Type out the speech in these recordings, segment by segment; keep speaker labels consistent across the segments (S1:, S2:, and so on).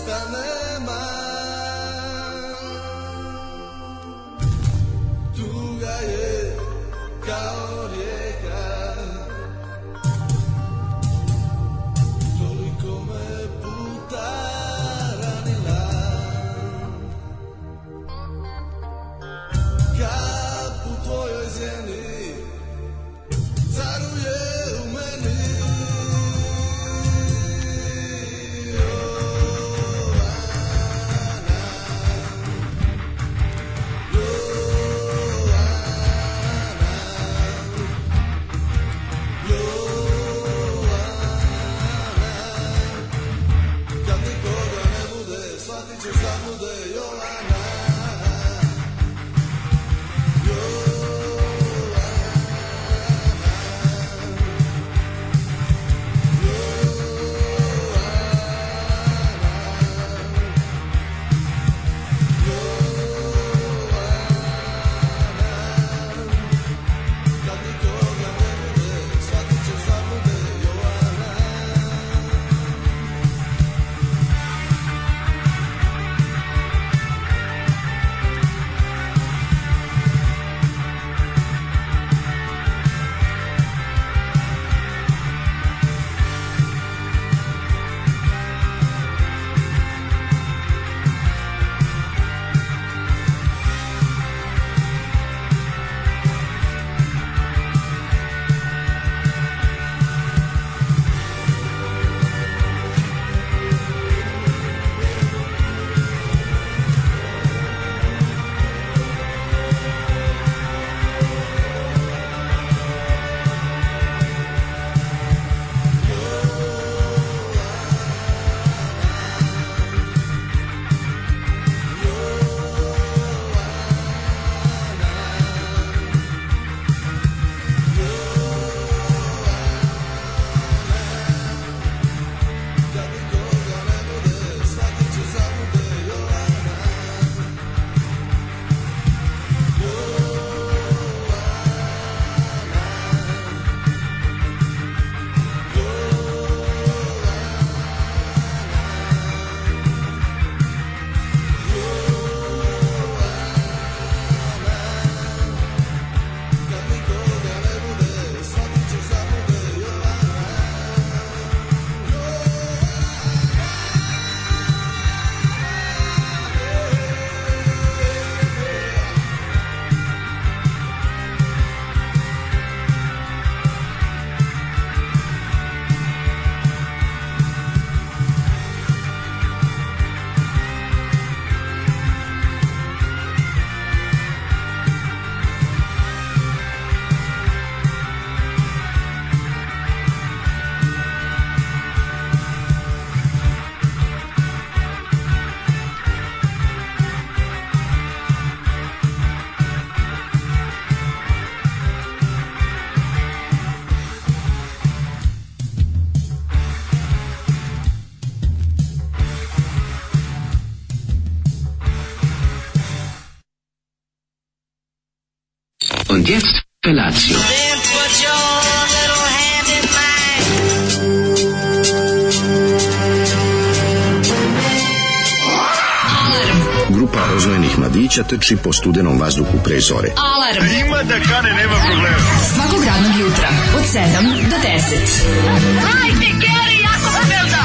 S1: istemem Tugayı kao rijeka Toliko me puta ranila Kap u tvojoj zemlji Caruje u meni Kad nikoga ne bude, shvatit ćeš zabude Jovana Kad nikoga ne bude, shvatit ćeš zabude Jovana
S2: Und jetzt Felatio.
S3: Then put your little hand in mine.
S4: Grupa rozvojenih mladića trči po studenom vazduhu pre zore.
S5: Alarm. Ima da kane, nema problema. Svakog radnog jutra, od 7 do 10. Hajde, Geri, jako belda.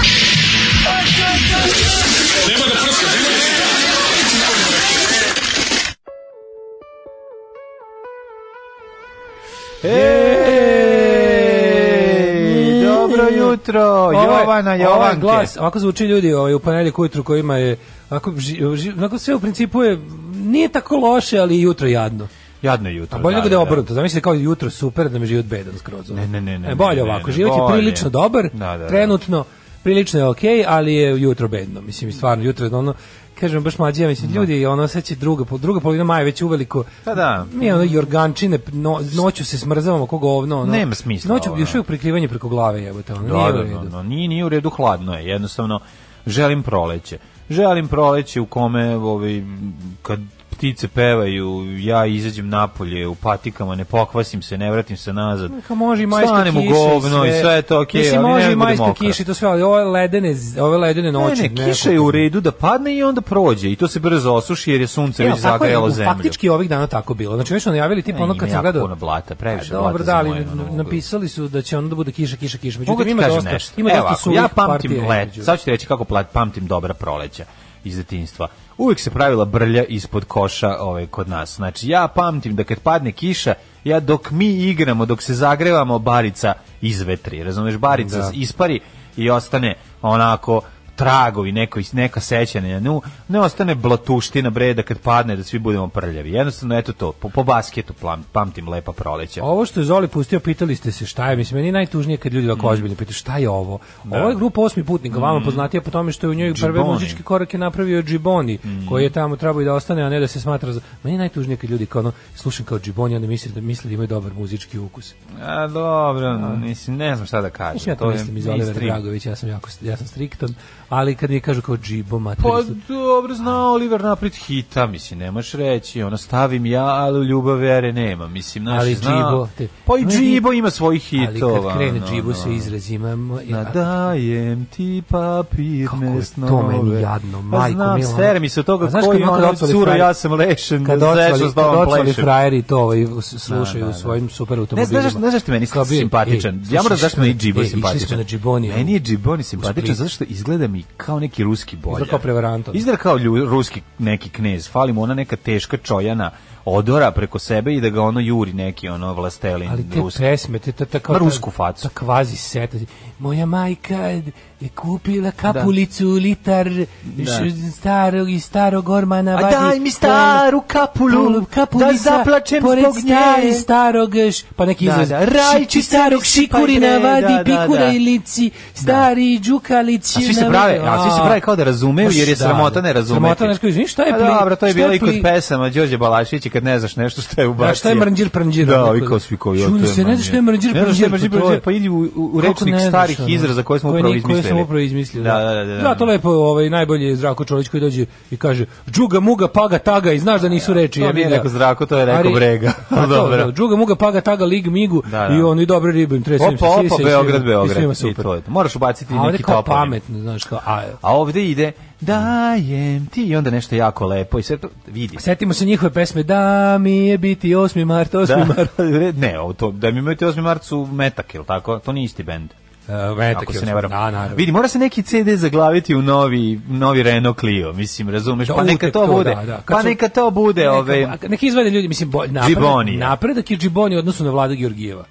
S6: Ej, dobro jutro,
S7: Ovaj-
S6: Jovana
S7: Ovaj
S6: Jovanke.
S7: glas, ovako zvuči ljudi ovaj, u ponedeljak ujutru kojima je, ovako, ži, ži, onako sve u principu je, nije tako loše, ali i jutro jadno.
S6: Jadno je jutro.
S7: A bolje nego da je obrnuto. Zamislite kao jutro super, da mi život bedan skroz. ono.
S6: Ne, ne, ne, ne,
S7: E, bolje
S6: ne, ne,
S7: ovako.
S6: ne,
S7: život je
S6: bolje.
S7: prilično dobar,
S6: Da, da, da.
S7: trenutno, prilično je okej, ali je jutro bedno. Mislim, stvarno, jutro je ono, kažem baš mlađe, mislim, ljudi, ono, sad će druga, pol- druga polovina maja već uveliko.
S6: Da. Pa da.
S7: Mi, ono, jorgančine, no, noću se smrzavamo, ko govno, ono.
S6: Nema smisla,
S7: Noću,
S6: ono.
S7: još uvijek prikrivanje preko glave, jebote, ono,
S6: Da,
S7: nije u
S6: da,
S7: redu.
S6: da, da, nije, nije u redu, hladno je, jednostavno želim proleće. Želim proleće u kome ovaj, kad ptice pevaju, ja izađem napolje u patikama, ne pokvasim se, ne vratim se nazad.
S7: Neka može i majska
S6: Stanem
S7: kiša.
S6: u govno i sve je to okej,
S7: Mislim,
S6: ali
S7: može
S6: ne
S7: i
S6: bude
S7: majska
S6: mokra.
S7: kiša i to sve, ali ove ledene, ove ledene noći.
S6: Ne, ne, kiša je u redu da padne i onda prođe i to se brzo osuši jer je sunce
S7: Evo,
S6: već
S7: tako je,
S6: zagrejalo zemlju.
S7: Faktički ovih dana tako bilo. Znači, već su najavili tipa
S6: E,
S7: ono
S6: ima
S7: kad sam
S6: jako
S7: gledao...
S6: puno blata, previše
S7: A, dobro,
S6: blata
S7: da,
S6: za
S7: ali
S6: moje, ono,
S7: n-
S6: mogu-
S7: napisali su da će onda da bude kiša, kiša, kiša.
S6: Mogu
S7: Međutim,
S6: ti
S7: ima
S6: kažem
S7: dosta,
S6: nešto.
S7: ima
S6: Evo
S7: dosta
S6: ovako,
S7: suvih
S6: ja pamtim
S7: partija
S6: let,
S7: između.
S6: sad ću ti reći kako pla- pamtim dobra proleća iz detinjstva. Uvijek se pravila brlja ispod koša ovaj, kod nas. Znači, ja pamtim da kad padne kiša, ja dok mi igramo, dok se zagrevamo, barica izvetri. Razumeš, barica
S7: Da.
S6: ispari i ostane onako tragovi, neko, neka sećanja na nju, ne ostane blatuština breda kad padne da svi budemo prljavi. Jednostavno, eto to, po, po basketu plam- pamtim lepa proleća.
S7: Pa Ovo što je Zoli pustio, pitali ste se šta je, mislim, meni je najtužnije kad ljudi
S6: Mm.
S7: ovako ozbiljno pitaju šta je ovo. Ovo je grupa osmi putnika, vama poznatija po tome što je u njoj prve
S6: Da. Džiboni. Mm.
S7: muzičke korake napravio Džiboni, koji je tamo trebao i da ostane, a ne da se smatra za... Meni je najtužnije kad ljudi kao ono, slušam kao Džiboni, onda misle da, misle da imaju dobar muzički ukus.
S6: A dobro, mislim, ne znam šta da kažem.
S7: Mislim, ja to mislim iz Olivera
S6: mainstream.
S7: Dragović, ja sam, jako, ja sam striktan, ali kad mi kažu kao Džibo, mater,
S6: Pa
S7: isto-
S6: dobro, zna Oliver napred hita, mislim, nemaš reći, ono stavim ja, ali u ljubav vere nema, mislim, znaš,
S7: Ali
S6: zna.
S7: Džibo, te-
S6: Pa i
S7: Ne,
S6: Džibo ima svojih
S7: ali
S6: hitova.
S7: kad krene
S6: ono,
S7: Džibo se
S6: ono.
S7: izraz imamo...
S6: Nadajem ti
S7: Kako Pa je
S6: papirne
S7: to
S6: snove.
S7: meni jadno,
S6: pa
S7: majko
S6: znam,
S7: mila, ono.
S6: sere mi se od
S7: A
S6: toga,
S7: znaš
S6: ko
S7: kad
S6: ima
S7: ono kad
S6: ono
S7: otvori
S6: curo,
S7: frajer-
S6: ja sam lešen,
S7: kad
S6: da
S7: otvali,
S6: zeću s
S7: kad
S6: tobom
S7: otvali
S6: plešem.
S7: frajeri to ovaj, s- slušaju
S6: Da, da,
S7: u
S6: da.
S7: svojim super
S6: Ne,
S7: automobilima.
S6: znaš, znaš zašto je meni
S7: Kao bio-
S6: simpatičan?
S7: Ej,
S6: ja moram
S7: slušaj,
S6: zašto meni je
S7: e,
S6: Džibo
S7: išli
S6: simpatičan.
S7: smo na Džiboni.
S6: Meni je Džiboni
S7: u
S6: simpatičan
S7: Splitu.
S6: zato što izgleda mi kao neki ruski bolja.
S7: Izgleda kao prevarant, ono.
S6: Izgleda kao lju- ruski neki knez. Fali mu ona neka teška čojana odora preko sebe i da ga ono juri neki ono vlastelin
S7: ali te
S6: ruski.
S7: pesme, te ta, ta, kao
S6: Ma,
S7: ta-
S6: rusku facu.
S7: Ta kvazi seta. Moja majka je kupila kapulicu
S6: Da.
S7: litar š- starog i starog ormana.
S6: A
S7: vadi
S6: Da. daj mi
S7: stojan-
S6: staru kapulu,
S7: kapulica,
S6: da zaplačem
S7: pored
S6: zbog nje.
S7: stari- starog, š- pa neki
S6: Da,
S7: izraz,
S6: da, rajčice
S7: ši- starog
S6: mi sipaj
S7: šikurina
S6: pre,
S7: vadi
S6: da, da,
S7: pikura
S6: da.
S7: i lici, stari đukalić.
S6: A svi se prave, a svi se prave kao da razumeju jer je sramota ne razumeti.
S7: da. Sramota nešto, izvini, šta je
S6: A
S7: pli-
S6: dobro, to je
S7: šta
S6: bilo i kod
S7: pli-
S6: pesama Đorđe Balašić i kad ne znaš nešto što je ubacio.
S7: Da, šta je mrnđir prnđir?
S6: Da,
S7: Onako,
S6: i kao svi koji
S7: čuli se, ne znaš šta je mrnđir
S6: Ne znaš šta je
S7: prnđir,
S6: mrđir
S7: pa to je-
S6: prnđir, pa idi u, u, u
S7: Kako ne
S6: rečnik
S7: znaš,
S6: starih
S7: ono,
S6: izraza koje smo
S7: koje
S6: upravo
S7: ni-
S6: izmislili.
S7: Koje smo upravo izmislili, da.
S6: Da, da, da.
S7: to lepo ovaj, najbolje je Zdravko Čolić koji dođe i kaže džuga, muga, paga, taga i znaš da nisu reči.
S6: to
S7: jebi
S6: nije
S7: ga.
S6: rekao Zdravko, to je rekao
S7: Ali-
S6: Brega.
S7: Pa to,
S6: Dobro.
S7: da, Džuga, muga, paga, taga, lig, migu
S6: Da, da.
S7: i on i dobre ribe im tresim.
S6: Opa, opa, Beograd, Beograd. I to je. to. Moraš ubaciti
S7: A ovde
S6: neki
S7: kao
S6: toponim.
S7: pametno, znaš, kao, a,
S6: A ovde ide dajem ti i onda nešto jako lepo i sve to vidi.
S7: Setimo se njihove pesme Da mi je biti 8. mart, 8.
S6: Da,
S7: mart.
S6: ne, ovo to, da mi imate 8. mart su metak, jel tako? To nije isti bend.
S7: Uh, eto,
S6: Ako
S7: kao,
S6: se ne varam.
S7: Da, naravno.
S6: Vidi, mora se neki CD zaglaviti u novi, novi Renault Clio, mislim, razumeš?
S7: Da,
S6: pa neka
S7: utek
S6: to,
S7: to,
S6: bude.
S7: da, da. Kad
S6: Pa
S7: su-
S6: neka to bude, ovaj,
S7: Neka-
S6: ove...
S7: a- Neki izvade ljudi, mislim, bolj, napredak,
S6: Džibonija.
S7: napredak je Džiboni u odnosu na vlada Georgijeva.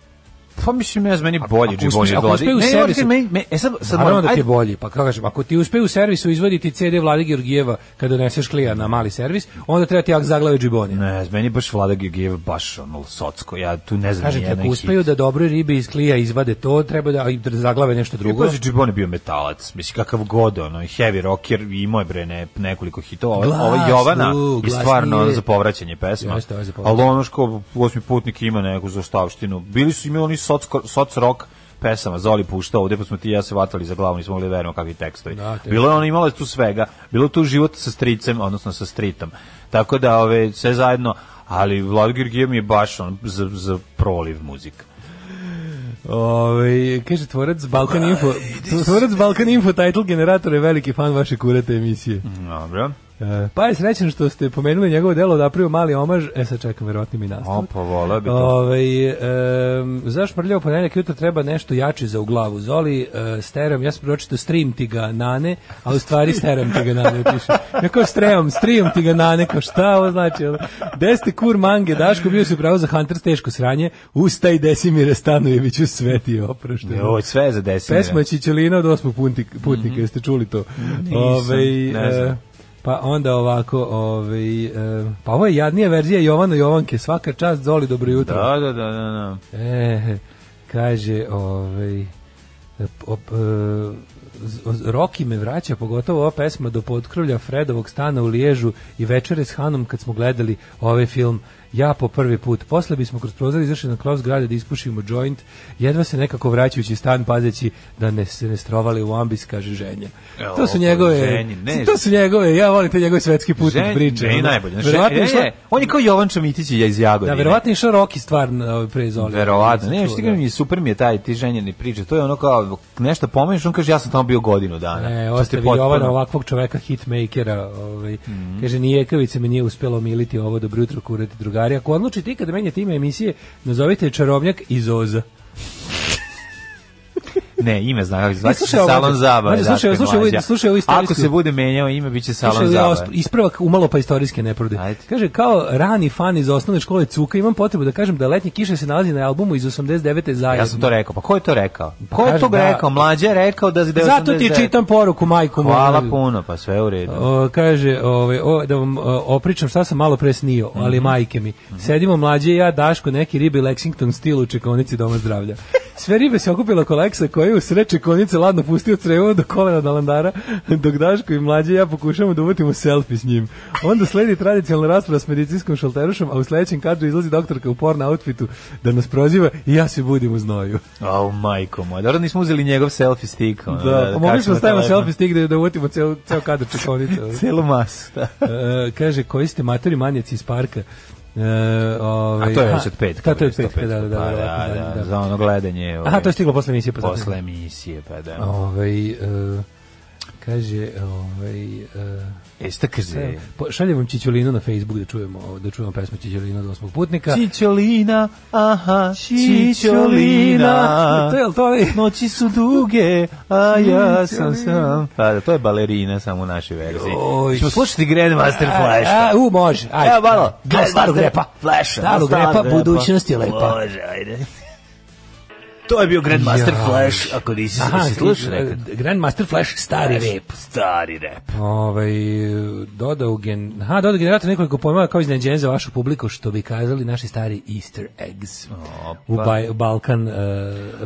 S6: Pa mislim, ja znam, meni bolje
S7: ako uspe-
S6: Džiboni
S7: ako
S6: od
S7: uspeju
S6: Vladi. Ne,
S7: servisu-
S6: morate meni- me- e, sad, sad
S7: Naravno
S6: moram-
S7: da ti
S6: ajde,
S7: je bolji, pa kako kažem, ako ti uspe u servisu izvaditi CD vlade Georgijeva kad doneseš klija na mali servis, onda treba ti ak zaglave Džiboni.
S6: Ne, znam, meni baš Vlada Georgijev baš ono socko, ja tu ne znam
S7: Kažem
S6: ni
S7: ti,
S6: jedan
S7: ako uspeju da dobro ribe iz klija izvade to, treba da, i da zaglave nešto drugo.
S6: Drugo, Pazi, Džibon je bio metalac, mislim kakav god, ono, i heavy rocker, imao je bre ne, nekoliko hitova, Ova-
S7: Glasnu,
S6: ova Jovana je stvarno ono,
S7: glasnije.
S6: za povraćanje pesma,
S7: Jeste, ovo je za povraćanje.
S6: ali ono što osmi putnik ima neku zaostavštinu, bili su imali oni soc, soc rock pesama, Zoli puštao ovde, pa smo ti i ja se vatali za glavu, nismo mogli da verujemo kakvi tekstovi.
S7: Da, teško.
S6: bilo je ono, imalo je tu svega, bilo je tu život sa stricem, odnosno sa stritom, tako da ove, sve zajedno, ali Vladimir Gije mi je baš on, za, za proliv muzika. ovaj,
S7: Ove, kaže tvorac Balkan Info, tvorac Balkan Info title generator je veliki fan vaše kurate emisije.
S6: Dobro.
S7: E, Pa je srećan što ste pomenuli njegovo delo da napravio mali omaž. E sad čekam, verovatno mi nastavak.
S6: Opa, pa voleo bi to.
S7: Ovaj, em, zaš mrljao ponedjeljak jutro treba nešto jače za u glavu. Zoli, e, steram, ja sam pročito stream ti ga nane, a u stvari steram ti ga nane, piše. Ja kao stream, stream ti ga nane, kao šta ovo znači? Ono, Gde ste kur mange, Daško bio si pravo za Hunter teško sranje, ustaj Desimire Stanojeviću sveti je oprošteno.
S6: Joj, sve je za desinu.
S7: Pesma je Čičelina od osmog puntik, putnika, jeste čuli to?
S6: Nisam, ne
S7: e,
S6: znam.
S7: pa onda ovako, ovaj, e, pa ovo je jadnija verzija Jovana Jovanke, svaka čast, Zoli, dobro jutro.
S6: Da, da, da, da, da.
S7: E, kaže, ovaj, op, e, z- z- Roki me vraća, pogotovo ova pesma do potkrovlja Fredovog stana u Liježu i večere s Hanom kad smo gledali ovaj film ja po prvi put. Posle bismo kroz prozor izašli na krov zgrade da ispušimo joint, jedva se nekako vraćajući stan pazeći da ne se ne strovali u ambis, kaže ženja.
S6: Evo,
S7: To su njegove,
S6: ženjin, E, ne.
S7: to su njegove, ja volim te njegove svetski put
S6: Žen-
S7: priče.
S6: ne,
S7: ono.
S6: najbolje. Znači,
S7: Verovatno je
S6: e,
S7: išla-
S6: e, on je kao Jovan Čomitić i ja iz Jagodine.
S7: Da, verovatno je išao Roki stvar na ovaj, pre Zoli.
S6: Verovatno. Ne,
S7: Nisam
S6: što
S7: čuo,
S6: ti
S7: da.
S6: kažem, i super mi je taj ti ženjeni priče. To je ono kao nešto pomeniš, on kaže ja sam tamo bio godinu dana.
S7: E,
S6: To ste
S7: ostavi
S6: potpuno- Mhm.
S7: Jovana ovakvog čoveka hitmakera. Ovaj. Kaže, Nijekavice me nije uspjelo militi ovo dobro jutro kurati drugari. Ako odlučite ikada menjati ime emisije, nazovite je čarobnjak iz Oza.
S6: Ne, ime znam kako se zove.
S7: E, slušaj ovo,
S6: Salon
S7: mlađe.
S6: zabave.
S7: Mlađe, slušaj ovo,
S6: Daško i
S7: slušaj ovo-
S6: Mlađa.
S7: slušaj
S6: Ako
S7: ovo istorijsku-
S6: se bude menjao ime, bit će Salon
S7: Slušaj, ja
S6: zabave.
S7: os- Ispravak umalo pa istorijske nepravde.
S6: Ajde.
S7: Kaže, kao rani fan iz osnovne škole Cuka, imam potrebu da kažem da letnje kiše se nalazi na albumu iz 89. zajedno.
S6: Ja sam to rekao. Pa ko je to rekao? Ko je
S7: kažem
S6: to
S7: da-
S6: rekao? Mlađe je rekao da da je
S7: Zato ti
S6: 89.
S7: čitam poruku, majku. moju.
S6: Hvala puno, pa sve u redu.
S7: O, kaže, ovaj, o, da vam o, opričam šta sam malo pre snio, ali majke mi. Sedimo mlađe i ja, Daško, neki ribi Lexington stil u čekonici Doma zdravlja. Sve ribe se okupila oko Leksa koji je u sred čekonice ladno pustio crevo do kolena do landara, dok Daško i mlađe i ja pokušamo da uvatimo selfie s njim. Onda sledi tradicionalna rasprava s medicinskom šalterušom, a u sledećem kadru izlazi doktorka u porno outfitu da nas proziva i ja se budim u znoju.
S6: Au, majko moja. Dobro, nismo uzeli njegov selfie stick. ono,
S7: Da, pa mogli smo
S6: kačimo
S7: stavimo
S6: telefon.
S7: selfie stick da, da uvatimo ceo, ceo kadar ovaj. čekonice. ono.
S6: Celu masu, da.
S7: E, kaže, koji ste matori manjaci iz parka? E, ovaj,
S6: A to je
S7: ha,
S6: već od petka.
S7: Da, to je od
S6: bre,
S7: petka, da, da, da.
S6: Pa
S7: verovatno,
S6: da,
S7: da,
S6: za ono gledanje.
S7: Aha,
S6: ovaj,
S7: to je stiglo posle emisije. Pa zato-
S6: Posle emisije, pa da.
S7: Ovaj, e, kaže, ovaj, e,
S6: Jeste kaže,
S7: po- šaljem vam Čićolinu na Facebook da čujemo, da čujemo pesmu Čićolina od osmog putnika.
S6: Čičolina, aha,
S7: To je,
S6: čičolina.
S7: jel to ovaj? je?
S6: Noći su duge, a ja sam sam. Pa da, to je balerina samo u našoj verziji.
S7: Joj.
S6: Ćemo slušati Grandmaster Flash.
S7: A, u, može. Ajde.
S6: da Evo malo.
S7: Gledaj starog
S6: Grandmaster
S7: repa.
S6: Flasha.
S7: Starog repa, budućnost je lepa.
S6: Može, ajde. To je bio Grandmaster
S7: Jao.
S6: Flash, ako nisi
S7: Aha,
S6: se slušao nekad.
S7: Grandmaster Flash, stari rep.
S6: Stari rep.
S7: Ovaj dodao gen, aha, dodao generator nekoliko pojmova kao iznenađenje za vašu publiku što bi kazali naši stari Easter eggs. U Baj- Balkan eh,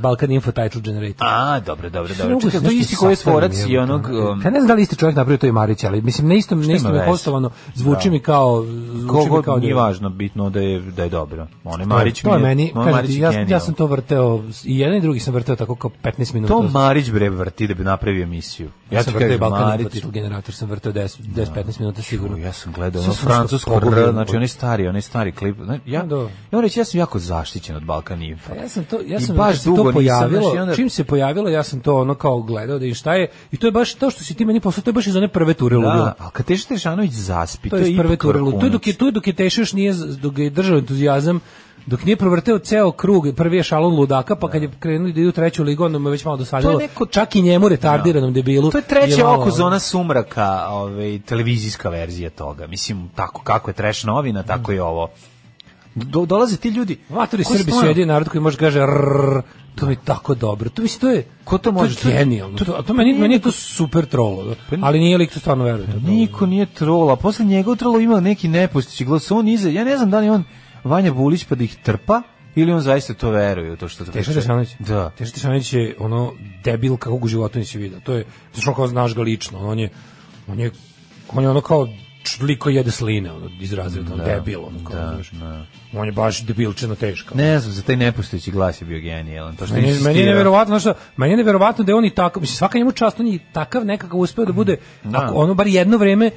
S7: Balkan Info Title Generator.
S6: pa. A, dobro, dobro,
S7: Ne
S6: dobro.
S7: mogu
S6: Čekaj,
S7: se
S6: to je
S7: nešto
S6: isti koji je
S7: sastaviti,
S6: tvorac i
S7: jebote.
S6: onog... um,
S7: Ja ne znam da li isti čovjek napravio to i Marić, ali mislim na istom na istom
S6: ima
S7: je
S6: veze?
S7: postavano zvuči mi kao zvuči
S6: Ko
S7: mi kao
S6: god
S7: da-
S6: um,
S7: Pa,
S6: nije važno, bitno da je da je dobro. On je Marić
S7: to je
S6: mi
S7: meni,
S6: on
S7: kažem
S6: Marić
S7: ti,
S6: je
S7: ja, ja
S6: genijalan.
S7: sam to vrteo, i jedan i drugi sam vrteo tako kao 15 minuta.
S6: To Marić bre vrti da bi napravio emisiju.
S7: Ja sam vrteo i Balkan Info
S6: Marić.
S7: Title Generator, sam vrteo 10, 10-15 minuta sigurno.
S6: Ja sam gledao
S7: Sad
S6: ono
S7: sam nešto
S6: francusko
S7: pogubio.
S6: R, znači onaj stari, onaj stari klip. Zna- Ja,
S7: Da.
S6: ja moram reći, ja sam jako zaštićen od Balkan Info.
S7: Pa ja sam to, ja
S6: E, I
S7: sam
S6: baš
S7: baš
S6: dugo
S7: to pojavilo,
S6: nisam, znaš, i onda-
S7: čim se pojavilo, ja sam to ono kao gledao da i šta je, i to je baš to što si ti meni poslao, to je baš iz one prve ture ludilo.
S6: Da, ali kad Teša Tešanović zaspi,
S7: To je iz prve
S6: ipak
S7: ture ludilo. To je dok je,
S6: vrhunac.
S7: to je dok je Teša još nije, z- dok je držao entuzijazam, dok nije provrteo ceo krug, prvi je šalon ludaka, pa kad je krenuo da ide u treću ligu, onda mu je već malo dosadilo.
S6: To je neko- Da.
S7: Čak i njemu retardiranom debilu.
S6: To je treće
S7: je malo-
S6: oko zona sumraka, ovaj, televizijska verzija toga. Mislim, tako kako je treš novina, tako je ovo. Do, dolaze ti ljudi.
S7: Matori
S6: koji
S7: Srbi su
S6: stvarno-
S7: jedini narod koji može da kaže rrrr, to mi je tako dobro. To mislim to je
S6: Ko to može? To
S7: To
S6: je-
S7: je genijalno.
S6: to-
S7: To, a to meni meni je to super trolo. Ali nije lik to stvarno veruje. to je trolo.
S6: Niko Pa nije trola. Posle njega u trolu ima neki nepustići glas. On iza, ja ne znam da li je on Vanja Bulić pa da ih trpa ili on zaista to veruje u to što to
S7: Teša
S6: priča.
S7: Tešanović.
S6: Da.
S7: Teša Tešanović je ono debil kakvog u životu nisi vidio. To je što kao znaš ga lično. On je on je on je ono kao liko jede sline, ono iz razreda, ono, debil, ono kao, znaš. On je baš debilčino teško.
S6: Ne znam, za taj nepustići glas je bio genijalan. To što
S7: Meni, je- meni je
S6: insistira.
S7: neverovatno što meni je neverovatno da je on i tako, mislim svaka njemu čast on je takav nekako uspeo da bude
S6: Da.
S7: ako ono bar jedno vrijeme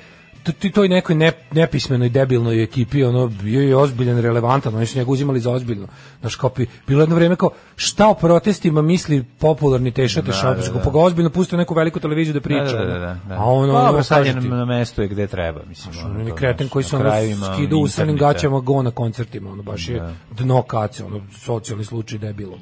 S7: to ti toj nekoj ne, nepismenoj debilnoj ekipi ono bio je ozbiljan relevantan oni su njega uzimali za ozbiljno naš kopi bilo jedno vrijeme kao šta o protestima misli popularni Teša Tešanović da, pa ga ozbiljno pustio na neku veliku televiziju da priča
S6: Da, da, da,
S7: ono.
S6: da, da.
S7: a on
S6: Dobro,
S7: ono
S6: sad je
S7: kaže ti,
S6: na- na mestu je gde treba, mislim. ono,
S7: on je
S6: Pa, to,
S7: kreten
S6: znaš,
S7: koji
S6: na
S7: se ono
S6: kraju ima
S7: skida u srnim
S6: interneta.
S7: gaćama go na koncertima, ono baš
S6: Da.
S7: je dno kace, ono socijalni slučaj debilom.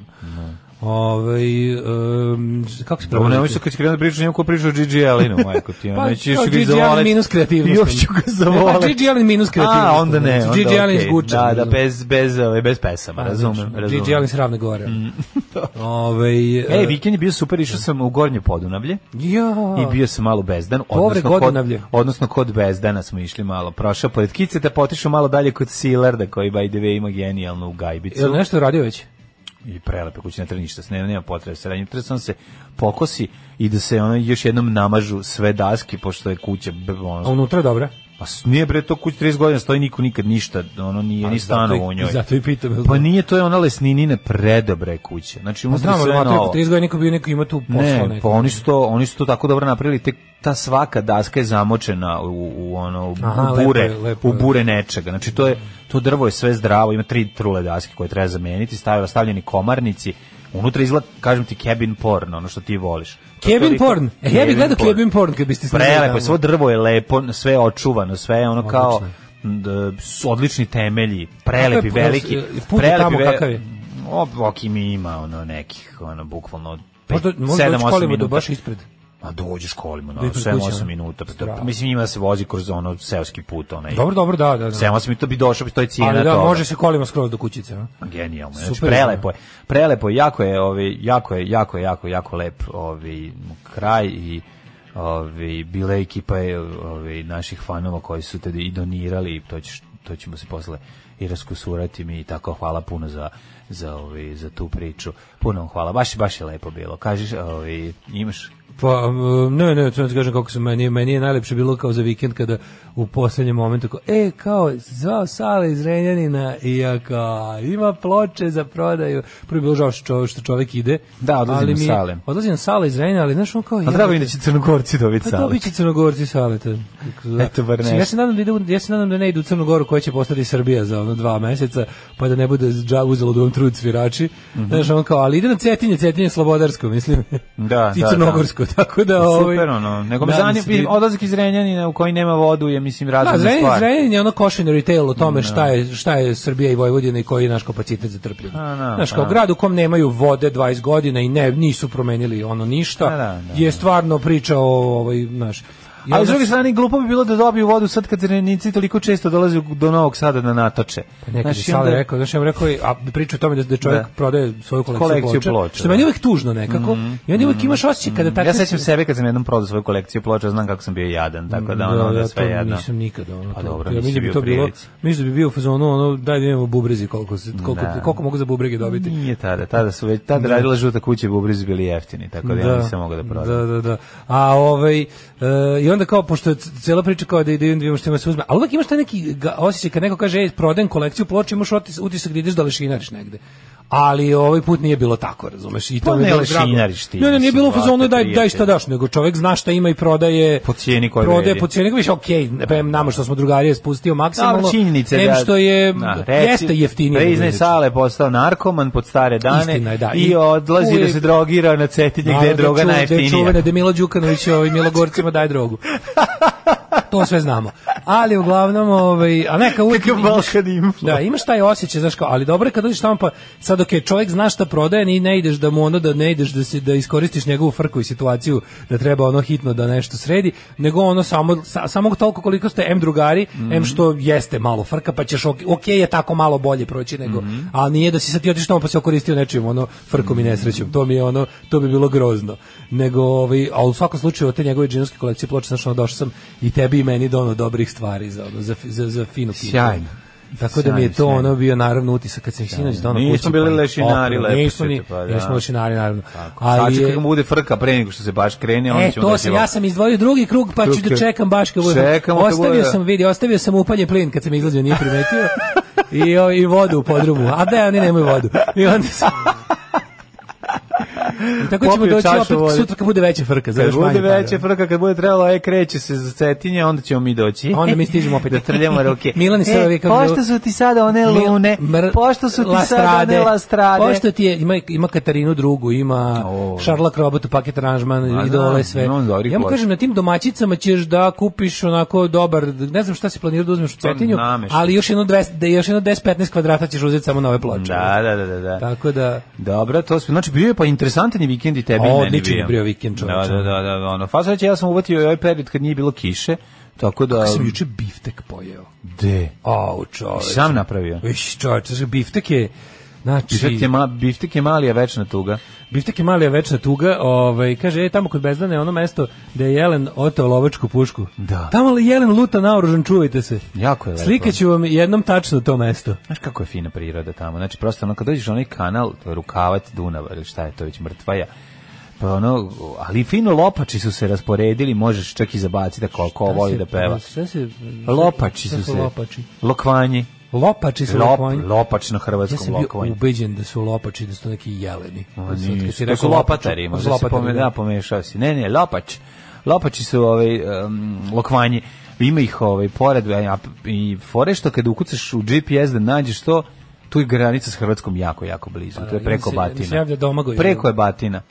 S7: Ovaj em, kako se
S6: Dobro,
S7: prevodi?
S6: nemoj se kad će krenuti priča, njemu ko priča o Gigi Alinu, majko ti.
S7: Pa,
S6: Pa, nećeš
S7: kao
S6: ga i
S7: Gigi
S6: zavoleti.
S7: Allen minus kreativnost.
S6: Još ću ga
S7: Ne, pa
S6: zavoleti.
S7: Gigi Allen minus znači, kreativnost.
S6: A, onda ne. Onda
S7: Gigi Allen
S6: okej.
S7: iz Guča,
S6: Da, da,
S7: razumem.
S6: bez, bez, ove, bez pesama, razumem.
S7: Znači,
S6: razumem. Mm.
S7: Gigi Allen se ravne gore. Ovaj
S6: E,
S7: e,
S6: vikend je bio super, išao sam u Gornje Podunavlje
S7: ja,
S6: i bio sam malo bezdan.
S7: Povre
S6: odnosno kod-
S7: Godunavlje.
S6: Odnosno kod bezdana smo išli malo. Prošao pored Kiceta, potišao malo dalje kod Silarda, koji by the way ima genijalnu gajbicu.
S7: Jel nešto radio već?
S6: i prelepe kuće, ne treba ništa, nema, nema potrebe se radnje, treba samo se da pokosi i da se ono još jednom namažu sve daske, pošto je kuća, b-
S7: A
S6: ono,
S7: unutra je dobra.
S6: Pa s- nije bre to kuć 30 godina stoji niko nikad ništa, ono nije ni stano u njoj.
S7: Zato i pitam. jel
S6: Pa
S7: znam?
S6: nije to je ona lesninine predobre kuće. Znači
S7: Pa
S6: unutra
S7: znam,
S6: sve
S7: verovatno,
S6: novo.
S7: ako 30 godina niko bio neko ima tu posla.
S6: Ne,
S7: neko.
S6: pa oni su to, oni su to tako dobro napravili, tek ta svaka daska je zamočena u, u ono u,
S7: Aha,
S6: u bure,
S7: lepo je, lepo je.
S6: u bure nečega. Znači to je to drvo je sve zdravo, ima tri trule daske koje treba zameniti, stavila stavljeni komarnici. Unutra izgleda, kažem ti, cabin porn, ono što ti voliš. To je
S7: Kevin
S6: toliko-
S7: Porn. E, ja bih gledao Kevin Porn kad biste snimali
S6: Prelepo,
S7: tamo.
S6: je, svo drvo je lepo, sve je očuvano, sve je ono kao
S7: Odlično.
S6: m, d- s- odlični temelji, prelepi,
S7: Kakav je
S6: veliki.
S7: put tamo, kakav je?
S6: O, ok, mi ima ono nekih, ono, bukvalno,
S7: Možda,
S6: 7-8
S7: možda doći kolima da
S6: minuta.
S7: do baš ispred.
S6: Ma dođeš kolima, no,
S7: Do ispred
S6: 7-8
S7: kuće,
S6: minuta. Pa, to,
S7: Bravo.
S6: mislim, ima da se vozi kroz ono seoski put, onaj.
S7: Dobro, dobro, da, da. da.
S6: 7-8 minuta bi došao, bi to je cijena
S7: Ali da,
S6: toga.
S7: može se kolima skroz do kućice. a?
S6: Genijalno, znači
S7: Super
S6: prelepo je. Prelepo je, jako je, ovaj jako je, jako je, jako jako lep ovaj kraj i ovaj bila je ekipa je ovaj naših fanova koji su tada i donirali, to ćeš to ćemo se posle i raskusurati mi i tako hvala puno za za ovaj za tu priču. Puno vam hvala. Baš baš je lepo bilo. Kažeš, ovaj imaš
S7: Pa, um, ne, ne, to ne ti kažem kako se meni, meni je najlepše bilo kao za vikend kada u poslednjem momentu kao, e, kao, zvao Sale iz Renjanina i ja kao, ima ploče za prodaju. Prvo je bilo žao što, čov- što čovek ide.
S6: Da, odlazi
S7: ali
S6: na
S7: mi-
S6: Sale.
S7: Odlazi na Sale iz Renjanina, ali znaš on kao...
S6: A drago mi je da će crnogorci dobiti
S7: Pa to
S6: sale.
S7: biće crnogorci saleta.
S6: Eto, bar nešto.
S7: Ja se nadam da ide, u- ja se nadam da ne idu u Crnu Goru koja će postati Srbija za ono dva meseca, pa da ne bude dža uzelo da vam trud svirači.
S6: Mhm.
S7: Znaš, on kao, ali ide na Cetinje, Cetinje je slobodarsko, mislim.
S6: Da,
S7: I
S6: da,
S7: crnogorsko, tako da ovaj
S6: Super ono. Nego me
S7: nadam
S6: zanima
S7: se da-
S6: odlazak iz Renjanina u koji nema vodu je mislim razumna
S7: Da,
S6: stvar. Da.
S7: Zrenjanin, Zrenjanin je ono košin retail o tome šta je, šta je Srbija i Vojvodina i koji je naš kapacitet za trpljenje.
S6: A, da,
S7: Znaš,
S6: pa
S7: kao
S6: da.
S7: grad u kom nemaju vode 20 godina i ne, nisu promenili ono ništa,
S6: A, da, da,
S7: je stvarno priča o, ovaj, znaš, i
S6: Ali s
S7: onda
S6: druge strane, glupo bi bilo da dobiju vodu sad kad Zrenjanici toliko često dolaze u- do Novog Sada da natoče.
S7: Pa Nekad je
S6: Znaš, i
S7: Sale
S6: onda-
S7: rekao, znaš, ja mu rekao, je, a priča o tome da, da čovjek
S6: Da.
S7: prodaje svoju kolekciju,
S6: Kolekciju
S7: ploča,
S6: ploča,
S7: što je
S6: da. Mhm.
S7: meni uvek tužno nekako, i onda uvek imaš osjećaj kada tako...
S6: Ja sećam sebe kad sam jednom prodao svoju kolekciju ploča, znam kako sam bio jadan, tako da ono da,
S7: ja
S6: sve
S7: to
S6: jedno.
S7: nisam nikada. Ono,
S6: Pa
S7: to-
S6: dobro,
S7: ja
S6: nisi
S7: mislim da bi
S6: bio
S7: to
S6: u
S7: bilo,
S6: prilici.
S7: mislim da bi bio u fazonu, ono, daj da imamo bubrezi koliko, se, koliko,
S6: Da.
S7: koliko mogu za bubrege dobiti.
S6: Nije tada, tada su već, tada radila žuta kuća i bubrizi bili jeftini, tako da, ja nisam mogao da prodam.
S7: Da, da, da. A ovaj e, i onda kao pošto je c- cela priča kao da idem vidimo što ima se uzme. Ali uvek imaš taj neki ga- osećaj kad neko kaže ej, prodajem kolekciju ploča, imaš otis- utisak da ideš da lešinariš negde. Ali ovaj put nije bilo tako, razumeš? I to
S6: Pa
S7: mi je
S6: ne
S7: bilo drago.
S6: lešinariš ti,
S7: Ne, ne, nije
S6: mislim,
S7: bilo u fazonu
S6: brate,
S7: daj daj šta
S6: prijatelj.
S7: daš, nego čovek zna šta ima i prodaje
S6: Po cijeni koja
S7: prodaje
S6: vredi.
S7: po cijeni koja više okej, okay, nama što smo drugari je spustio maksimalno.
S6: Dobro, Da, činjenice
S7: em
S6: da...
S7: što je
S6: Da, reci-
S7: jeste jeftinije. nego
S6: Priznaj,
S7: inače.
S6: Sale je postao narkoman pod stare dane
S7: Istina je, da.
S6: i,
S7: I
S6: odlazi da
S7: uvijek-
S6: se drogira na cetinje gde je
S7: Naravno,
S6: droga
S7: čuva- Da je
S6: najjeftinija.
S7: čuvena, da je Milo Đukanović ovaj, Milogorcima daje drogu. To sve znamo. Ali uglavnom, ovaj, a neka uvijek...
S6: Kakav Balkan info.
S7: Da, imaš taj osjećaj, znaš kao, ali dobro je kad dođeš tamo pa sad ok, čovjek zna šta prodaje, ni ne ideš da mu ono da ne ideš da se da iskoristiš njegovu frku i situaciju da treba ono hitno da nešto sredi, nego ono samo sa, samo toliko koliko ste M drugari, M što jeste malo frka, pa ćeš ok, ok je tako malo bolje proći nego, ali nije da si sad ti otišao tamo pa se okoristio nečim ono frkom i nesrećom. To mi je ono, to bi bilo grozno. Nego ovaj, a u svakom slučaju od te njegove džinovske kolekcije ploča znaš, ono, došao sam i tebi i meni dono dobrih stvari za ono, za za, za finu kinu.
S6: Sjajno.
S7: Tako da mi je to
S6: Sjajno, sjajno.
S7: ono bio naravno utisak kad sam ih sinoć donao
S6: Da. Nismo
S7: kući.
S6: bili
S7: ih
S6: lešinari,
S7: oprao.
S6: lepo
S7: Nismo
S6: ćete,
S7: ni,
S6: pa da.
S7: nismo lešinari naravno.
S6: Ali
S7: Ali
S6: Sad
S7: je-
S6: kako mu bude frka pre nego što se baš krene, onda
S7: E,
S6: ćemo da
S7: to
S6: doći
S7: sam,
S6: ovako.
S7: ja sam izdvojio drugi krug, pa ću
S6: Krug.
S7: da čekam baš kako
S6: Čekamo kad
S7: Ostavio
S6: bude.
S7: sam, vidi, ostavio sam upaljen plin kad sam izlazio, nije primetio. I, o, I vodu u podrumu. A da, oni nemaju vodu. I onda sam... I tako ćemo
S6: Popio
S7: doći
S6: čašu
S7: opet
S6: vode.
S7: sutra kad bude veća frka. Za
S6: Kad
S7: još
S6: bude
S7: manje para.
S6: veća frka, kad bude trebalo, e, kreće se za cetinje, onda ćemo mi doći.
S7: Onda mi stižemo opet.
S6: da trljamo ruke.
S7: Milan i Sava
S6: e,
S7: vikao-
S6: pošto su ti sada one
S7: Mil-
S6: lune,
S7: mr-
S6: pošto su ti sada
S7: lastrade.
S6: one lastrade.
S7: Pošto ti je, ima, ima Katarinu drugu, ima
S6: O.
S7: Šarla Krobotu, paket aranžman,
S6: Ma
S7: idole,
S6: da,
S7: sve.
S6: ima on dobrih
S7: Ja mu
S6: ploča.
S7: kažem, na tim domaćicama ćeš da kupiš onako dobar, ne znam šta si planirao da uzmeš u Cetinju,
S6: Pa nameštaj.
S7: ali još jedno, 200 da još jedno 10-15 kvadrata ćeš uzeti samo na ove ploče.
S6: Da, da, da, da. da.
S7: Tako da...
S6: Dobro, to smo, znači bio je pa interesantan i vikend i tebi i
S7: O,
S6: meni
S7: odličan je bio vikend,
S6: Da,
S7: čoveče.
S6: da, da, da, ono. Pa sad će, ja sam uvatio i ovaj period kad nije bilo kiše, tako da...
S7: Ja sam juče biftek pojeo.
S6: De.
S7: Au, čoveč.
S6: Sam napravio.
S7: Iš, čoveč, znaš, biftek je... Znači,
S6: Biftek je, ma, biftek je mali, a večna tuga.
S7: Biftek je mali a večna tuga, ovaj kaže e tamo kod Bezdana je ono mesto da je Jelen oteo lovačku pušku.
S6: Da.
S7: Tamo li Jelen luta naoružan, čuvajte se.
S6: Jako je lepo.
S7: Slikaću vam jednom tačno to mesto.
S6: Znaš kako je fina priroda tamo? Znači, prosto ono, kad dođeš na onaj kanal, to je rukavac Dunava, ili šta je to već, mrtvaja, Pa ono, ali fino lopači su se rasporedili, možeš čak i zabaciti ako ko voli da peva.
S7: Šta se,
S6: Lopači
S7: šta
S6: su se.
S7: Lopači.
S6: Lokvanji.
S7: Lopači su
S6: Lop,
S7: lokvanji.
S6: lopač na
S7: Ja
S6: hrvatskom
S7: sam bio
S6: lokvanji.
S7: ubeđen da su lopači, da su to neki jeleni. Da
S6: Ma
S7: Kad si-
S6: nisu,
S7: kad
S6: to su
S7: si rekao
S6: lopatari,
S7: lopaču,
S6: možda se
S7: lopatari,
S6: pome,
S7: da.
S6: da, pomešao si. Ne, ne, lopač. Lopači su ovaj, um, lokvanji. Ima ih ovaj, pored a, i fore što kad ukucaš u GPS da nađeš to, tu je granica s Hrvatskom jako, jako blizu. To je
S7: A,
S6: preko
S7: ili se- ili se
S6: Batina.
S7: da, javlja Domagoj,
S6: preko je Batina.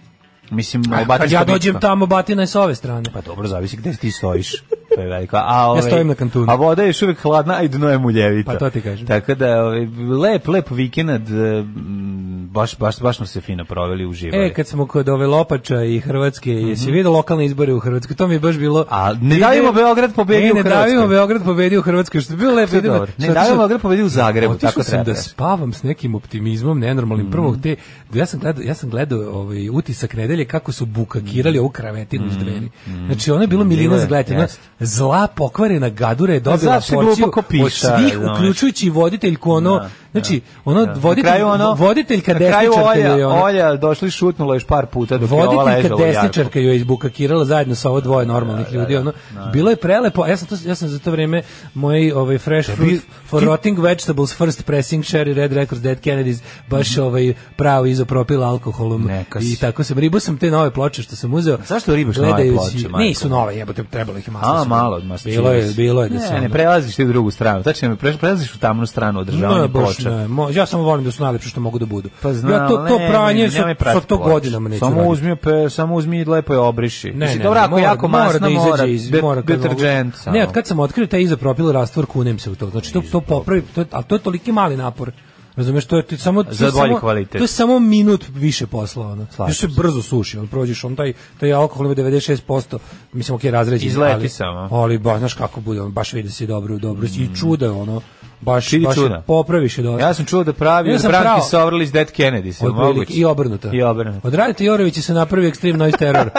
S6: Mislim, a,
S7: Kad ja dođem tamo, batina je s ove strane.
S6: Pa dobro, zavisi gde ti stojiš. To je veliko. A, ovaj,
S7: stojim na kantunu.
S6: A voda je još uvijek hladna, a i dno je muljevito.
S7: Pa to ti kažem.
S6: Tako da, ovaj, lep, lep vikend, eh, mm, baš, baš, baš smo se fino proveli, uživali.
S7: E, Mhm. kad smo kod ove Lopača i Hrvatske, jesi vidio lokalne izbore u Hrvatskoj? To mi je baš bilo...
S6: A ne davimo Beograd pobedi
S7: E, Ne,
S6: u
S7: ne
S6: Hrvatskoj.
S7: davimo Beograd pobedi u Hrvatskoj, što je bilo lepo.
S6: To je
S7: idemo-
S6: dobro. Ne
S7: što je
S6: davimo
S7: otišao-
S6: Beograd pobedi u Zagrebu,
S7: Otišao
S6: tako
S7: sam
S6: treba Mhm.
S7: da
S6: reći.
S7: spavam s nekim optimizmom nenormalnim. Prvo te, ja sam gledao, ja sam gledao ovaj utisak nedelje kako su bukakirali ovu kravetinu iz dveri. Znači ono je bilo milina
S6: Mhm. Bilo je,
S7: za gledati. Ona
S6: jeste.
S7: Zla pokvarena gadura je dobila
S6: zato što je
S7: porciju
S6: glupako
S7: od
S6: piša,
S7: svih,
S6: znaš. Da,
S7: uključujući i voditeljku ono, znači ono
S6: Na
S7: voditelj,
S6: kraju ono-
S7: voditeljka
S6: na kraju
S7: desničarka
S6: Olja,
S7: je ono.
S6: Olja došli šutnula još par puta dok je ova
S7: Voditeljka
S6: ležala u jarku. Da,
S7: desničarka ju je izbukakirala zajedno sa ovo dvoje normalnih ljudi. ono, Bilo je prelepo. Ja sam, to, ja sam za to vrijeme moj ovaj, fresh fruit for rotting vegetables, first pressing, sherry, red records, dead Kennedys, baš ovaj, pravo izopropil alkoholom.
S6: Mhm. Neka si.
S7: I tako sam. Ribu sam te nove ploče što sam uzeo.
S6: Zašto ribaš nove
S7: gledajući-
S6: ploče, Marko?
S7: Nisu nove, jebote, trebalo ih je masno.
S6: A,
S7: su-
S6: malo od masno.
S7: Bilo je, bilo je da
S6: ne,
S7: se...
S6: Ne,
S7: ono-
S6: prelaziš ti u drugu stranu. Tačno, pre- prelaziš u tamnu stranu održavanja
S7: Ne, baš
S6: ploča.
S7: ne. Mo- ja samo volim da su najlepše što mogu da budu.
S6: Pa znam,
S7: ja to, to
S6: ne,
S7: pranje
S6: ne,
S7: sa,
S6: nemoj prati
S7: sa to
S6: ploče.
S7: godinama neću
S6: Samo
S7: raditi.
S6: uzmi, pe, samo uzmi i lepo je obriši.
S7: Ne,
S6: Mislim,
S7: ne,
S6: dobro,
S7: ne,
S6: ako
S7: mora-
S6: jako
S7: mora
S6: masna,
S7: da
S6: mora,
S7: izađe iz
S6: de-
S7: mora kad
S6: deterđent
S7: mogu.
S6: samo.
S7: Ne, od kad sam otkrio taj izopropil rastvor, kunem se u to. Znači to to popravi, to, je- ali to je toliki mali napor. Razumeš, to je ti samo to je
S6: Za bolji
S7: samo-
S6: kvalitet.
S7: To je samo minut više posla, ono. Još se brzo suši, on prođeš, on taj taj alkohol ima 96%, mislim okej, razređen,
S6: Izleti
S7: ali,
S6: samo.
S7: Ali baš znaš kako bude, on baš vidi se dobro, dobro si i čuda ono. Baš,
S6: Vidi
S7: baš
S6: Mm. čuda.
S7: popraviš je dosta.
S6: Ja sam čuo da pravi
S7: Ja
S6: da
S7: sam
S6: Branki
S7: pravo-
S6: Sovrlić Dead Kennedy, se
S7: Otprilike,
S6: moguće.
S7: I obrnuto.
S6: I obrnuto.
S7: Od Radita Jorovića se napravi ekstrem noise terror.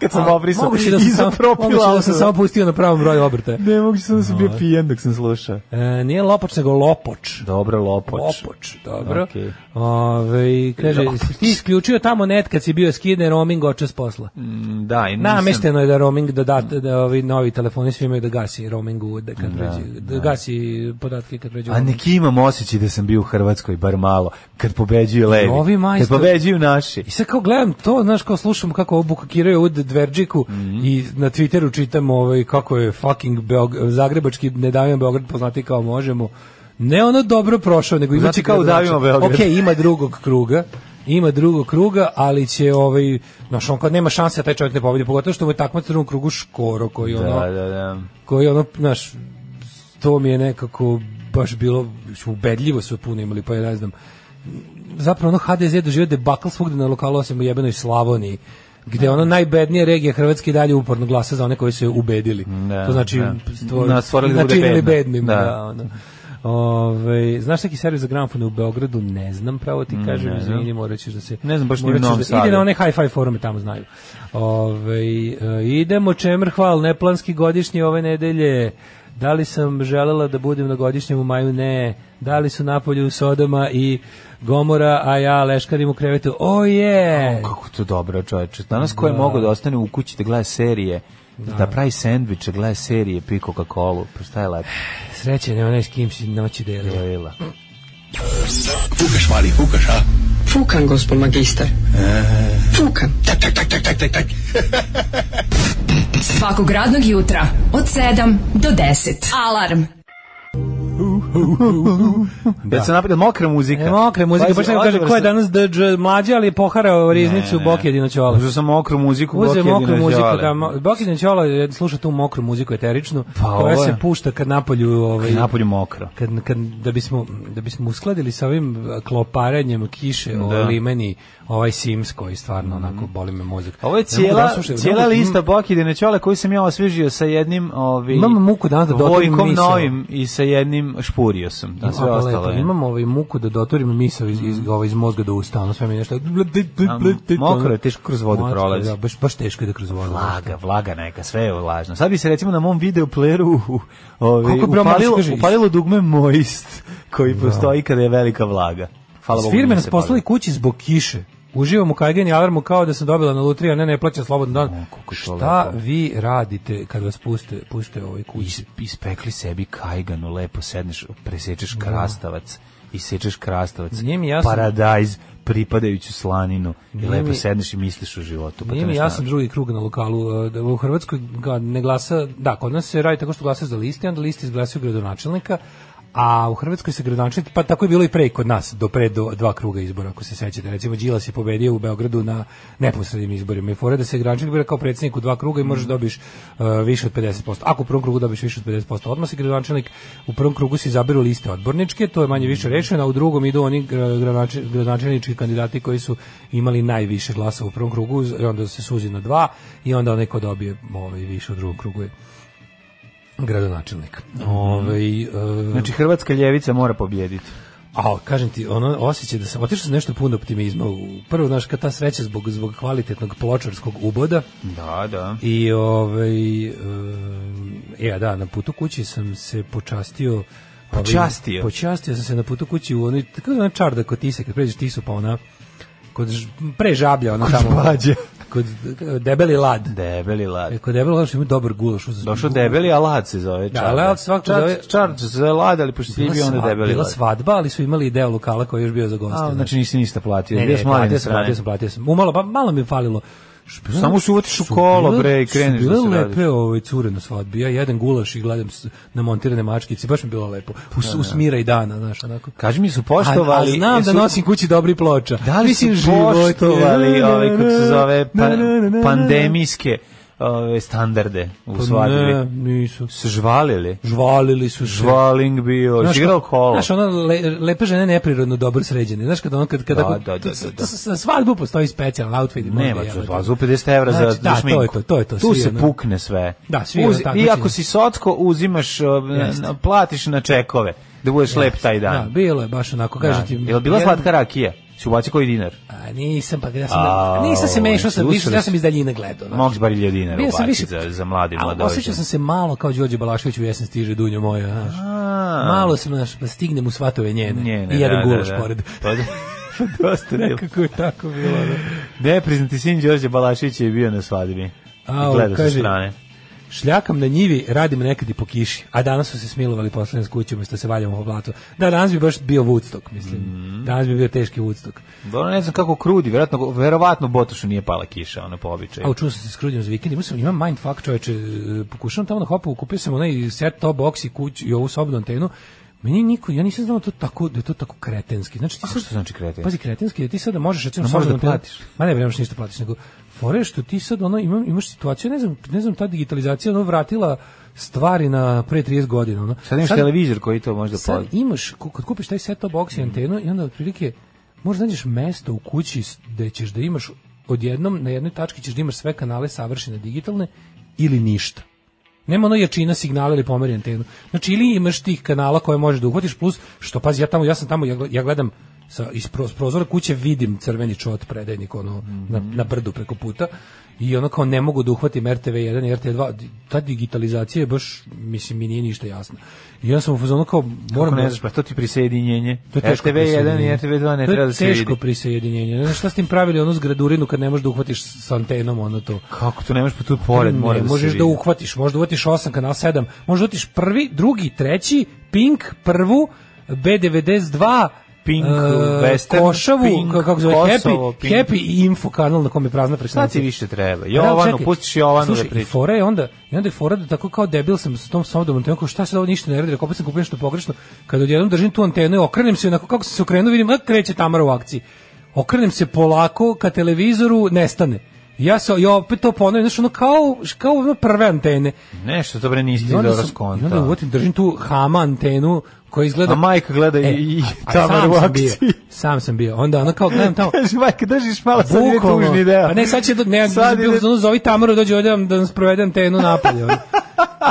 S6: Kad sam
S7: A,
S6: obrisao,
S7: moguće da sam, sam,
S6: izopropila
S7: moguće da sam
S6: auto.
S7: samo pustio na pravom broju obrtaja.
S6: Ne, moguće sam da sam bio pijen dok sam slušao.
S7: E, nije lopoč, nego lopoč.
S6: Dobro, lopoč.
S7: Lopoč, dobro.
S6: Okej.
S7: Ove, kaže, si ti isključio tamo net kad si bio skidne roaming oče s posla.
S6: Mm, Da, i nisam-
S7: Namešteno je da roaming da, da, da ovi novi telefoni svi imaju da gasi roaming u- da, kad pređe- da gasi podatke kad pređu.
S6: A neki imam osjećaj da sam bio u Hrvatskoj, bar malo, kad pobeđuju levi,
S7: Novi
S6: kad
S7: majstor.
S6: pobeđuju naši.
S7: I sad kao gledam to, znaš, kao slušam kako ovo bukakiraju od Dverđiku
S6: Mhm.
S7: i na Twitteru čitam ovaj, kako je fucking Beog zagrebački ne davimo Beograd poznati kao možemo. Ne ono dobro prošao, nego
S6: Znači
S7: imaće da
S6: kao davimo Beograd.
S7: Ok, ima drugog kruga, ima drugog kruga, ali će ovaj, znaš, on kad nema šanse da taj čovjek ne pobedi, pogotovo što mu je takmac u drugom krugu Škoro, koji ono,
S6: Da, da, da.
S7: koji ono, znaš, to mi je nekako baš bilo ubedljivo sve puno imali, pa ja ne znam. Zapravo ono HDZ je doživio debakl svugde na lokalu osim u jebenoj Slavoniji gde ono najbednije regije Hrvatske i dalje uporno glasa za one koji su je ubedili.
S6: Da,
S7: to znači
S6: da.
S7: stvor-
S6: Na, stvorili da bude
S7: načinili
S6: bedna.
S7: bednim.
S6: Da.
S7: Da. ono. Ovaj, znaš neki servis za gramofone u Beogradu? Ne znam, pravo ti kažem,
S6: ne znam.
S7: izvini, morat ćeš da se...
S6: Ne znam, baš ni u
S7: morat ćeš
S6: Novom
S7: da-
S6: Sadu.
S7: Ide na one hi-fi forume, tamo znaju. Ove, idemo, čemer hval, neplanski godišnji ove nedelje. Da li sam želela da budem na godišnjem u maju? Ne. Da li su napolju Sodoma i Gomora, a ja leškarim u krevetu? O je!
S6: Kako to dobro, čoveče. Danas ko je mogao da ostane u kući da gleda serije, da, pravi sendviče, gleda serije, pije Coca-Cola, pa šta je lepo?
S7: Sreće, ne onaj s kim si noći delio.
S6: Jela.
S8: Fukan, gospod magister. Fukan.
S5: Svakog radnog jutra od 7 do 10. Alarm.
S6: Da se napred mokra muzika.
S7: E, mokre muzike,
S6: Pazi,
S7: baš neko kaže
S6: odgovor
S7: ko je
S6: sam-
S7: danas DJ mlađi, ali je poharao riznicu Boki Dinoćola.
S6: Uzeo sam mokru muziku,
S7: Uzeo
S6: Boki
S7: mokru
S6: jedino
S7: muziku,
S6: žale.
S7: da, mo- Boki Dinoćola je- sluša tu mokru muziku eteričnu,
S6: Pa,
S7: koja
S6: ovo je-
S7: se pušta kad napolju ovaj,
S6: Napolju mokro.
S7: kad, kad, da bismo da bismo uskladili sa ovim kloparenjem kiše
S6: Da. Mhm.
S7: o limeni ovaj Sims koji stvarno onako boli me mozak.
S6: Ovo je
S7: Ne mogu
S6: cijela,
S7: da slušam, ne
S6: cijela
S7: mogu-
S6: lista Boki Denećole koju sam ja osvežio sa jednim ovi,
S7: Imam muku danas da doturim
S6: Vojkom
S7: misao.
S6: novim i sa jednim špurio sam. Da,
S7: Mm,
S6: sve
S7: a, pa lepo,
S6: ostalo je. Mhm.
S7: Imam ovaj muku da doturim misao iz, iz, ovaj, iz mozga do usta, ono sve mi je nešto...
S6: mokro je, teško kroz vodu
S7: Mokro je,
S6: prolazi.
S7: Da, baš, baš teško je da kroz vodu.
S6: Vlaga, vlaga neka, sve je lažno. Sad bi se recimo na mom videopleru ovaj,
S7: Koliko je bilo
S6: upalilo,
S7: mlađe, kaže,
S6: upalilo dugme Moist, koji postoji kada je velika vlaga. Hvala
S7: S
S6: Bogu,
S7: Da. firme
S6: nije
S7: nas
S6: se
S7: poslali
S6: palio.
S7: kući zbog kiše. Uživam u kajgen i alarmu kao da sam dobila na lutrija, ne, ne plaćam slobodan dan.
S6: koliko je to
S7: Šta
S6: lepo.
S7: vi radite kad vas puste, puste ovoj kući?
S6: Is, ispekli sebi kajganu, lepo sedneš, presečeš krastavac, isečeš krastavac,
S7: Da. Nije mi jasno-
S6: paradajz, pripadajuću slaninu i
S7: Nije
S6: lepo
S7: mi-
S6: sedneš i misliš o životu. Pa
S7: Nije
S6: to
S7: mi
S6: nešto
S7: jasan
S6: naš-
S7: drugi krug na lokalu. e, da U Hrvatskoj ga ne glasa, da, kod nas se radi tako što glasa za liste, onda liste izglasaju gradonačelnika, a u Hrvatskoj se gradonačelnik, pa tako je bilo i pre kod nas, do pre do, dva kruga izbora, ako se sećate. Recimo, Đilas je pobedio u Beogradu na neposrednim izborima. I fora da se gradonačelnik bira kao predsjednik u dva kruga i možeš dobiš e, više od 50%. Ako u prvom krugu dobiš više od 50%, odmah se gradonačelnik u prvom krugu se izabiru liste odborničke, to je manje više rešeno, a u drugom idu oni gra- gradonače- gradonačelnički kandidati koji su imali najviše glasa u prvom krugu i onda se suzi na dva i onda onaj ko dobije ovaj, više u drugom krugu je gradonačelnik. Ovaj, e,
S6: Znači, hrvatska ljevica mora pobjediti.
S7: a kažem ti, ono osjećaj da sam otišao sam nešto puno optimizma. u- Prvo, znaš, kad ta sreća zbog, zbog kvalitetnog pločarskog uboda,
S6: Da, da.
S7: I ovaj e, ja da na putu kući sam se počastio ovim-
S6: Počastio?
S7: počastio sam se na putu kući u onoj tako ona čarda kod tise kad pređeš tisu pa ona kod ž- pre žablja ona tamo
S6: žbađa.
S7: kod e, debeli lad
S6: Debeli lad.
S7: E, kod debeli lad što ima dobar gulaš uz
S6: Došao debeli, a lad se zove.
S7: Da,
S6: čardak.
S7: lad svakako
S6: Čar-
S7: zove-
S6: Čardak se zove lad, ali pošto si
S7: Bila
S6: bio onda
S7: sva-
S6: debeli
S7: bila
S6: lad.
S7: svadba ali su imali i deo lokala koji je još bio za goste
S6: A,
S7: znaš.
S6: znači nisi ništa platio.
S7: Ne,
S6: bio
S7: ne,
S6: si mladen
S7: platio
S6: na
S7: sam,
S6: strani.
S7: platio sam, platio sam. Umalo, pa malo mi je falilo. Š- bila-
S6: Samo se uvatiš u
S7: su
S6: kolo,
S7: bile-
S6: bre, i kreneš
S7: su
S6: da se
S7: bile
S6: radiš.
S7: lepe ove cure na svadbi. Ja jedem gulaš i gledam s- na montirane mačkice. Baš mi je bilo lepo. U, s- u smira i dana, znaš, onako.
S6: Kaži mi su
S7: A,
S6: Da, poštovali...
S7: a znam da
S6: jesu-
S7: nosim kući dobri ploča.
S6: Da li
S7: Mislim,
S6: su
S7: život je-
S6: poštovali ove, kako se zove, pa,
S7: Na, na, na, na, na.
S6: pandemijske ove, standarde u
S7: Pa Ne,
S6: svadbi?
S7: nisu.
S6: Se žvalili?
S7: Žvalili su se.
S6: Žvaling bio,
S7: Znaš,
S6: igrao
S7: kao-
S6: kolo.
S7: Znaš, ono, le, lepe žene neprirodno dobro sređene. Znaš, kad ono, kad, kad
S6: Da,
S7: ako-
S6: da, da,
S7: tu-
S6: da, da.
S7: tu- Za svadbu postoji specijalan outfit. i
S6: Nema,
S7: možda,
S6: to,
S7: jebote.
S6: to, za 50 evra za,
S7: Znači,
S6: za
S7: da,
S6: šminku.
S7: to je to, to je to,
S6: Tu
S7: svi
S6: se
S7: ono-
S6: pukne sve.
S7: Da, svi ono
S6: Uzi- I
S7: takmičenje.
S6: ako si socko, uzimaš, o, na-
S7: Jeste.
S6: na- platiš na čekove, da budeš lep taj dan.
S7: Da, bilo je baš onako,
S6: Da.
S7: kažem ti.
S6: Jel bila
S7: jedan-
S6: slatka rakija? Si ubaci koji dinar?
S7: A nisam, pa ja sam,
S6: A,
S7: nisam se mešao sa,
S6: susreli
S7: više, ja
S6: se.
S7: sam iz daljine gledao. znaš.
S6: Mogu bar 1000 dinara
S7: Bio sam
S6: ubaciti
S7: više-
S6: za, za mladi
S7: A,
S6: mladovi.
S7: Osjećao sam se malo kao Đorđe Balašević u jesen stiže Dunjo moja, znaš.
S6: A.
S7: Malo sam, znaš, pa stignem u svatove njene.
S6: Njene,
S7: I
S6: da,
S7: jedan
S6: da,
S7: gulaš
S6: da.
S7: pored.
S6: Pa da. Dosta je bilo.
S7: Kako je tako bilo, da.
S6: Nepriznati sin Đorđe Balašića je bio na svadbi.
S7: Au,
S6: I gleda sa
S7: kaže-
S6: strane.
S7: Šljakam na njivi, radim nekad i po kiši. A danas su se smilovali poslednje s kućom, što se valjamo po blatu. Da, danas bi baš bio Woodstock, mislim.
S6: Mhm.
S7: Danas bi bio teški Woodstock.
S6: Dobro, ne znam kako krudi, verovatno, verovatno Botošu nije pala kiša, ono po običaju.
S7: A učuo sam se s Krudnjem za vikend, imao sam, imam mindfuck čoveče, e, pokušavam tamo na hopu, kupio sam onaj set top box i kuć i ovu sobnu antenu, meni niko, ja nisam znao da to tako, da je to tako kretenski. Znači, ti sad,
S6: što znači kretenski?
S7: Pazi, kretenski, da ti sada možeš, recimo,
S6: No, možeš da
S7: sobnu antenu-
S6: platiš.
S7: Ma ne, bre, nemaš ništa da platiš, nego fore je što ti sad ono, imam, imaš situaciju, ne znam, ne znam, ta digitalizacija ono vratila stvari na pre 30 godina. Ono.
S6: Sad imaš televizor koji to možda
S7: Sad
S6: pala.
S7: imaš, ku- kad kupiš taj set-top box i antenu i onda otprilike možeš da nađeš mesto u kući s- gde ćeš da imaš odjednom, na jednoj tački ćeš da imaš sve kanale savršene digitalne ili ništa. Nema ono jačina signala ili pomeri antenu. Znači ili imaš tih kanala koje možeš da uhvatiš plus što pazi ja tamo ja sam tamo ja, gle- ja gledam sa iz pro- s prozora kuće vidim crveni čot predajnik ono na, na brdu preko puta i ono kao ne mogu da uhvatim RTV1 i RTV2 Di- ta digitalizacija je baš mislim mi nije ništa jasno i ja sam u fazonu kao moram
S6: Kako ne
S7: da-
S6: znaš, pa to ti prisjedinjenje.
S7: to je teško
S6: RTV1 i
S7: prisjedinjenje.
S6: RTV2 ne
S7: To je
S6: treba da se vidi.
S7: teško prisjedinjenje. Ne znam šta s tim pravili onu zgradurinu kad ne možeš da uhvatiš s antenom ono to.
S6: Kako to nemaš pa tu pored,
S7: Ne,
S6: mora da se
S7: možeš
S6: vidi.
S7: da uhvatiš, možeš da uhvatiš 8 kanal 7, možeš da uhvatiš prvi, drugi, treći, Pink, prvu, B92,
S6: Pink,
S7: e,
S6: Western,
S7: Košavu,
S6: Pink,
S7: ka- kako se zove,
S6: Kosovo,
S7: Happy,
S6: Pink.
S7: Happy i Info kanal na kom je prazna
S6: Šta
S7: frekvencija.
S6: ti više treba?
S7: Pa da, ali
S6: Jovanu,
S7: čekaj,
S6: pustiš Jovanu da
S7: slušaj, i
S6: priča.
S7: fora je onda, i onda je fora da tako kao debil sam s tom sobom, antenom, kao šta se ovo ništa ne radi, rekao opet sam kupio nešto pogrešno, kad odjednom držim tu antenu i okrenem se, onako kako sam se okrenuo, vidim, a, kreće Tamara u akciji. Okrenem se polako, ka televizoru nestane. I Ja se, ja opet to ponavljam, znaš, ono kao, kao ono prve antene.
S6: Nešto to bre nisi ti
S7: I onda,
S6: dobro
S7: sam, i
S6: skonta.
S7: onda uvotim, držim tu hama antenu koja izgleda... E,
S6: A majka gleda i- i
S7: a- a
S6: Tamaru u
S7: sam sam bio,
S6: akciji.
S7: Sam sam bio. Onda ono kao gledam tamo,
S6: Kaže, majka, držiš malo sad ide
S7: Bukvalno.
S6: tužni deo.
S7: Pa ne, sad će do, ne,
S6: Sad
S7: sad
S6: ide-
S7: zovi Tamaru dođe ovdje da vam- da nas provede antenu napolje. ono.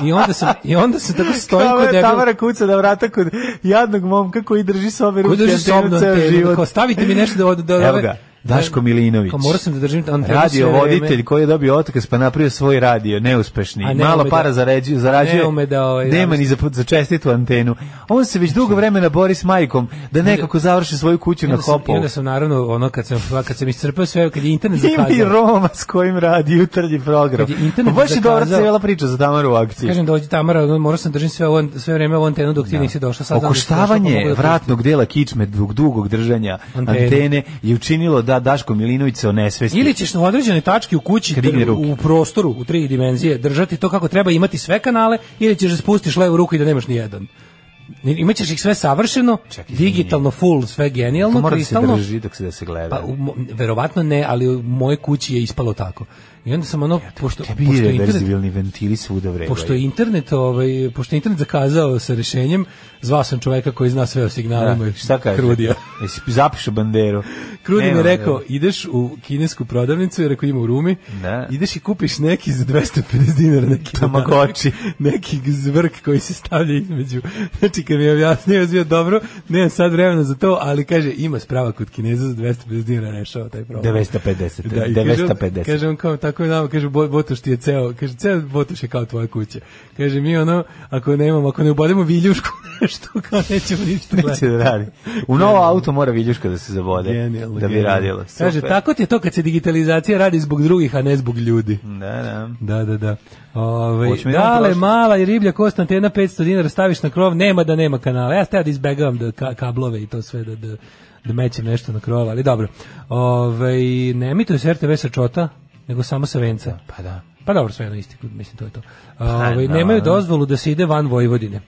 S7: I onda se i onda se tako stoji
S6: Tamo
S7: kod
S6: je
S7: debil.
S6: Tamara kuca da vrata kod jadnog momka koji drži sobe
S7: Ko
S6: ruke
S7: drži
S6: antenu
S7: sobnu
S6: ceo
S7: antenu?
S6: život.
S7: Kao, stavite mi nešto da od da
S6: Evo ga. Daško Milinović.
S7: Kao morao sam da držim antenu
S6: Radio
S7: sve vreme.
S6: voditelj koji je dobio otkaz pa napravio svoj radio, neuspešni.
S7: A ne
S6: Malo
S7: ume
S6: para
S7: da-
S6: zarađuje, zarađuje.
S7: ne ume da, ovaj,
S6: Nema
S7: radi.
S6: ni za, za čestitu antenu. On se već dugo vremena bori s majkom da nekako završi svoju kuću
S7: Znači- I
S6: na
S7: onda, sam, I
S6: hopovu.
S7: onda sam naravno ono kad sam kad sam iscrpeo sve kad je internet
S6: Ima i
S7: zakazao.
S6: Roma s kojim radi jutarnji program.
S7: Kad je internet
S6: Pa baš je dobra
S7: zakazao-
S6: cijela priča za Tamaru u akciji.
S7: Kažem dođi Tamara, ono, morao sam da držim sve ovo sve vreme ovu antenu dok ti nisi došla sad. znam da si došla, pa mogu
S6: Okoštavanje
S7: da pustim.
S6: vratnog dela kičme dug dugog držanja
S7: Antene.
S6: antene. je učinilo da Daško Milinović se onesvesti.
S7: Ili ćeš na određenoj tački u kući,
S6: Kad digne
S7: dr-
S6: ruke.
S7: u prostoru, u tri dimenzije, držati to kako treba, imati sve kanale, ili ćeš da spustiš levu ruku i da nemaš ni jedan. Imaćeš ih sve savršeno,
S6: Čekaj, izvini.
S7: digitalno, full, sve
S6: to
S7: genijalno,
S6: mora da se
S7: kristalno.
S6: drži dok se da se gleda.
S7: Pa, u, mo- verovatno ne, ali u mojoj kući je ispalo tako. I onda sam ono, pošto,
S6: Tebi
S7: pošto
S6: je
S7: je internet,
S6: reverzibilni ventili svuda vrebaju.
S7: pošto je internet, ovaj, pošto je internet zakazao sa rešenjem, zvao sam čoveka koji zna sve o signalima.
S6: Da,
S7: i
S6: šta kaže?
S7: Krudija.
S6: Jesi zapišu banderu.
S7: Krudi mi je
S6: Nema,
S7: rekao,
S6: nema.
S7: ideš u kinesku prodavnicu, jer ako ima u Rumi,
S6: Da.
S7: ideš i kupiš neki za 250 dinara, neki
S6: Tamagotchi.
S7: neki zvrk koji se stavlja između. Znači, kad mi je objasnio, ja sam bio dobro, nemam sad vremena za to, ali kaže, ima sprava kod kineza za 250 dinara rešava taj problem.
S6: 950.
S7: Da, i kaže on-
S6: 950.
S7: Kaže on kao tako je nama, kaže Bo- Botoš ti je ceo, kaže ceo Botoš je kao tvoja kuća. Kaže mi ono, ako nemamo, ako ne ubodemo viljušku nešto, kao nećemo ništa gledati.
S6: Neće da radi. U novo auto mora viljuška da se zavode.
S7: Genijalno,
S6: da bi
S7: genijalno.
S6: radilo. Super.
S7: Kaže, tako ti je to kad se digitalizacija radi zbog drugih, a ne zbog ljudi.
S6: Da, da.
S7: Da, da, da. Ove,
S6: Hoćemo jedan
S7: dale,
S6: prošli?
S7: mala i riblja kost antena 500 dinara staviš na krov, nema da nema kanala. Ja stajam da izbegavam da ka kablove i to sve da, da, da mećem nešto na krov, ali dobro. Ove, ne emituje se RTV sa čota, nego samo sa venca.
S6: Pa da.
S7: Pa dobro, sve jedno isti, kut, mislim, to je to.
S6: da.
S7: Ove, nemaju dozvolu da se ide van Vojvodine. E,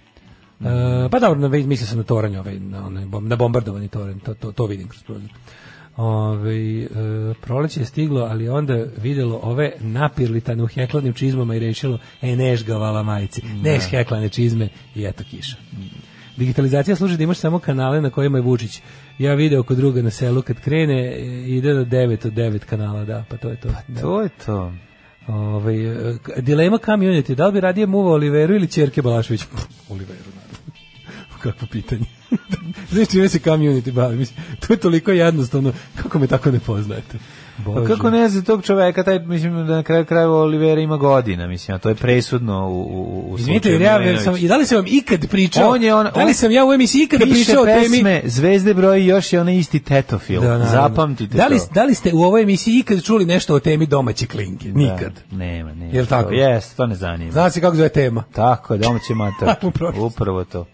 S7: pa dobro, na, ve- mislio sam na toranj, ovaj, na, onaj bom- na bombardovani toranj, to, to, to vidim kroz prozor. Ove, e, proleće je stiglo, ali je onda videlo ove napirlitane u heklanim čizmama i rešilo, e, neš ga vala majici, neš heklane čizme i eto kiša. Digitalizacija služi da imaš samo kanale na kojima je Vučić. Ja video kod druga na selu kad krene, e, ide do 9 od 9 kanala, da, pa to je to. Da.
S6: To je to.
S7: Ovaj e, k- dilema community, da li bi radije muvao Oliveru ili Ćerke Balašević? Pff, Oliveru, naravno. Kakvo pitanje. Znaš čime se community bavi? Mislim, to je toliko jednostavno, kako me tako ne poznajete?
S6: Pa kako ne znam tog čoveka, taj, mislim da na kraju kraju Olivera ima godina, mislim, a to je presudno u, u, u
S7: Izvinite,
S6: slučaju
S7: jer ja
S6: Milinovića.
S7: sam, i da li sam vam ikad pričao?
S6: On je on-
S7: da li
S6: on
S7: sam ja u emisiji ikada
S6: Piše
S7: pričao o temi? Da,
S6: pesme, zvezde broji još je onaj isti tetofil.
S7: naravno.
S6: Zapamtite
S7: da li,
S6: to.
S7: Da li ste u ovoj emisiji ikad čuli nešto o temi domaće klinke? Nikad.
S6: Da, nema, nema.
S7: Jel tako?
S6: To- Jes, to ne zanima.
S7: Zna se kako zove tema.
S6: Tako je, domaći mater.
S7: Upravo što.
S6: Upravo to.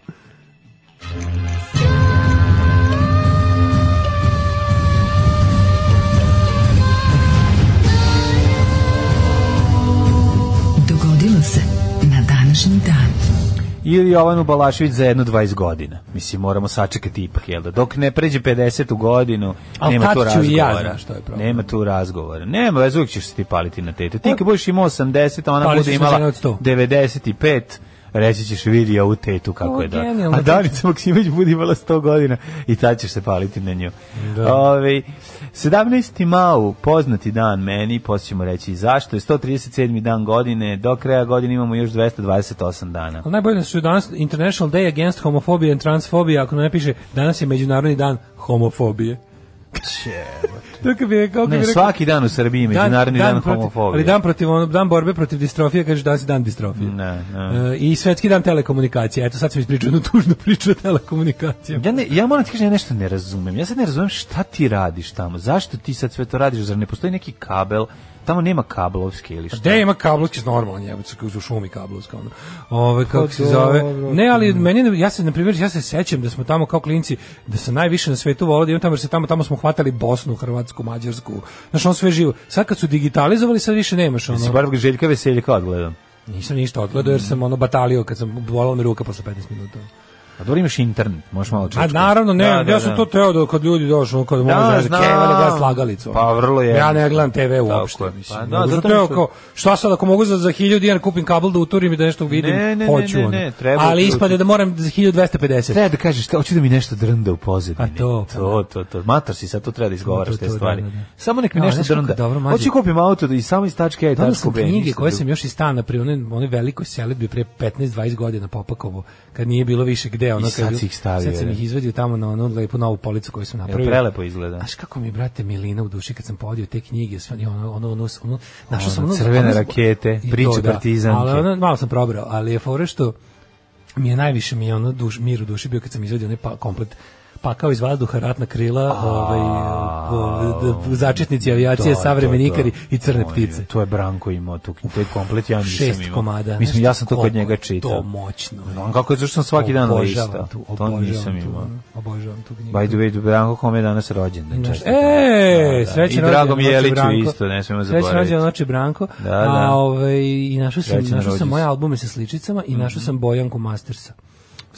S5: Dogodilo se na današnji dan.
S6: Ili Jovanu Balašević za jedno 20 godina. Mislim, moramo sačekati ipak, jel da? Dok ne pređe 50 u godinu,
S7: Al
S6: nema
S7: tad
S6: tu
S7: ću
S6: razgovora.
S7: i ja znam što je problem. Pa-
S6: Nema tu razgovora. Nema, vez uvijek ćeš se ti paliti na tete. Ti kad budeš imao 80, a ona
S7: Palit
S6: bude
S7: ću se
S6: imala
S7: na 100.
S6: 95, reći ćeš vidi ovu tetu kako
S7: O,
S6: je da.
S7: genijalno,
S6: A Danica Maksimović bude imala 100 godina i tad ćeš se paliti na nju.
S7: Da.
S6: Ovaj, 17. mau, poznati dan meni, poslije ćemo reći i zašto, je 137. dan godine, do kraja godine imamo još 228 dana.
S7: Ali najbolje da su danas International Day Against Homophobia and Transphobia, ako ne piše, danas je Međunarodni dan homofobije. To kad bi, kako bi
S6: Ne,
S7: rekao,
S6: svaki dan u Srbiji je međunarodni dan,
S7: protiv-
S6: homofobije.
S7: Ali da- dan, protiv, ono- dan borbe protiv distrofije, kaže danas je dan distrofije.
S6: Ne, ne.
S7: E, I svetski dan telekomunikacije. Eto, sad sam ispričao jednu tužnu priču o telekomunikacijama.
S6: Ja, ne, ja moram ti kažem, ja nešto ne razumem. Ja sad ne razumem šta ti radiš tamo. Zašto ti sad sve to radiš? Zar ne postoji neki kabel? Tamo nema kablovske ili šta?
S7: Pa Gde ima kablovski normalan jebac u šumi kablovska ono. Ove kako
S6: Pa
S7: se zove.
S6: dobro. mm.
S7: Ne, ali meni ne- ja se na primjer ja se sećam da smo tamo kao klinci da se najviše na svetu volio da imam tamo jer se tamo tamo smo hvatali Bosnu, Hrvatsku, Mađarsku. Znaš, on sve živo. Sad kad su digitalizovali sad više nemaš
S6: Jesi
S7: ono.
S6: bar Željka Veseljka odgledam.
S7: Nisam ništa odgledao jer sam ono batalio kad sam bolao mi ruka posle 15 minuta.
S6: A dobro imaš internet, možeš malo
S7: A
S6: češkati.
S7: naravno ne, ja sam to teo da kad ljudi dođu ono kad mogu
S6: Da,
S7: da
S6: znam.
S7: da da slagalicu. ono.
S6: Pa vrlo je.
S7: Ja ne gledam TV uopšte,
S6: Tako je.
S7: mislim.
S6: Pa da,
S7: Nego sam
S6: zato
S7: teo
S6: mislim-
S7: kao šta sad ako mogu za za 1000 dinara kupim kabel da uturim i da nešto vidim,
S6: Ne, ne,
S7: hoću.
S6: ne, ne,
S7: ono.
S6: ne, treba
S7: Ali
S6: uturiti.
S7: ispade da moram za 1250.
S6: Treba da kažeš, hoću da mi nešto drnda u pozadini.
S7: A to, pa
S6: to, to, to. Mator si, sad to treba da izgovaraš
S7: To, to,
S6: te stvari.
S7: da, da, da.
S6: Samo nek mi
S7: A,
S6: nešto
S7: znaš kako
S6: drnda.
S7: dobro, mlađe.
S6: Hoću kupim auto i samo iz tačke A i
S7: Donao
S6: tačku
S7: sam
S6: B.
S7: da knjige
S6: ništa
S7: koje
S6: drugo.
S7: sam još iz stana pri onoj, onoj velikoj selitbi pre 15-20 godina Popakovo, kad nije bilo više gde gde. Ono,
S6: I sad
S7: kad-
S6: si ih stavio,
S7: Sad sam
S6: da.
S7: ih izvadio tamo na onu lepu novu policu koju sam
S6: Jel
S7: napravio.
S6: prelepo izgleda?
S7: Znaš kako mi, brate, Milina u duši kad sam podio te knjige, sve, ono, ono, ono, ono, ono našao sam
S6: Ono,
S7: ono...
S6: crvene
S7: ono-
S6: rakete,
S7: I
S6: priče
S7: to, da.
S6: partizanke.
S7: Ali ono, malo sam probrao, ali je fore što mi je najviše mi je ono duš, mir u duši bio kad sam izvadio onaj pa, komplet pakao iz vazduha ratna krila, ovaj, o- d- d- začetnici avijacije,
S6: to,
S7: savremenikari
S6: to.
S7: i crne
S6: Oj,
S7: ptice.
S6: To je Branko imao tu, to je komplet, ja nisam
S7: Šest
S6: imao.
S7: komada.
S6: Mislim,
S7: znaš
S6: ja sam to kod
S7: koliko
S6: njega
S7: je
S6: čitao.
S7: To moćno. je.
S6: On kako je, zašto sam svaki dan
S7: Obožavam
S6: lista.
S7: tu,
S6: To
S7: obožavam
S6: nisam
S7: tu,
S6: imao.
S7: ono, Obožavam tu knjigu.
S6: By the way, Branko kome je danas rođen. da,
S7: Znaš, E, srećan
S6: I Dragom
S7: rođendan, oče
S6: Jeliću
S7: Branko.
S6: isto, ne smemo
S7: Srećan rođendan
S6: zaboraviti.
S7: oče Branko.
S6: Da, da.
S7: A, ovaj, I našao sam,
S6: Srećan
S7: našao
S6: rođendan. Mhm.
S7: sam moje albume sa sličicama i našao sam Bojanku Mastersa.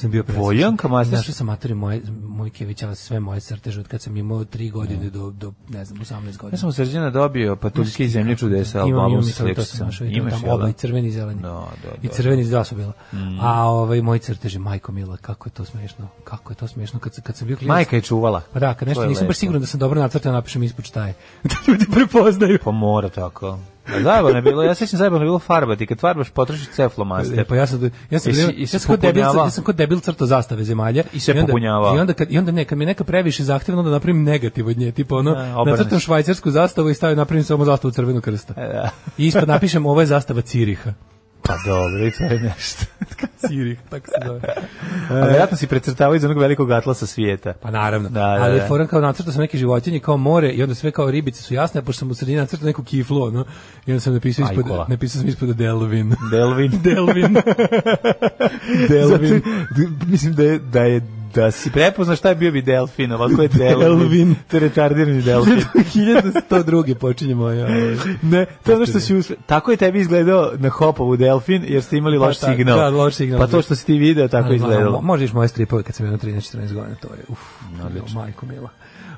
S7: Sam bio presrećan.
S6: Bojanka Masters?
S7: Našao sam materi moje, moj Kević, ali sve moje crteže od kad sam imao 3 godine do, do, ne znam, 18 godina.
S6: Mhm. Ja sam od Srđana dobio Patuljke i zemlje čudesa
S7: Imam,
S6: albumom
S7: imam
S6: sa
S7: i to, to sam
S6: sličicama.
S7: našao i to
S6: Imaš,
S7: tamo
S6: jel
S7: oba
S6: da?
S7: i crveni i zeleni.
S6: Da, da,
S7: I
S6: da, Mhm.
S7: crveni dva su bila. A ovaj moji crteži, majko mila, kako je to smešno. Kako je to smešno kad, sam- kad sam bio klinac.
S6: Majka je čuvala.
S7: Pa da, kad
S6: To
S7: nešto
S6: je
S7: nisam baš
S6: lepo.
S7: siguran da sam dobro nacrtao, napišem ispod šta je. da ljudi prepoznaju.
S6: Pa mora tako. A Zajebano je bilo, ja sećam zajebano je bilo farbati, kad farbaš potrošiš
S7: E,
S6: ceflomaster.
S7: pa ja sam ja sam
S6: Jesi-
S7: ja,
S6: jesi
S7: sam kod debil
S6: popunjavao?
S7: ja sam kod debil crto zastave zemalja
S6: I se
S7: onda-
S6: popunjavao.
S7: I onda kad i onda ne, kad mi je neka previše zahtevno da napravim negativ od nje, tipa ono
S6: E, obrneš.
S7: nacrtam švajcarsku zastavu i stavim napravim samo zastavu crvenog krsta.
S6: da.
S7: I ispod napišem ovo je zastava Ciriha.
S6: Pa dobro, i to je nešto.
S7: Cirih, tako se zove. E.
S6: A vjerojatno si precrtavao iz onog velikog atlasa svijeta.
S7: Pa naravno.
S6: Da, da,
S7: ali je
S6: da.
S7: foran kao nacrtao sam neke životinje kao more i onda sve kao ribice su jasne, a pošto sam u sredini nacrtao neku kiflu, ono, i onda sam napisao ispod,
S6: Ajkula.
S7: napisao sam ispod Delvin.
S6: Delvin.
S7: Delvin.
S6: Delvin. mislim da je, da je da si prepoznao šta je bio bi delfin, ovako je delfin.
S7: Delvin.
S6: To je retardirani delfin.
S7: 1102. počinje moja. ovaj,
S6: ne, to je ono što si uspe... Tako je tebi izgledao na hopovu delfin, jer ste imali
S7: Pa
S6: loš
S7: šta,
S6: signal.
S7: da, loš signal.
S6: Pa to što si ti video, tako je
S7: Ali, mo-
S6: izgledalo.
S7: Možeš moje stripove kad sam imao 13-14 godina, to je, uf, jo, majko mila.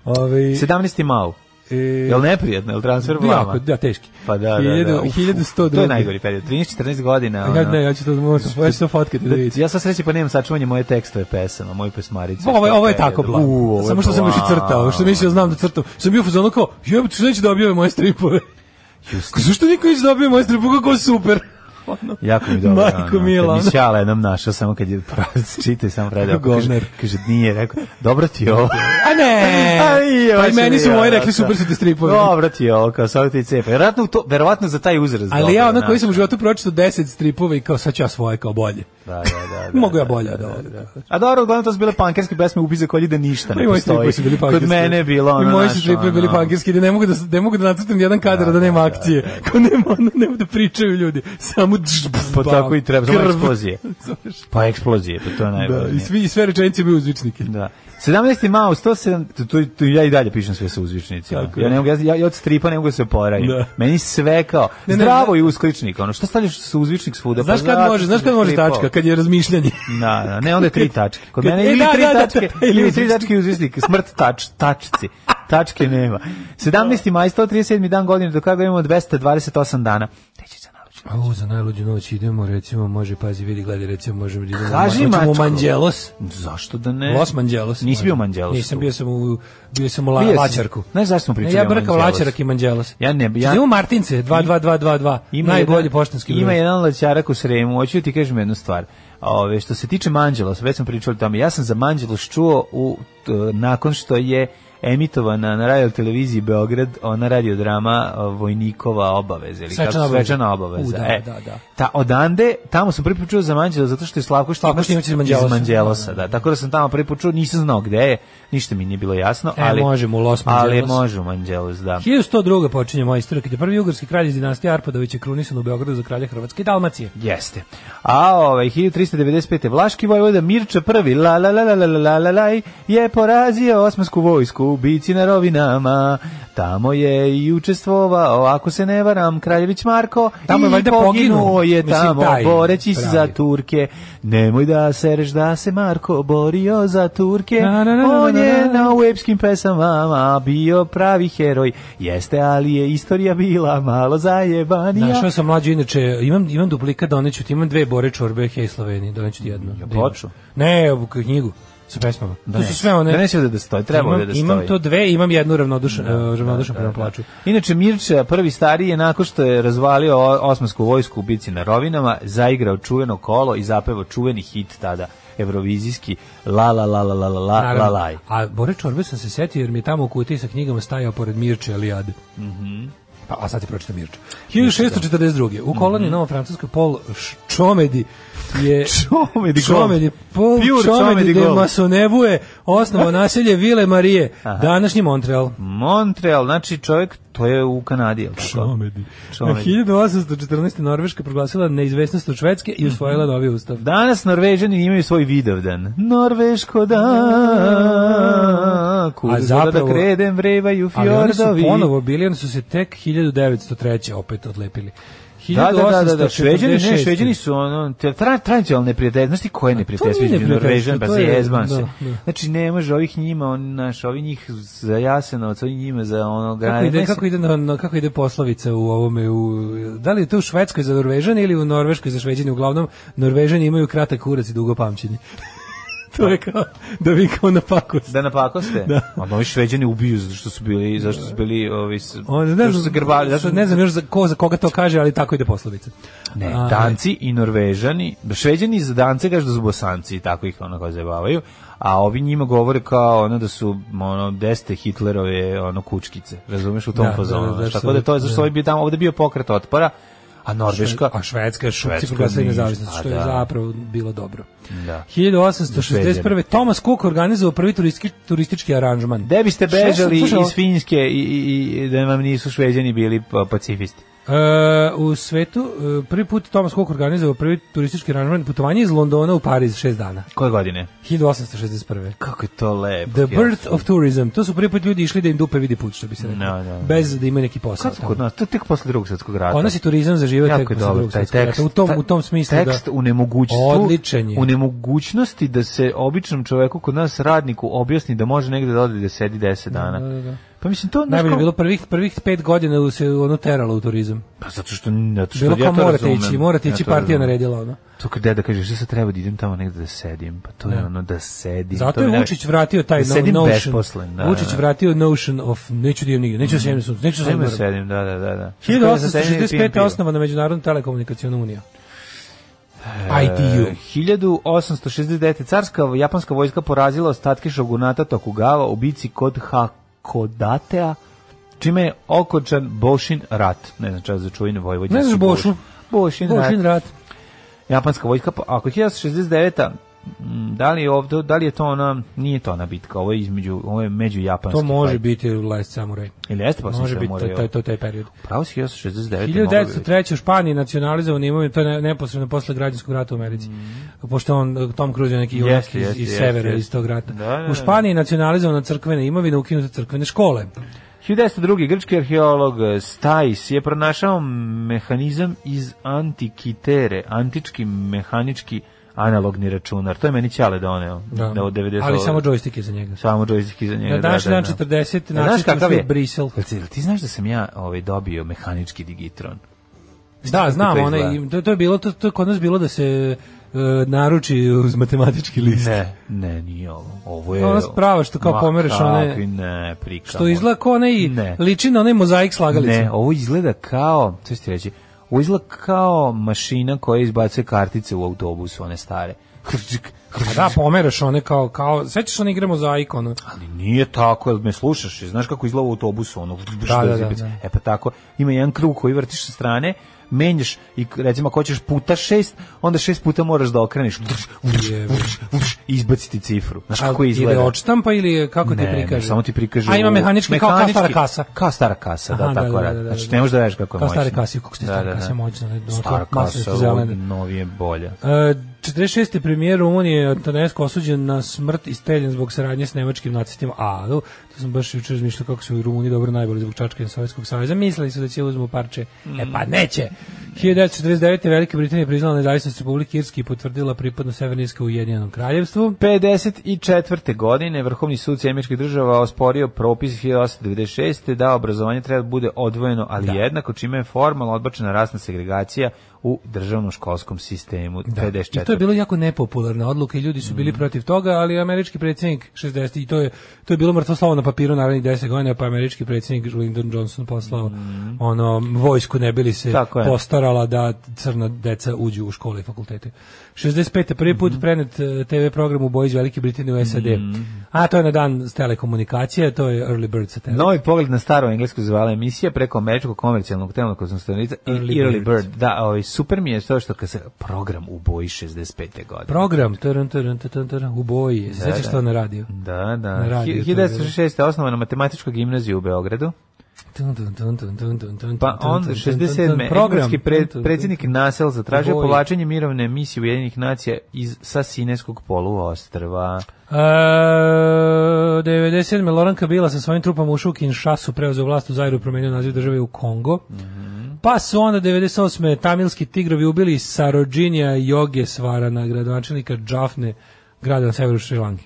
S7: Ove,
S6: 17. mau.
S7: Ovaj, e,
S6: da- Jel neprijatno, jel transfer
S7: jako,
S6: vlama?
S7: da, teški.
S6: Pa da, da, da.
S7: Hiljadu-
S6: Uf, uf,
S7: 1102.
S6: To je najgori period, 13-14 godina.
S7: Ja,
S6: ono.
S7: ne, ja ću to, možda, ja ću to fotkati da vidite.
S6: Ja sam sreći pa nemam sačuvanje moje tekstove pesama, moje pesmarice.
S7: Ovo je, ovo je
S6: Šta
S7: tako
S6: periodu. U, ovo
S7: blago.
S6: je
S7: Samo što sam još i
S6: blago.
S7: crtao, što mislio da znam da crtam. Sam bio u fazonu kao, jebote, što neće da objave moje stripove? Kao, Zašto niko neće da objave moje stripove? Kako je super! Ono.
S6: Jako mi dobro.
S7: Majko
S6: ono,
S7: mila,
S6: Kad
S7: ono.
S6: mi Ćala jednom našao, samo kad je čite, samo predao.
S7: Kako
S6: Kaže,
S7: govnar.
S6: kaže, nije, rekao, dobro ti je ovo.
S7: A ne!
S6: A i,
S7: pa i
S6: hoće
S7: meni
S6: mi
S7: su
S6: ja,
S7: moji
S6: da,
S7: rekli super su ti stripovi.
S6: Dobro ti je ovo, kao sad ti cepa. Verovatno, u to, verovatno za taj uzraz.
S7: Ali
S6: dobro,
S7: ja ono
S6: znaš.
S7: koji sam u životu pročitao 10 stripova i kao sad ću ja svoje kao bolje.
S6: Da, da, da, da,
S7: Mogu ja
S6: da,
S7: bolje
S6: da,
S7: od
S6: da,
S7: ovoga.
S6: da. A dobro, uglavnom to su bile pankerske pesme, ubi za kolje da ništa
S7: Pa i
S6: ne
S7: moji
S6: postoji.
S7: stripovi su bili
S6: Kod
S7: pankirski.
S6: mene je bilo ono
S7: I moji su
S6: znaš,
S7: stripovi bili
S6: ono,
S7: pankirski, da ne mogu da, ne mogu da nacrtam jedan kadar, da, nema akcije. Kao nema, ono, nema da pričaju ljudi. Samo dž, bz,
S6: Pa
S7: bam,
S6: tako i treba, samo
S7: krv.
S6: eksplozije.
S7: Zoveš.
S6: Pa eksplozije, pa to je
S7: Da,
S6: najbolje.
S7: i, svi, i sve rečenice imaju uzvičnike.
S6: Da. 17. mao 107 tu, tu, tu ja i dalje pišem sve sa uzvičnicima.
S7: Tako je.
S6: Ja ne mogu ja, ja, ja od stripa ne mogu da se poravim.
S7: Da.
S6: Meni sve kao
S7: Ne, ne,
S6: zdravo i uskličnik, ono što stavljaš sa uzvičnik svuda.
S7: Znaš kad
S6: pa zato
S7: može,
S6: što
S7: znaš kad
S6: sam
S7: može
S6: stripao.
S7: tačka, kad je razmišljanje.
S6: Da, da, ne, onda je tri tačke. Kod
S7: Kad-
S6: mene
S7: e,
S6: ili
S7: da,
S6: tri
S7: da, da,
S6: tačke,
S7: da, ili
S6: ili tri
S7: uzvičnik.
S6: tačke i uzvičnik, smrt tač, tačci. Tačke nema. 17. maj 137. dan godine do kada imamo 228 dana. Teći za naručenje.
S7: A u, za najluđu noć idemo, recimo, može, pazi, vidi, gledaj, recimo, možemo da idemo,
S6: Kaži,
S7: Kaži, hoćemo u
S6: mačko.
S7: Manđelos.
S6: Zašto da ne?
S7: Los Manđelos.
S6: Nisi
S7: može.
S6: bio u Manđelosu.
S7: Nisam, bio sam u, bio sam u La,
S6: Bio si.
S7: Lačarku.
S6: Znaš zašto smo pričali
S7: Ne, ja
S6: o
S7: brkam
S6: Manđelosu?
S7: Lačarak i Manđelos.
S6: Ja ne bi- ja-
S7: Idemo u Martince, 22222, najbolji poštanski broj.
S6: Ima jedan laćarak u Sremu, hoću ti kažem jednu stvar. Ove, što se tiče Manđelos, već sam pričao o tome, ja sam za Manđelos čuo u, t- nakon što je emitovana na radio televiziji Beograd, ona radiodrama a, Vojnikova obaveza. Ili
S7: Svečana
S6: kako,
S7: obaveza.
S6: Svečana obaveza.
S7: U, da,
S6: e,
S7: da, da.
S6: Ta, odande, tamo sam prvi put čuo za Manđelos, zato što je Slavko
S7: Slavko
S6: Štimac
S7: Štimac iz
S6: iz
S7: Manđelosa.
S6: Manđelosa, da. Tako da sam tamo prvi put čuo, nisam znao gde je, ništa mi nije bilo jasno.
S7: E,
S6: ali,
S7: možemo u Los
S6: Ali
S7: Manđelos.
S6: može u Manđelos, da.
S7: 1102. počinje moja istorija, kad je prvi ugarski kralj iz dinastije Arpadović je krunisan u Beogradu za kralja Hrvatske i Dalmacije.
S6: Jeste. A ovaj 1395. Vlaški vojvoda Mirča I la la la la la la la la je porazio osmansku vojsku u bici na Rovinama. Tamo je i učestvovao, ako se ne varam, Kraljević Marko.
S7: Tamo je
S6: i
S7: valjda poginuo.
S6: je
S7: Mislim,
S6: tamo,
S7: taj
S6: boreći se za
S7: pravi.
S6: Turke. Nemoj da sereš da se Marko borio za Turke.
S7: Na, na, na, na,
S6: On
S7: na,
S6: je
S7: na.
S6: na webskim pesamama bio pravi heroj. Jeste, ali je istorija bila malo zajebanija.
S7: Našao sam mlađu, inače, imam, imam duplika, doneću ti, imam dve bore čorbe, hej Sloveni, doneću ti jednu. Ja
S6: ploču?
S7: Ne, ovu knjigu. sa pesmama. To su
S6: Donesi.
S7: sve one.
S6: Donesi ovde da stoji, treba
S7: imam,
S6: ovde da
S7: Imam
S6: stoji.
S7: to dve, imam jednu ravnodušan, da, ravnodušan prema plaču.
S6: Inače, Mirče, prvi stariji je nakon što je razvalio o- osmansku vojsku u bici na Rovinama, zaigrao čuveno kolo i zapevao čuveni hit tada, evrovizijski La la la la la la la la
S7: Naravno.
S6: laj.
S7: A Bore Čorbe sam se setio jer mi je tamo u kutiji sa knjigama stajao pored Mirče Elijade. Mhm. Pa, a sad ti pročitam Mirče. 1642. U koloni mm Novo-Francuskoj Paul Čomedi je...
S6: Mhm. Čomedi Gold.
S7: Čomedi, Paul
S6: Pure Čomedi
S7: Čomedi de
S6: Gold.
S7: Masonevue osnovo naselje Vile Marije, današnji Montreal.
S6: Montreal, znači čovjek, to je u Kanadi, jel tako?
S7: Čomedi. Na
S6: Čomedi.
S7: 1814. Norveška proglasila neizvesnost od Švedske
S6: Mhm.
S7: i usvojila novi ustav.
S6: Danas Norvežani imaju svoj vidovdan. Norveško da, kuda
S7: A
S6: zapravo, da
S7: zapravo-
S6: kredem vrevaju
S7: Ali oni su
S6: fjordovi.
S7: ponovo bili, oni su se tek 1903. opet odlepili.
S6: Da, da, da, da, da,
S7: 1846.
S6: Šveđani, ne, Šveđani su ono, te, tra, tradicionalne neprijatelje, znaš ti koje neprijatelje
S7: Pa nije
S6: između Norvežan, pa
S7: neprijateljstvo,
S6: se
S7: to je-
S6: jezban se.
S7: da, da.
S6: Znači, ne može ovih njima, on, naš, ovi njih za Jasenovac, ovi njima za ono,
S7: Kako ide,
S6: ne,
S7: kako ide, na, na- kako ide poslovica u ovome, u, da li je to u Švedskoj za Norvežane ili u Norveškoj za Šveđane, uglavnom Norvežani imaju kratak kurac i dugo pamćenje. to je kao, da vi kao na pakost.
S6: Da napakoste? Da. A ovi Šveđani ubiju zato što su bili, zašto su bili ovi, s-
S7: On, ne,
S6: zašto
S7: znam,
S6: su se grbali, zašto,
S7: ne znam još za, ko, za koga to kaže, ali tako ide poslovica.
S6: Ne,
S7: A,
S6: Danci i Norvežani, Šveđani za Dance kažu da su Bosanci, tako ih onako zajebavaju, a ovi njima govore kao ono da su ono deste Hitlerove ono kučkice, razumeš u tom
S7: Da,
S6: fazonu.
S7: da, da,
S6: znaš,
S7: da,
S6: tako da to je
S7: da.
S6: zašto ovaj bio tamo, ovde je bio pokret otpora, a Norveška,
S7: A Švedska je šupci
S6: Švedska
S7: proglasila
S6: ništa,
S7: nezavisnost, što je
S6: a da.
S7: zapravo bilo dobro.
S6: Da.
S7: 1861. Thomas Cook organizovao prvi turistički, turistički aranžman.
S6: Da biste
S7: Šta sam
S6: bežali
S7: slušao?
S6: iz Finjske i, i, i da vam nisu Šveđani bili pa, pacifisti.
S7: E, u svetu e, prvi put Thomas Cook organizovao prvi turistički aranžman putovanje iz Londona u Pariz šest dana.
S6: Koje godine?
S7: 1861.
S6: Kako je to lepo.
S7: The
S6: jel?
S7: birth of tourism. To su prvi put ljudi išli da im dupe vidi put, što bi se reklo.
S6: Da, da, da.
S7: Bez da ima neki posao.
S6: Kako je kod nas? To je tek posle drugog svetskog rata.
S7: Ona se turizam zaživio tek
S6: Jako je
S7: posle
S6: dobar
S7: drugog
S6: taj
S7: svetskog
S6: tekst.
S7: rata. U tom,
S6: Ta-
S7: u tom smislu
S6: tekst
S7: da...
S6: u nemogućstvu.
S7: Odličan je.
S6: U nemogućnosti da se običnom čoveku kod nas radniku objasni da može negde da ode da sedi 10 dana.
S7: da, da, da.
S6: Pa mislim to znaš
S7: Najbolje je
S6: kao-
S7: bilo prvih, prvih pet godina da se ono teralo u turizam.
S6: pa zato što zato što
S7: Bilo
S6: ja
S7: kao
S6: to
S7: morate
S6: razumem.
S7: ići, morate
S6: Ja
S7: ići,
S6: to
S7: partija
S6: razumem.
S7: naredila ono.
S6: To kad deda kaže što se treba da idem tamo negde da sedim, pa to je ono da sedim.
S7: Zato
S6: to mi
S7: je
S6: najviše-
S7: Vučić vratio taj
S6: da sedim
S7: no, notion.
S6: besposlen, da,
S7: Vučić
S6: da, da.
S7: vratio notion of neću da idem nigde, neću da sedim na suncu, neću da
S6: Sedim
S7: sedim
S6: da
S7: na moru.
S6: sedim, da, da, da. da. Pijem
S7: 1865. je
S6: pivo.
S7: osnovana Međunarodna telekomunikacijona unija.
S6: E,
S7: ITU.
S6: 1869. Carska japanska vojska porazila ostatke šogunata Tokugawa u bici kod Hakodatea, čime je okončan Bošin rat. Ne znam čas za čuveni vojvođanski
S7: Ne znaš Bošu?
S6: Boš. Bošin,
S7: Božin
S6: rat.
S7: rat.
S6: Japanska vojska, po- ako je 1969. mm, Da li je ovde, da li je to ona, nije to ona bitka, ovo je između, ovo je među japanski.
S7: To može
S6: fight.
S7: biti Last Samurai.
S6: Ili jeste pa
S7: Može biti, to, to, to je taj period.
S6: Pravo si 1969. moglo bi biti.
S7: 1903. u Španiji nacionalizovan imovinu, to je ne- neposredno posle građanskog rata u Americi. Pošto on, e, Tom Cruise je neki
S6: Mm. Jeste,
S7: junak iz,
S6: jeste,
S7: iz
S6: jeste,
S7: severa,
S6: jeste.
S7: iz tog rata.
S6: Da, da, da.
S7: U Španiji nacionalizovana crkvena imovina, ukinute crkvene škole.
S6: 1902. grčki arheolog Stais je pronašao mehanizam iz antikitere, antički mehanički analogni računar. To je meni Ćale doneo. Da. od Da, 90
S7: Ali samo joystick je za njega.
S6: Samo joystick iza njega. da,
S7: Na današnji dan 40
S6: E, Znaš
S7: nacisti
S6: kakav
S7: ušli u
S6: je?
S7: Brisel.
S6: Jel Ti, jel ti znaš da sam ja ovaj, dobio mehanički digitron?
S7: Da, znam,
S6: to
S7: onaj,
S6: izgleda?
S7: to, to je bilo, to, to je kod nas bilo da se e, naruči uz matematički list.
S6: Ne, ne, nije ovo. Ovo je...
S7: Ona sprava E. što kao
S6: Ma
S7: pomeraš one-
S6: kakvi Ne, prikamo.
S7: Što izgleda kao onaj,
S6: Ne.
S7: liči na onaj mozaik slagalica.
S6: Ne, ovo izgleda kao, to ću ti reći, ovo izgleda kao mašina koja izbacuje kartice u autobusu, one stare. Hrčik,
S7: Pa
S6: hrčik.
S7: da, pomeraš one kao, kao, sećaš se one igre mozaik, ono.
S6: Ali nije tako, jel me slušaš, znaš kako izgleda u autobusu, ono,
S7: Da, da, da, da.
S6: e pa tako, ima jedan krug koji vrtiš sa strane, menjaš i recimo ako hoćeš puta šest, onda šest puta moraš da okreniš, i izbaciti cifru, znaš kako
S7: Ali
S6: izgleda.
S7: Ili odštampa ili je- kako ti
S6: Ne,
S7: prikaže?
S6: ne, samo ti prikaže.
S7: A ima
S6: u-
S7: mehanički, kao kao stara kasa.
S6: Kao stara kasa, da,
S7: Aha,
S6: tako radi. znači, ne možeš da veš kako je
S7: Kao
S6: moćno.
S7: stare kase, kako ste stara kasa je moćna, da, ne, ono,
S6: da. Stara
S7: kao masne
S6: kasa,
S7: su zelene.
S6: ovo novije bolje.
S7: E, 46. premijer Rumunije Antonesko osuđen na smrt i streljan zbog saradnje s nemačkim nacistima. A, do, to sam baš jučer razmišljao kako su u Rumuniji dobro najbolji zbog čačkanja Sovjetskog saveza. Mislili su da će uzmu parče. E pa neće! 1949. Velika Britanija priznala nezavisnost Republike Irske i potvrdila pripadnost Severne Irske u Ujedinjenom kraljevstvu.
S6: 54. godine Vrhovni sud Sjemičkih država osporio propis
S7: Da.
S6: 1896. da obrazovanje treba da bude odvojeno, ali jednako, čime je formalno odbačena rasna segregacija u državnom školskom sistemu. Da.
S7: I to je bilo jako nepopularna odluka i ljudi su
S6: Mm.
S7: bili protiv toga, ali američki predsjednik 60 i to je to je bilo mrtvo slovo na papiru narednih 10 godina, pa američki predsjednik Lyndon Johnson poslao ono vojsku ne bili se
S6: Mm. Tako je.
S7: postarala da crna deca uđu u škole i fakultete. 65. prvi put
S6: Mm-hmm.
S7: prenet e, TV program u boji iz Velike Britanije u SAD.
S6: Mm-hmm.
S7: A to je na dan s telekomunikacije, to je Early Bird sa
S6: Novi pogled na staro englesku zvala emisija preko američkog komercijalnog telnog konzumstanica i
S7: Early
S6: Early
S7: Bird.
S6: Bird. Da, ovaj, super mi je to što kad se program u boji 65. godine.
S7: Program, tarun, tarun, tarun, tarun, u boji, se sećaš
S6: da.
S7: što na radio?
S6: Da, da.
S7: Na radiju
S6: Hi-
S7: to je bilo.
S6: 1906. osnovana matematička gimnazija u Beogradu.
S7: Tun, tun, tun, tun, tun, tun, tun,
S6: Pa
S7: tun,
S6: on
S7: tun, tun, tun, tun, program.
S6: engleski
S7: Tun,
S6: pre,
S7: tun, tun.
S6: predsjednik Nasel zatražio
S7: Boj.
S6: povlačenje mirovne misije Ujedinjenih nacija iz sa Sineskog poluostrva.
S7: E, 97. Loran Kabila sa svojim trupama ušao u Kinshasu, preuzeo vlast u Zairu i promenio naziv države u Kongo.
S6: Mhm.
S7: Pa su onda 98. tamilski tigrovi ubili Sarojinija Jogesvara na gradonačelnika Džafne, grada na severu Šrilanke.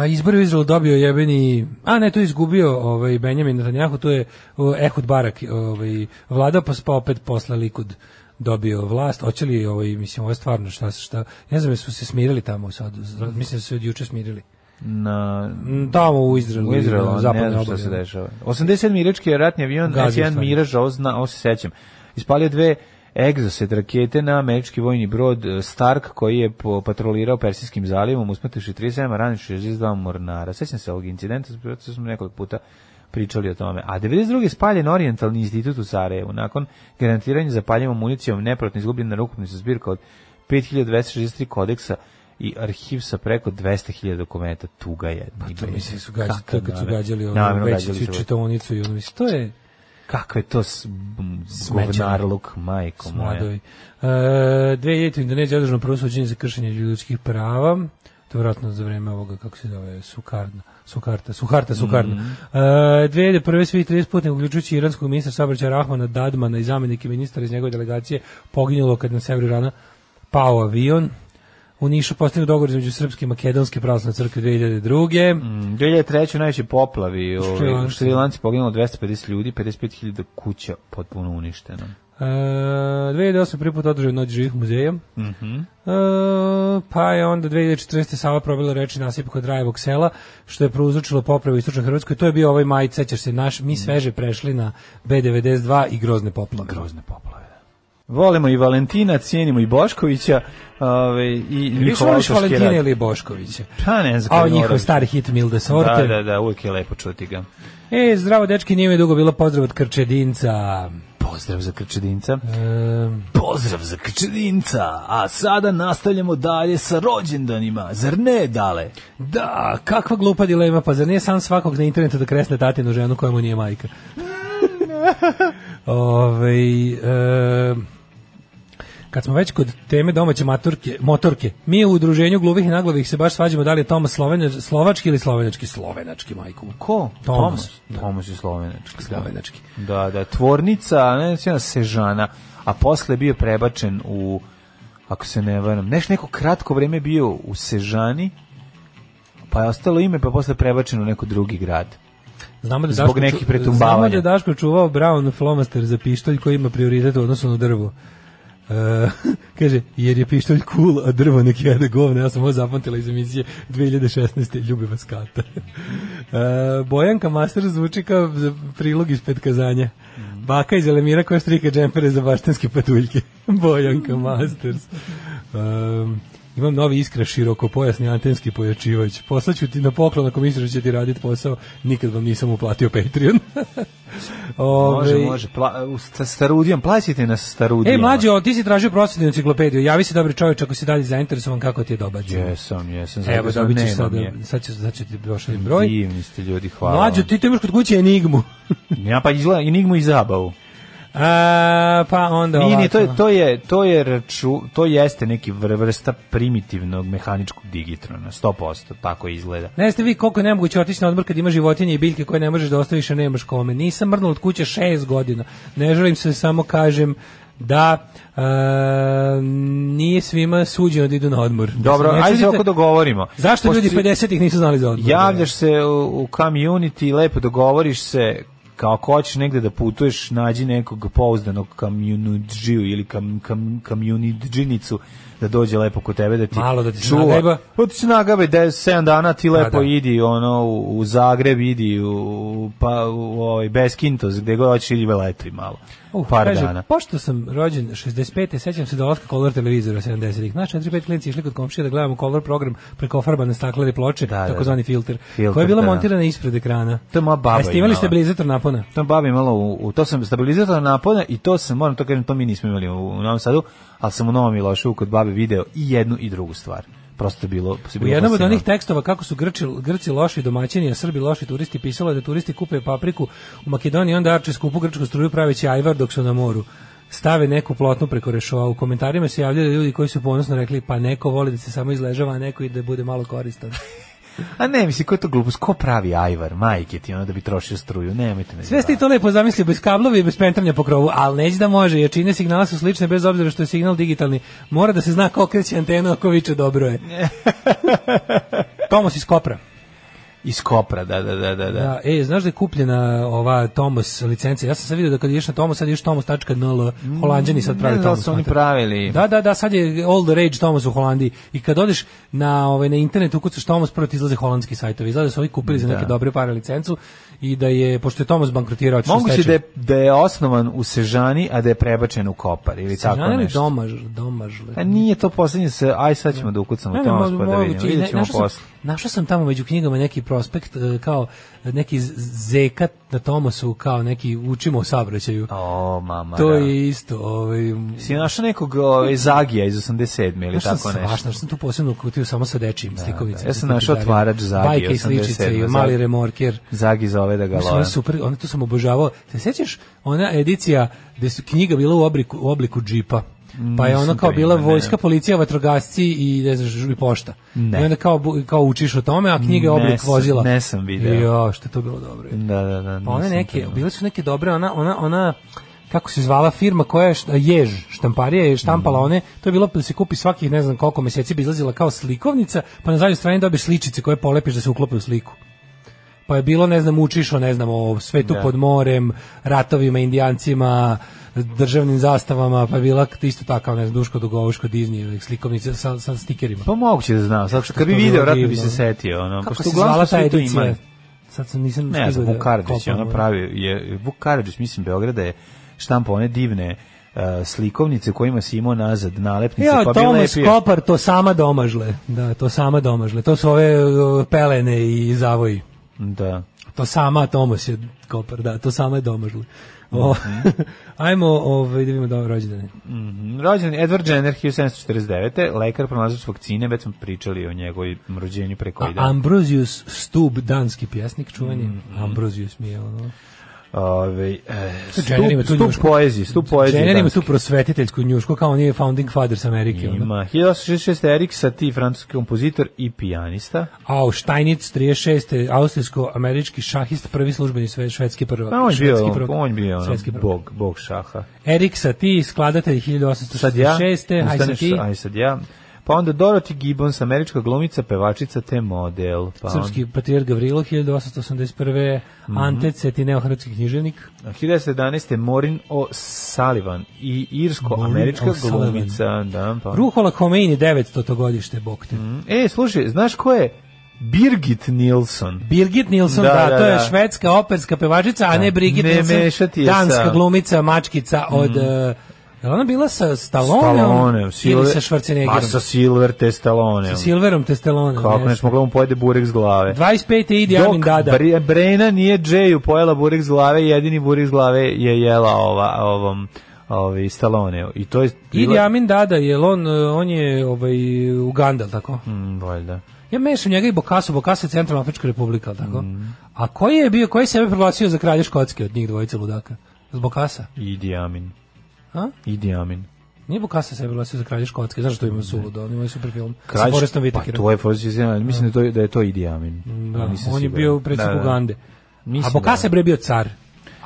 S7: A izbor u Izraelu dobio jebeni, a ne, to je izgubio ovaj, Benjamin Netanjahu, to je o, Ehud Barak ovaj, vladao, pa, s- pa opet posle Likud dobio vlast. Hoće li, ovaj, mislim, ovo je stvarno šta, se- šta, ne znam, su se smirili tamo sad, mislim da su se od juče smirili.
S6: Na
S7: Mm, Tamo u Izraelu,
S6: u Izraelu,
S7: na
S6: ne
S7: zapadnoj
S6: znam šta
S7: obali,
S6: se
S7: ono.
S6: dešava. 87. irački ratni avion
S7: Gazi u
S6: S1
S7: stvari.
S6: Mirage, ovo, zna, ovo se sećam. Ispalio dve Exocet rakete na američki vojni brod eh, Stark koji je po- patrolirao Persijskim zalivom usmrtivši 37, a ranivši 62 mornara. Sećam se ovog incidenta, zato što smo nekoliko puta pričali o tome. A 92. je spaljen Orientalni institut u Sarajevu. Nakon garantiranja zapaljevom municijom neprotno izgubljena rukopnica zbirka od 5263 kodeksa i arhiv sa preko 200.000 dokumenta. Tuga je.
S7: To mislim su
S6: Kakav
S7: gađali, to kad su
S6: namet.
S7: gađali ono,
S6: Namerno
S7: već
S6: da, gađali život.
S7: čitavonicu i ono, mislim, to je...
S6: Kako je to s- m, govnarluk, majko moja.
S7: Mladovi. E, 2000. u Indoneziji je održano prvo suđenje za kršenje ljudskih prava. To je vjerojatno za vreme ovoga, kako se zove, Sukarna. Sukarta, Suharta, Sukarna. Mm -hmm. uh, 2001. svih 30 putnika, uključujući iranskog ministra saobraćaja Rahmana Dadmana i zamenike ministra iz njegove delegacije, poginulo kad na severu Irana pao avion. U Nišu postavio dogovor između Srpske i Makedonske pravoslavne crkve 2002.
S6: Mm, 2003. najveći poplavi
S7: U
S6: ovaj, u
S7: Šrilanci.
S6: Šrilanci poginulo 250 ljudi, 55.000 kuća potpuno uništeno.
S7: E, 2008. prvi put održao Noć živih muzeja.
S6: Mhm.
S7: E, pa je onda 2014. Sava probila reči nasip kod Rajevog sela, što je prouzročilo popravu u Istočnoj Hrvatskoj. To je bio ovaj maj, sećaš se, naš, mi sveže prešli na B92 i grozne poplave.
S6: Grozne poplave. Volimo i Valentina, cijenimo i Boškovića ovaj, i
S7: Više
S6: njihov
S7: voliš
S6: autorski
S7: Valentina
S6: rad.
S7: ili Boškovića?
S6: Pa ne znam.
S7: A o
S6: kad
S7: njihov
S6: moram.
S7: stari hit Milde Sorte.
S6: Da, da, da, uvijek je lepo čuti ga.
S7: E, zdravo dečki, nije mi dugo bilo pozdrav od Krčedinca.
S6: Pozdrav za Krčedinca.
S7: E,
S6: Pozdrav za Krčedinca, a sada nastavljamo dalje sa rođendanima, zar ne, Dale?
S7: Da, kakva glupa dilema, pa zar nije sam svakog na internetu da kresne tatinu ženu koja mu nije majka? Ove, e, kad smo već kod teme domaće maturke, motorke, mi u udruženju gluvih i naglovih se baš svađamo da li je Tomas slovene- slovački ili slovenački, slovenački majku. mu.
S6: Ko?
S7: Tomas. Da.
S6: Tomas je slovenački.
S7: Slovenački.
S6: Da, da, tvornica, ne znam, Sežana, a posle je bio prebačen u, ako se ne varam, neš neko kratko vreme je bio u Sežani, pa je ostalo ime, pa posle je prebačen u neko drugi grad.
S7: Znamo da
S6: Zbog
S7: Daško ču-
S6: nekih pretumbavanja.
S7: Znamo da je Daško čuvao brown flomaster za pištolj koji ima prioritet u odnosu na drvo. E, kaže, jer je pištolj cool, a drvo nek jede govne. Ja sam ovo zapamtila iz emisije 2016. Ljubi vas kata. E, Bojanka Master zvuči kao za prilog ispred kazanja. Baka iz Elemira koja strika džempere za baštanske patuljke. Bojanka Masters. Um, imam novi iskra širokopojasni antenski pojačivač. Poslaću ti na poklon ako misliš da će ti raditi posao. Nikad vam nisam uplatio Patreon.
S6: Može,
S7: Ovaj,
S6: može, pla, u sta- starudijom, plaćajte nas starudijom.
S7: E, mlađo, ti si tražio prosvjetnu enciklopediju. Javi se, dobri čovječ, ako si dalje zainteresovan, kako ti je dobar.
S6: Jesam, jesam, zato
S7: Evo,
S6: što
S7: dobit ćeš
S6: nemam
S7: sad,
S6: je.
S7: sad ćeš, sad će ti došli broj.
S6: Divni ste ljudi, hvala.
S7: Mlađo,
S6: vam.
S7: ti to imaš kod kuće Enigmu.
S6: Ja pa izgleda Enigmu i zabavu.
S7: A, pa onda
S6: Nije, nije, to je
S7: ovako.
S6: to je to je raču, to jeste neki vr- vrsta primitivnog mehaničkog digitrona, 100% tako izgleda.
S7: Ne znate vi koliko je nemoguće otići na odmor kad ima životinje i biljke koje ne možeš da ostaviš, a nemaš kome. Nisam mrnula od kuće šest godina. Ne želim se, samo kažem da e, nije svima suđeno da idu na odmor.
S6: Dobro,
S7: Mislim, ne
S6: ajde se
S7: čudite-
S6: oko dogovorimo.
S7: Zašto
S6: Pošto
S7: ljudi
S6: si-
S7: da. 50-ih nisu znali za odmor?
S6: javljaš se u, u community, lepo dogovoriš se kao ako hoćeš negde da putuješ, nađi nekog pouzdanog kamjunidžiju ili kam, kam, kamjunidžinicu da dođe lepo kod tebe da ti
S7: Malo da ti se nagajba.
S6: Pa ti se nagabe 10 7 dana ti lepo
S7: da.
S6: idi ono u u Zagreb idi u- u pa u ovaj Beskintos gde god hoćeš ili veletuj malo.
S7: Uh,
S6: par
S7: kaže,
S6: dana.
S7: Pošto sam rođen 65. sećam se dolaska kolor televizora 70-ih. Naš 4-5 klinci išli kod komšije da gledamo kolor program preko ofarbane staklene ploče,
S6: Da, da, da.
S7: takozvani filter,
S6: Filter,
S7: koja je bila
S6: da.
S7: montirana ispred ekrana.
S6: To je moja baba
S7: Jeste imali
S6: imala.
S7: stabilizator napona?
S6: To bavi malo u, u to sam stabilizator napona i to sam moram to kažem to mi nismo imali u, u Novom Sadu, ali sam u Novom Milošu kod babe video i jednu i drugu stvar. Prosto je bilo
S7: U jednom od
S6: da.
S7: onih tekstova kako su Grči, Grci loši domaćini, a Srbi loši turisti, pisalo je da turisti kupe papriku u Makedoniji, onda arče skupu grčku struju praveći ajvar dok su na moru. Stave neku plotnu preko rešova. U komentarima se javljaju ljudi koji su ponosno rekli pa neko voli da se samo izležava, a neko i da bude malo koristan.
S6: A ne, mislim, ko je to glupost? Ko pravi ajvar? Majke ti, ono da bi trošio struju. Nemojte me.
S7: Sve ste i to lepo zamislili bez kablova i bez pentanja po krovu, ali neće da može, jer čine signala su slične bez obzira što je signal digitalni. Mora da se zna ko kreće antenu, a ko viče dobro je. Tomos iz Kopra.
S6: Iz kopra, da, da, da, da. da.
S7: Da, e, znaš da je kupljena ova Tomos licencija? Ja sam sad vidio da kad ideš na Tomos, sad ideš Tomos.nl, holanđani sad
S6: Ne
S7: pravi
S6: znam da
S7: Tomos.
S6: li su oni
S7: znate.
S6: pravili.
S7: Da, da, da, sad je all the rage Tomos u Holandiji. I kad odeš na ovaj na internet ukucaš Tomos, prvo ti izlaze holandski sajtovi. Izlaze da su ovi kupili za neke dobre pare licencu i da je pošto je Tomos bankrotirao, otišao u
S6: Moguće
S7: stečaj.
S6: da je, da je osnovan u Sežani, a da je prebačen u kopar ili tako
S7: Znali li
S6: nešto.
S7: domaž, domažle?
S6: A nije to posljednje se, aj sad ćemo da ukucamo
S7: Ne,
S6: ne,
S7: ne,
S6: Tomas
S7: mo-
S6: pa da
S7: moguće.
S6: vidimo.
S7: I
S6: Vidjet
S7: ne,
S6: ćemo
S7: našao sam-
S6: posle.
S7: Našao sam tamo među knjigama neki prospekt e, kao neki z- zekat na Tomasu, kao neki učimo o saobraćaju.
S6: O, mama,
S7: To
S6: da.
S7: je isto, ovaj
S6: Si našao nekog ovaj, Zagija iz 87. ili
S7: Našao
S6: tako
S7: sam
S6: nešto? Da,
S7: svašta, našao sam tu posebnu kutiju samo sa dečijim slikovicama.
S6: Ja sam našao otvarač Zagi,
S7: Bajke i sličice,
S6: 87,
S7: i mali
S6: Zagi.
S7: remorker.
S6: Zagi zove da ga
S7: Mislim, ona
S6: love.
S7: je super, ona tu sam obožavao. Se sećaš, ona edicija gde su knjiga bila u obliku, u obliku džipa. Pa je ono
S6: Nisam
S7: kao
S6: to
S7: bila
S6: imao, Mm, ne.
S7: vojska, policija, vatrogasci i ne znam, i pošta.
S6: Ne.
S7: I onda kao, bu- kao učiš o tome, a knjiga je
S6: Ne
S7: oblik
S6: sam-
S7: vozila.
S6: ne sam video.
S7: Jo, što je to bilo dobro.
S6: Da, da, da.
S7: Pa one
S6: nisam
S7: neke,
S6: to imao.
S7: bile su neke dobre, ona, ona, ona, kako se zvala firma koja je šta- jež, štamparija je štampala
S6: Mhm.
S7: one, to je bilo da se kupi svakih ne znam koliko meseci bi izlazila kao slikovnica, pa na zadnjoj strani dobiješ sličice koje polepiš da se uklope u sliku. Pa je bilo, ne znam, učiš o, ne znam, o svetu
S6: Da.
S7: pod morem, ratovima, indijancima, državnim zastavama, pa je bila isto takav, ne znam, Duško Dugovuško, Disney, slikovnica sa, sa stikerima.
S6: Pa moguće da znam, zato što kad bi
S7: To je bilo
S6: video, vratno bi
S7: divno.
S6: se setio. Ono,
S7: Kako
S6: pošto
S7: se
S6: uglavnom
S7: zvala
S6: su
S7: ta
S6: svi to
S7: edicija?
S6: imali.
S7: Sad sam nisam
S6: Ne znam,
S7: stigao da
S6: Vuk Karadžić je
S7: kopam,
S6: ono
S7: ono.
S6: pravi, je, Vuk Karadžić, mislim, Beograda je štampa one divne e, slikovnice kojima si imao nazad nalepnice,
S7: Ja,
S6: pa bi
S7: Tomas
S6: lepio.
S7: Kopar, to sama domažle. Da, to sama domažle. To su ove uh, pelene i zavoji.
S6: Da.
S7: To sama Tomas je Kopar, da, to sama je domažle. O, ajmo ovaj, da vidimo da rođendane.
S6: Mhm. Rođen je Edward Jenner 1749. Lekar pronalazač vakcine, već smo pričali o njegovoj rođenju preko
S7: A
S6: i dan. Mhm.
S7: Ambrosius Stub, danski pjesnik, čuveni. Ambrosius mi je ono...
S6: Ove, e,
S7: Jenner ima
S6: stup,
S7: tu
S6: stup
S7: njušku.
S6: poezije, stup poezije. da.
S7: Jenner ima
S6: danske.
S7: tu prosvetiteljsku njušku, kao on je founding fathers Amerike. ono.
S6: Ima 1866. Erik Satie, francuski kompozitor i pijanista.
S7: Au, Štajnic, 36. Austrijsko-američki šahist, prvi službeni sve, švedski prvak.
S6: Pa on je bio,
S7: švedski prvak,
S6: on je bio ono,
S7: svetski prvak.
S6: bog, bog šaha.
S7: Erik Satie, skladatelj
S6: Sad ja,
S7: 1866. Aj sad
S6: ustaneš,
S7: ti,
S6: aj sad ja. Pa onda Dorothy Gibbons, američka glumica, pevačica te model. Pa
S7: srpski patrijar Gavrilo 1881.
S6: Mhm.
S7: Ante Cetineo, hrvatski književnik.
S6: Onda, 1911. Morin O'Sullivan i irsko-američka
S7: Maureen O'Sullivan.
S6: glumica. Da, pa.
S7: Ruhola Khomeini, 900. godište, bog te.
S6: E, slušaj, znaš ko je? Birgit Nilsson.
S7: Birgit Nilsson, da,
S6: Da, da,
S7: to je
S6: da.
S7: švedska operska pevačica, a ne Birgit
S6: Ne
S7: Nilsson,
S6: mešati je
S7: danska
S6: sa- Mhm.
S7: glumica, mačkica od... e, je li ona bila sa Stalloneom
S6: Stalloneom.
S7: ili
S6: Silver-
S7: sa
S6: Pa
S7: Schwarzeneggerom?
S6: sa Silver te Stalloneom.
S7: Silverom te Stalloneom.
S6: Kako
S7: nešto.
S6: neš mogla mu pojede burek s glave.
S7: 25. Idi Amin
S6: Dok
S7: Dada.
S6: Bre- Brena nije Jayu pojela burek s glave, jedini burek s glave je jela ova, ovom ovi Stalloneu. I to je...
S7: Idi Amin Dada, je on, e, on je ovaj, Uganda, jel tako?
S6: Mm, valjda.
S7: Ja mešam njega i Bokasu, Bokasa je Centralna Afrička republika, jel tako?
S6: Mm.
S7: A koji je bio, koji je sebe proglasio za kralja Škotske od njih dvojice ludaka? Z Bokasa?
S6: Idi Amin.
S7: A?
S6: Idi Amin.
S7: Nije Bokasa sebe proglasio za kralja Škotske, znaš što ima suludo, on ima super film sa
S6: Kralj-
S7: Forestom
S6: pa
S7: Whitakerom.
S6: to je Forrest Whitaker. Mislim da, to, je- da je to Idi Amin.
S7: Da,
S6: Nisam
S7: on je
S6: siguran.
S7: bio predsjednik
S6: Da, da.
S7: Ugande. A
S6: Mislim
S7: Bokasa
S6: da.
S7: je bre bio car.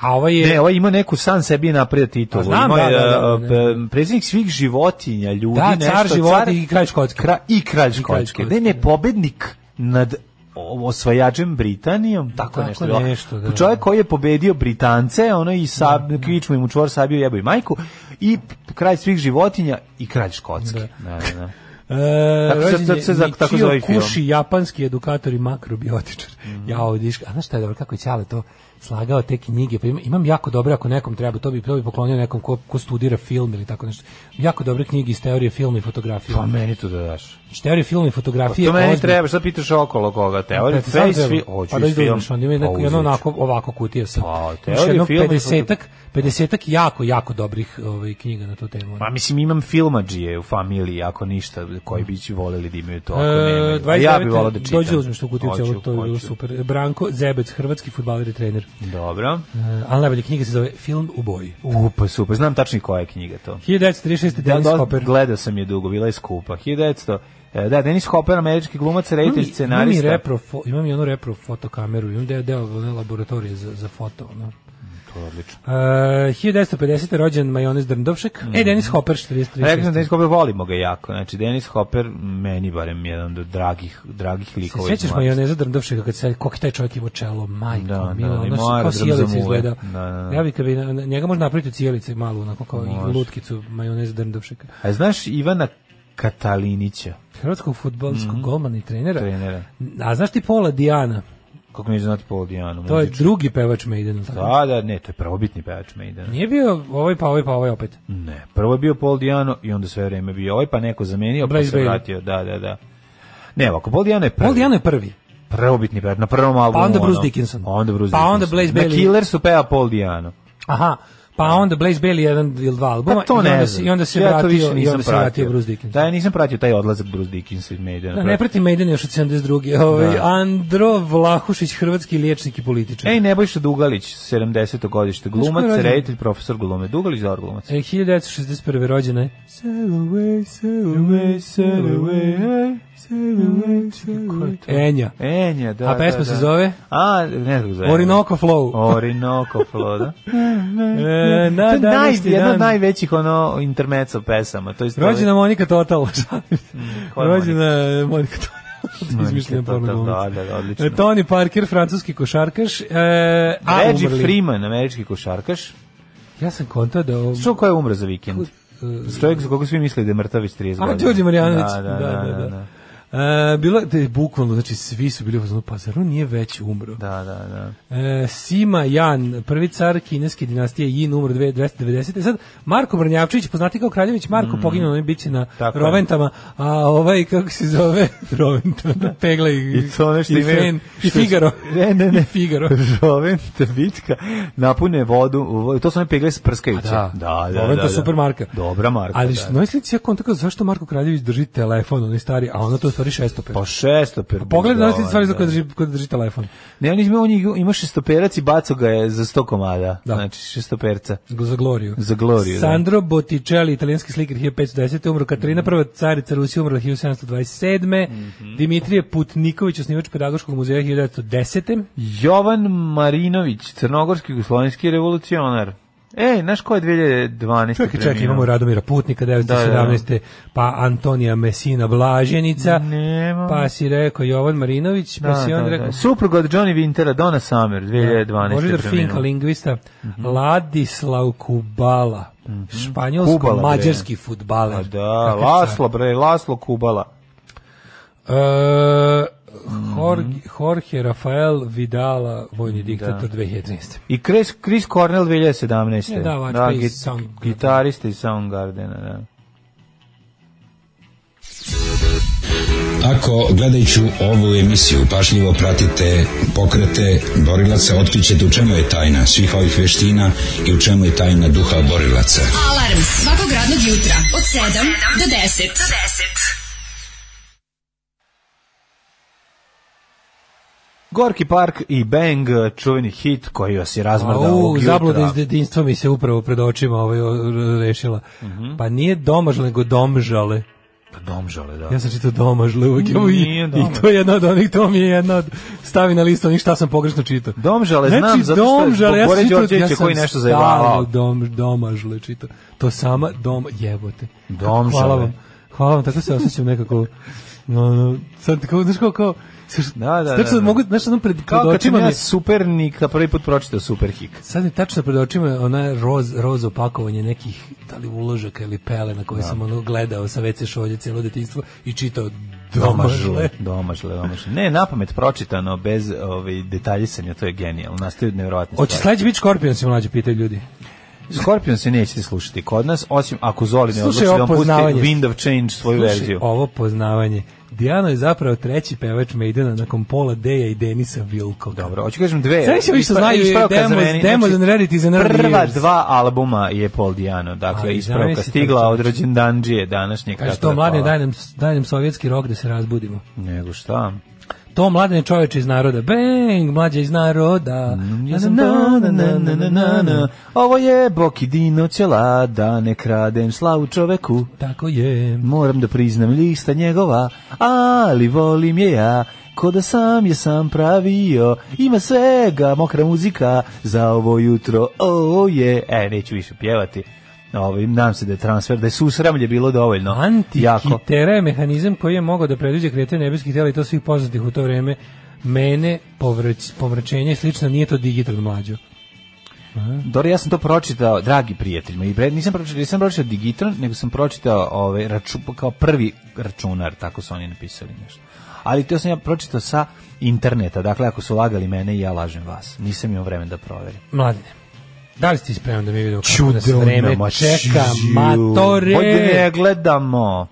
S7: A ovaj je...
S6: Ne, ovaj ima neku san sebi je napravio titulu.
S7: Pa znam,
S6: Ima je,
S7: da, da, da,
S6: a,
S7: da,
S6: pe- predsjednik svih životinja, ljudi,
S7: da,
S6: nešto.
S7: car život i kralj da. Škotske.
S6: Kra, I kralj
S7: kralj
S6: Škotske.
S7: Škotske,
S6: Ne, ne, pobednik nad o- osvajačem Britanijom, tako,
S7: Tako
S6: nešto. Pa
S7: nešto, da.
S6: Čovjek koji je pobedio Britance, ono i sab, kričmu im u čvor sabio jebo i majku, i kralj svih životinja i kralj Škotske. Da, da, da.
S7: E,
S6: Tako se-
S7: rođen
S6: tako
S7: je
S6: se za- tako
S7: Michio
S6: zove film. Mm.
S7: Kushi, japanski edukator i makrobiotičar. Ja odiš, a znaš šta je dobro, kako je Ćale to slagao te knjige, pa imam, imam jako dobre, ako nekom treba, to bi, to bi poklonio nekom ko, ko studira film ili tako nešto. Jako dobre knjige iz teorije filma i fotografije.
S6: Pa meni to da daš.
S7: Znači, teorije filma i fotografije.
S6: To meni
S7: ozbiljno.
S6: treba, šta pitaš okolo koga? Teoriju,
S7: Pa,
S6: sve i
S7: sad
S6: svi,
S7: treba.
S6: hoću
S7: Pa da
S6: i film.
S7: izgledaš, onda ima jedno,
S6: Pa
S7: jedno
S6: uzet ću.
S7: onako, ovako kutija sa.
S6: Pa,
S7: Imaš
S6: teorije
S7: jedno
S6: filma i
S7: 50-ak, 50-ak jako, jako dobrih ovaj, knjiga na tu temu.
S6: Ma Pa mislim imam filmadžije u familiji, ako ništa, koji bi voleli da imaju to, ako
S7: E,
S6: nemaju. A
S7: 29.
S6: ja bih volao da čitam.
S7: Dođi uzmeš tu kutiju celu,
S6: Hoću,
S7: to je bilo
S6: hoću.
S7: super. Branko Zebec, hrvatski futbaler i trener.
S6: Dobro.
S7: E, ali najbolja knjiga se zove Film u boji.
S6: U, pa super, znam tačno i koja je knjiga to.
S7: 1936.
S6: Da,
S7: Dennis
S6: da,
S7: Hopper.
S6: Gledao sam je dugo, bila je skupa. 1900, e, da, Dennis Hopper, američki glumac,
S7: Imam i-
S6: reditelj, scenarista.
S7: Imam i, Mm, repro, fo- imam i onu repro fotokameru, imam deo, deo one laboratorije za, za foto. Ono.
S6: To je odlično.
S7: Uh, 1950. rođen Majonez Drndovšek. E, Dennis Hopper, 43.
S6: Mm. Rekao sam da Dennis Hopper, volimo ga jako. Znači, Dennis Hopper, meni barem jedan od dragih, dragih
S7: Se
S6: likova. iz
S7: sjećaš
S6: mladosti.
S7: majoneza Drndovšeka kad se koliko je taj čovjek imao ovaj čelo, majko,
S6: Da, da,
S7: mila,
S6: i moja
S7: ono što kao
S6: drmzamule.
S7: sjelica izgleda.
S6: Da, da, da.
S7: Ja bih kad bi, na- na- njega može napraviti od sjelice malu, onako kao i lutkicu majoneza Drndovšeka.
S6: A znaš Ivana Katalinića,
S7: Hrvatskog
S6: Mhm.
S7: futbolskog golmana i trenera.
S6: trenera?
S7: A znaš ti Pola Dijana?
S6: Kako neću znati Paul Dijanu?
S7: To je drugi pevač Maidena. tako?
S6: Da, da, ne, to je prvobitni pevač Maidena.
S7: Nije bio ovaj pa ovaj pa ovaj opet.
S6: Ne, prvo je bio Paul Diano i onda sve vreme bio ovaj, pa neko zamenio, pa
S7: Blaze
S6: se
S7: Bailey.
S6: vratio. Da, da, da. Ne, ovako, Paul Diano je prvi.
S7: Paul Dijano je prvi.
S6: Prvobitni pevač, na prvom albumu.
S7: Pa onda Bruce
S6: ono.
S7: Dickinson.
S6: Onda Bruce
S7: Pa onda
S6: Dickinson.
S7: Blaze
S6: Na
S7: Bailey.
S6: Killer su peva Paul Diano.
S7: Aha. Pa onda Blaze Bailey jedan ili dva albuma
S6: Da. Pa to
S7: i, onda
S6: ne
S7: se,
S6: znam.
S7: i onda se
S6: ja to više
S7: vratio, i
S6: nisam
S7: onda se
S6: pratio.
S7: vratio Bruce Dickinson.
S6: Da, ja nisam pratio taj odlazak Bruce Dickinson iz Maidena.
S7: Da, ne prati Maiden još od 72. Ovaj,
S6: Da.
S7: Andro Vlahušić, hrvatski liječnik i političar.
S6: Ej, Nebojša Dugalić, 70. godište, glumac,
S7: ko je rođen?
S6: reditelj, profesor glume. Dugalić za glumac.
S7: E, 1961. rođena je. Sail away, sail
S6: away, sail away,
S7: e,
S6: hey, sail away, sail away.
S7: Enja.
S6: Enja, da,
S7: e. A pesma
S6: da,
S7: se
S6: da.
S7: zove?
S6: A, ne znam zove.
S7: Orinoco Flow.
S6: Orinoco Flow, da.
S7: E,
S6: to
S7: na
S6: je naj,
S7: današnji
S6: jedna od
S7: dan.
S6: najvećih ono intermeca pesama. To je
S7: Rođena Monika
S6: Pa,
S7: Total. Šalim se.
S6: koja je
S7: rođena je Monika Total. Izmišljena
S6: Monika Total,
S7: porno glumica.
S6: da, da, da, odlično.
S7: E, Tony Parker, francuski košarkaš. E, a
S6: Reggie
S7: umrli.
S6: Freeman, američki košarkaš.
S7: Ja sam kontao da... ovo-
S6: Što ko je umro za vikend?
S7: e,
S6: Čovjek za koga svi misle da je mrtav već 30
S7: A,
S6: godina.
S7: Đorđe Marjanović,
S6: Da, da, da. da, da.
S7: E, bilo je- te je bukvalno, znači svi su bili u fazonu, pa zar on nije već umro?
S6: Da, da, da.
S7: E, Sima Jan, prvi car kineske dinastije Yin, umro 290. Sad, Marko Brnjavčević, poznati kao Kraljević, Marko poginuo na onoj bici na
S6: Mm. Tako je.
S7: Roventama, a ovaj, kako se zove, Roventama, Pegla i,
S6: I to nešto
S7: i,
S6: imaju-
S7: Fen, i
S6: što-
S7: Figaro.
S6: Ne, ne, ne.
S7: I Figaro.
S6: Žoven, te bitka, napune vodu, u vo- to su one pegle s prskajuće.
S7: Da,
S6: da, da.
S7: Roventa
S6: da, da.
S7: supermarka.
S6: Dobra marka,
S7: Ali
S6: da.
S7: što da. slici ja kontakao, zašto Marko Kraljević drži telefon, onaj stari, a ona to je u stvari šestoper.
S6: Pa šestoper.
S7: Pogledaj na slici
S6: Jovan,
S7: stvari za
S6: da.
S7: koje drži, koje drži telefon.
S6: Ne, on ima, on je- ima šestoperac i baco ga je za sto komada.
S7: Da.
S6: Znači, šestoperca.
S7: Za Gloriju.
S6: Za Gloriju, da.
S7: Sandro Botticelli, italijanski slikar 1510. umro. Katarina
S6: Mhm.
S7: prva carica Rusije umrla 1727. Dimitrije Putniković, osnivač pedagoškog muzeja 1910.
S6: Jovan Marinović, crnogorski jugoslovenski revolucionar. Ej, znaš ko je 2012.
S7: Čekaj, čekaj,
S6: preminuo?
S7: imamo Radomira
S6: Da,
S7: Putnika 917. Pa Antonija Mesina Blaženica.
S6: Nemam.
S7: Pa si rekao Jovan Marinović,
S6: Da,
S7: pa si onda
S6: da,
S7: rekao... Da,
S6: da. Suprug od Johnny Wintera, Donna Summer, 2012.
S7: Božidar
S6: preminuo.
S7: Finka, lingvista,
S6: Mhm.
S7: Ladislav Kubala,
S6: Kubala, bre.
S7: španjolsko-mađarski
S6: Pa
S7: futbaler.
S6: Da, Laslo, bre, Laslo Kubala.
S7: E, Jorge, Jorge Rafael Vidala, vojni
S6: Da.
S7: diktator 2013.
S6: I Chris, Chris Cornell 2017.
S7: Ne, da, vačka iz Soundgarden.
S6: gitarista iz Soundgardena, da.
S9: Ako gledajući ovu emisiju pašljivo pratite pokrete borilaca, otkrićete u čemu je tajna svih ovih veština i u čemu je tajna duha borilaca.
S5: Alarm svakog radnog jutra od 7 do 10. Do 10.
S6: Gorki Park i Bang, čuveni hit koji vas je razmrdao
S7: U,
S6: ovog jutra.
S7: zabluda iz dedinstva mi se upravo pred očima ovaj, o, r- rešila.
S6: Mhm.
S7: Pa nije domažle, nego domžale.
S6: Pa Domžale, da.
S7: Ja sam čitao domažle uvijek. evo i-
S6: Nije domažle.
S7: I to je jedna od onih, to mi je jedna od, stavi na listu onih šta sam pogrešno čitao.
S6: Domžale, znam, zato što je
S7: Znači, domžale,
S6: zbog
S7: sam
S6: Bore
S7: čitao-
S6: Đorđevića
S7: da sam
S6: koji nešto
S7: stalno
S6: zajebavao.
S7: Dom, domažle čitao. To sama dom, jebote.
S6: Domžale.
S7: Hvala vam. Hvala vam, tako se osjećam nekako... No, no, sad tako, znaš kao, kao,
S6: Da, da,
S7: Tako
S6: da,
S7: sad
S6: da.
S7: mogu, znaš, ono pred, pred
S6: Kao kad sam
S7: očima mi
S6: ja
S7: je-
S6: supernika prvi put pročitao Superhik.
S7: Sad mi tačno pred očima ona roz, roz opakovanje nekih da li uložaka ili pele na koje
S6: Da.
S7: sam ono gledao sa WC šolje cijelo detinjstvo i čitao domažle.
S6: domažle, domažle. Ne, napamet pročitano bez ovaj detaljisanja, to je genijalno. Nastaju nevjerovatne
S7: Hoće
S6: stvari.
S7: sledeći biti Skorpion se mlađe pitaju ljudi.
S6: Skorpion se nećete slušati kod nas, osim ako Zoli ne
S7: Slušaj,
S6: odluči da vam pusti
S7: opoznavanje.
S6: Wind of Change svoju
S7: Slušaj,
S6: verziju.
S7: ovo poznavanje. Dijano je zapravo treći pevač Maidena nakon Pola Deja i Denisa Vilkoga.
S6: Dobro, hoću kažem dve.
S7: Sve više više
S6: Ispra-
S7: znaju je
S6: ispravka
S7: Demos-
S6: za meni,
S7: Demos
S6: znači,
S7: and Rarities and Early
S6: Prva
S7: Years.
S6: dva albuma je Paul Diano, dakle
S7: Ali
S6: ispravka
S7: zamisli
S6: stigla
S7: kako
S6: od
S7: čovječe.
S6: rođendanđije današnje.
S7: Kaže
S6: kako
S7: to
S6: da
S7: mlade,
S6: hvala.
S7: daj nam, daj nam sovjetski rok da se razbudimo.
S6: Nego šta?
S7: To mladene čoveče iz naroda. Bang, mlađe iz naroda.
S6: Mm, Ja sam na, na, na, na, na, na, na. Ovo je Bokidino ćela, da ne kradem slavu čoveku.
S7: Tako je.
S6: Moram da priznam lista njegova, ali volim je ja. Ko da sam je sam pravio, ima svega, mokra muzika za ovo jutro, o je. E, neću više pjevati. Ovo, nam se da je transfer, da je susramlje bilo dovoljno. Jako.
S7: Antikitera je mehanizam koji je mogao da predviđa kretanje nebeskih tela i to svih poznatih u to vreme. Mene, povrć, pomračenje i slično, nije to digitalno mlađo.
S6: Dobro, ja sam to pročitao, dragi prijateljima, i pre, nisam pročitao, nisam pročitao Digitron, nego sam pročitao ovaj, raču, kao prvi računar, tako su oni napisali nešto. Ali to sam ja pročitao sa interneta, dakle, ako su lagali mene, ja lažem vas. Nisam imao vremena da proverim.
S7: Mladine, da li ste spremni da mi vidimo kako nas
S6: Čudo
S7: vreme
S6: nama,
S7: čeka,
S6: čiju.
S7: matore?
S6: Hajde da ne gledamo.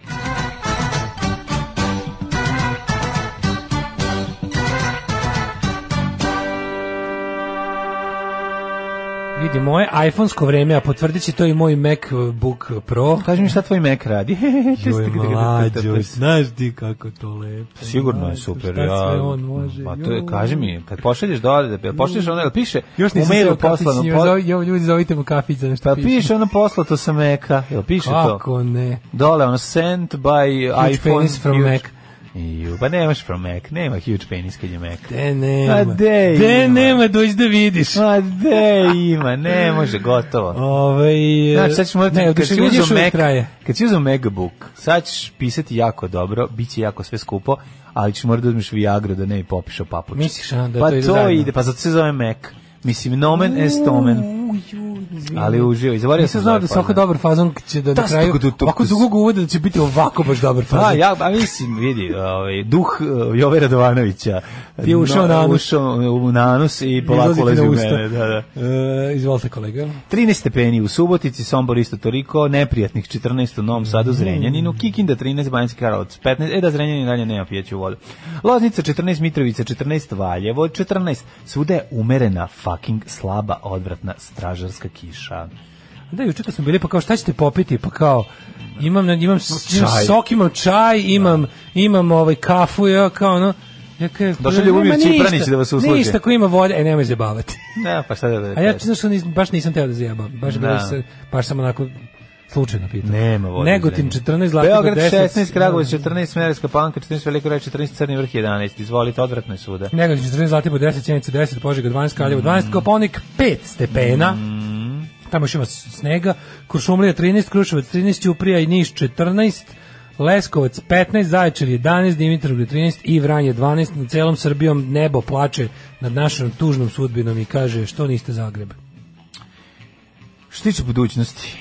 S7: Vidi, moje iPhone-sko vreme, a potvrdit će to i moj MacBook Pro.
S6: Kaži mi šta tvoj Mac radi.
S7: Joj, mlađo, znaš ti kako to lepo.
S6: Sigurno je
S7: Mlađo,
S6: super.
S7: Šta sve
S6: ja-
S7: on može?
S6: Ma to je,
S7: joj. Mm.
S6: kaži mi, kad pošalješ dole, da pošalješ ono, jel piše,
S7: Još
S6: u
S7: nisam
S6: mailu
S7: seo kafić,
S6: poslano,
S7: njima
S6: po-
S7: zove- jo, ljudi zovite mu kafić za nešto
S6: pa piše ono poslato sa Meka, jel piše to?
S7: Kako ne?
S6: Dole, ono, sent by
S7: Huge
S6: iPhone.
S7: penis from
S6: huge-
S7: Mac.
S6: Iju, pa nemaš from Mac, nema huge penis kad je Mac.
S7: De nema.
S6: A Pa de
S7: de
S6: ima.
S7: nema, dođi da vidiš.
S6: Ma de ima, ne može, gotovo.
S7: Ovaj,
S6: Znači, sad ćeš morati,
S7: ne,
S6: kad, si
S7: oduševljenje još
S6: uzeo
S7: uvijek
S6: Mac,
S7: traje.
S6: kad si uzeo Megabook, sad ćeš pisati jako dobro, bit će jako sve skupo, ali ćeš morati da uzmeš Viagra da ne bi popišao papuče.
S7: Misliš, a, da
S6: pa
S7: to ide zajedno?
S6: ide, pa zato se zove Mac. Mislim, nomen est omen, ali uživo. Izvario
S7: Nisam znao da se ovako dobar fazon će da na
S6: Tas,
S7: kraju,
S6: tuku, tuku, tuku,
S7: ovako
S6: tas.
S7: dugog uvoda da će biti ovako baš dobar fazon.
S6: Pa, ja, a mislim, vidi, ovaj, duh eh, Jove Radovanovića.
S7: Ti je ušao na anus.
S6: Ušao u nanus i
S7: Izlazi ti
S6: polako
S7: na
S6: ulazi u
S7: usta.
S6: mene. Da, da.
S7: E, izvolite kolega.
S6: 13 stepeni u Subotici, Sombor isto toliko, neprijatnih 14 u Novom
S7: Mhm.
S6: Sadu, Zrenjaninu, Kikinda 13, Banjski Karlovac 15, e da Zrenjanin dalje nema pijeću vodu. Loznica 14, Mitrovica 14, Valjevo 14, svuda je umerena fucking slaba odvratna stražarska kiša.
S7: Da, juče kad smo bili, pa kao šta ćete popiti? Pa kao, imam, imam, imam
S6: Čaj. Da.
S7: sok, imam čaj, imam, imam ovaj kafu, ja kao ono, Ja kažem,
S6: Došao
S7: nema
S6: Ljubomir
S7: ništa,
S6: Cipranić da vas usluži.
S7: Ništa ko ima volje, e nemoj zabavati.
S6: Ne, pa šta da da
S7: A ja znaš što nis, baš nisam teo da zajebam. Baš, bilo
S6: Da.
S7: se, baš sam onako slučajno pitao.
S6: Nema vode.
S7: Negotin
S6: zemlje.
S7: 14, Zlatibor 10.
S6: Beograd 16, Kragovic 14, Smerovska Palanka 14, Veliko Reč 14, Crni vrh 11. Izvolite, odvratno je svuda.
S7: Negotin 14, Zlatibor 10, Sjenica 10, Požega 12,
S6: Mm.
S7: Kraljevo 12, Koponik 5 stepena. Tamo još ima s- snega. Kuršumlija 13, Kruševac 13, Ćuprija i Niš 14. Leskovac 15, Zaječar 11, Dimitrovgrad 13 i Vranje 12. Na celom Srbijom nebo plače nad našom tužnom sudbinom i kaže što niste Zagreb.
S6: Što se tiče budućnosti,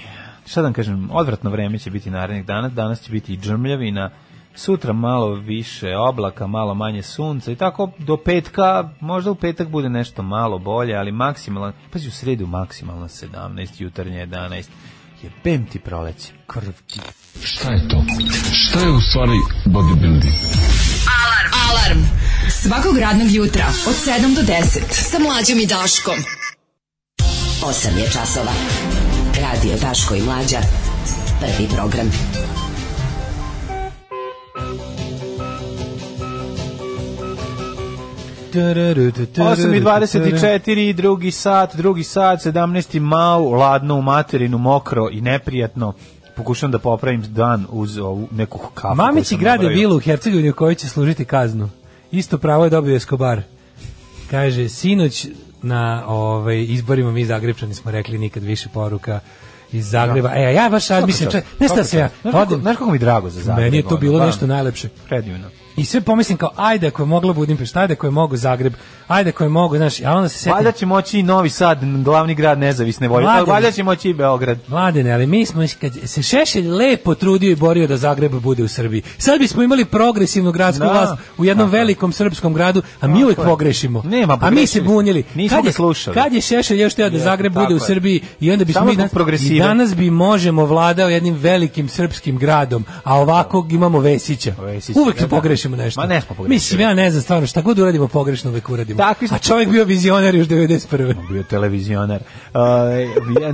S6: šta da vam kažem, odvratno vreme će biti narednih dana, danas će biti i džrmljavina, sutra malo više oblaka, malo manje sunca i tako do petka, možda u petak bude nešto malo bolje, ali maksimalno, pazi u sredu maksimalno 17, jutarnje 11, jebem ti proleće, krv ti.
S9: Šta je to? Šta je u stvari bodybuilding?
S5: Alarm. Alarm. Svakog radnog jutra od 7 do 10 sa mlađom i Daškom.
S10: 8 je časova. Radio Daško i Mlađa. Prvi program.
S6: i 24, drugi sat, drugi sat, 17. mau, ladno u materinu, mokro i neprijatno, pokušam da popravim dan uz ovu neku kafu. koju
S7: Mamići
S6: sam
S7: grade
S6: napravio.
S7: vilu u Hercegovini u kojoj će služiti kaznu. Isto pravo je dobio Escobar. Kaže, sinoć na ovaj, izborima mi Zagrebčani smo rekli nikad više poruka iz Zagreba. E, a ja baš sad mislim,
S6: čas.
S7: čak,
S6: Da.
S7: ne
S6: Svaka
S7: znam se ja,
S6: čast. Znaš kako-
S7: odim,
S6: Znaš kako mi je drago za Zagreb?
S7: meni je to
S6: ono, Da.
S7: bilo
S6: stvarno.
S7: nešto najlepše.
S6: Predivno.
S7: I sve pomislim kao, ajde ako je mogla Budimpešta, ajde ako je mogu Zagreb, ajde ako je mogu, znaš, a onda se setim,
S6: Valjda će moći i Novi Sad, glavni grad nezavisne vojvode.
S7: Mladen.
S6: Valjda će moći i Beograd.
S7: Mladene, ali mi smo, kad se Šešelj lepo trudio i borio da Zagreb bude u Srbiji. Sad bismo imali progresivnu gradsku
S6: Da.
S7: vlast u jednom velikom srpskom gradu, a mi uvek
S6: je.
S7: pogrešimo.
S6: Nema,
S7: a mi se
S6: pogrešili smo.
S7: bunili.
S6: Nismo
S7: kad
S6: ga
S7: je,
S6: slušali.
S7: Kad je Šešelj još teo da
S6: Je,
S7: Zagreb
S6: tako
S7: bude u
S6: je.
S7: Srbiji i onda bismo
S6: Samo
S7: mi
S6: zbog
S7: danas, i
S6: progresive.
S7: danas bi možemo vladao jednim velikim srpskim gradom, a ovako imamo Vesića.
S6: Vesića,
S7: Uvek
S6: da,
S7: se
S6: da.
S7: pogrešimo nešto.
S6: Ma ne smo pogrešili.
S7: Mislim, ja ne znam stvarno, šta god uradimo pogrešno uvek uradimo.
S6: Takvi smo-
S7: A čovjek bio vizionar još 91.
S6: bio televizionar. Uh,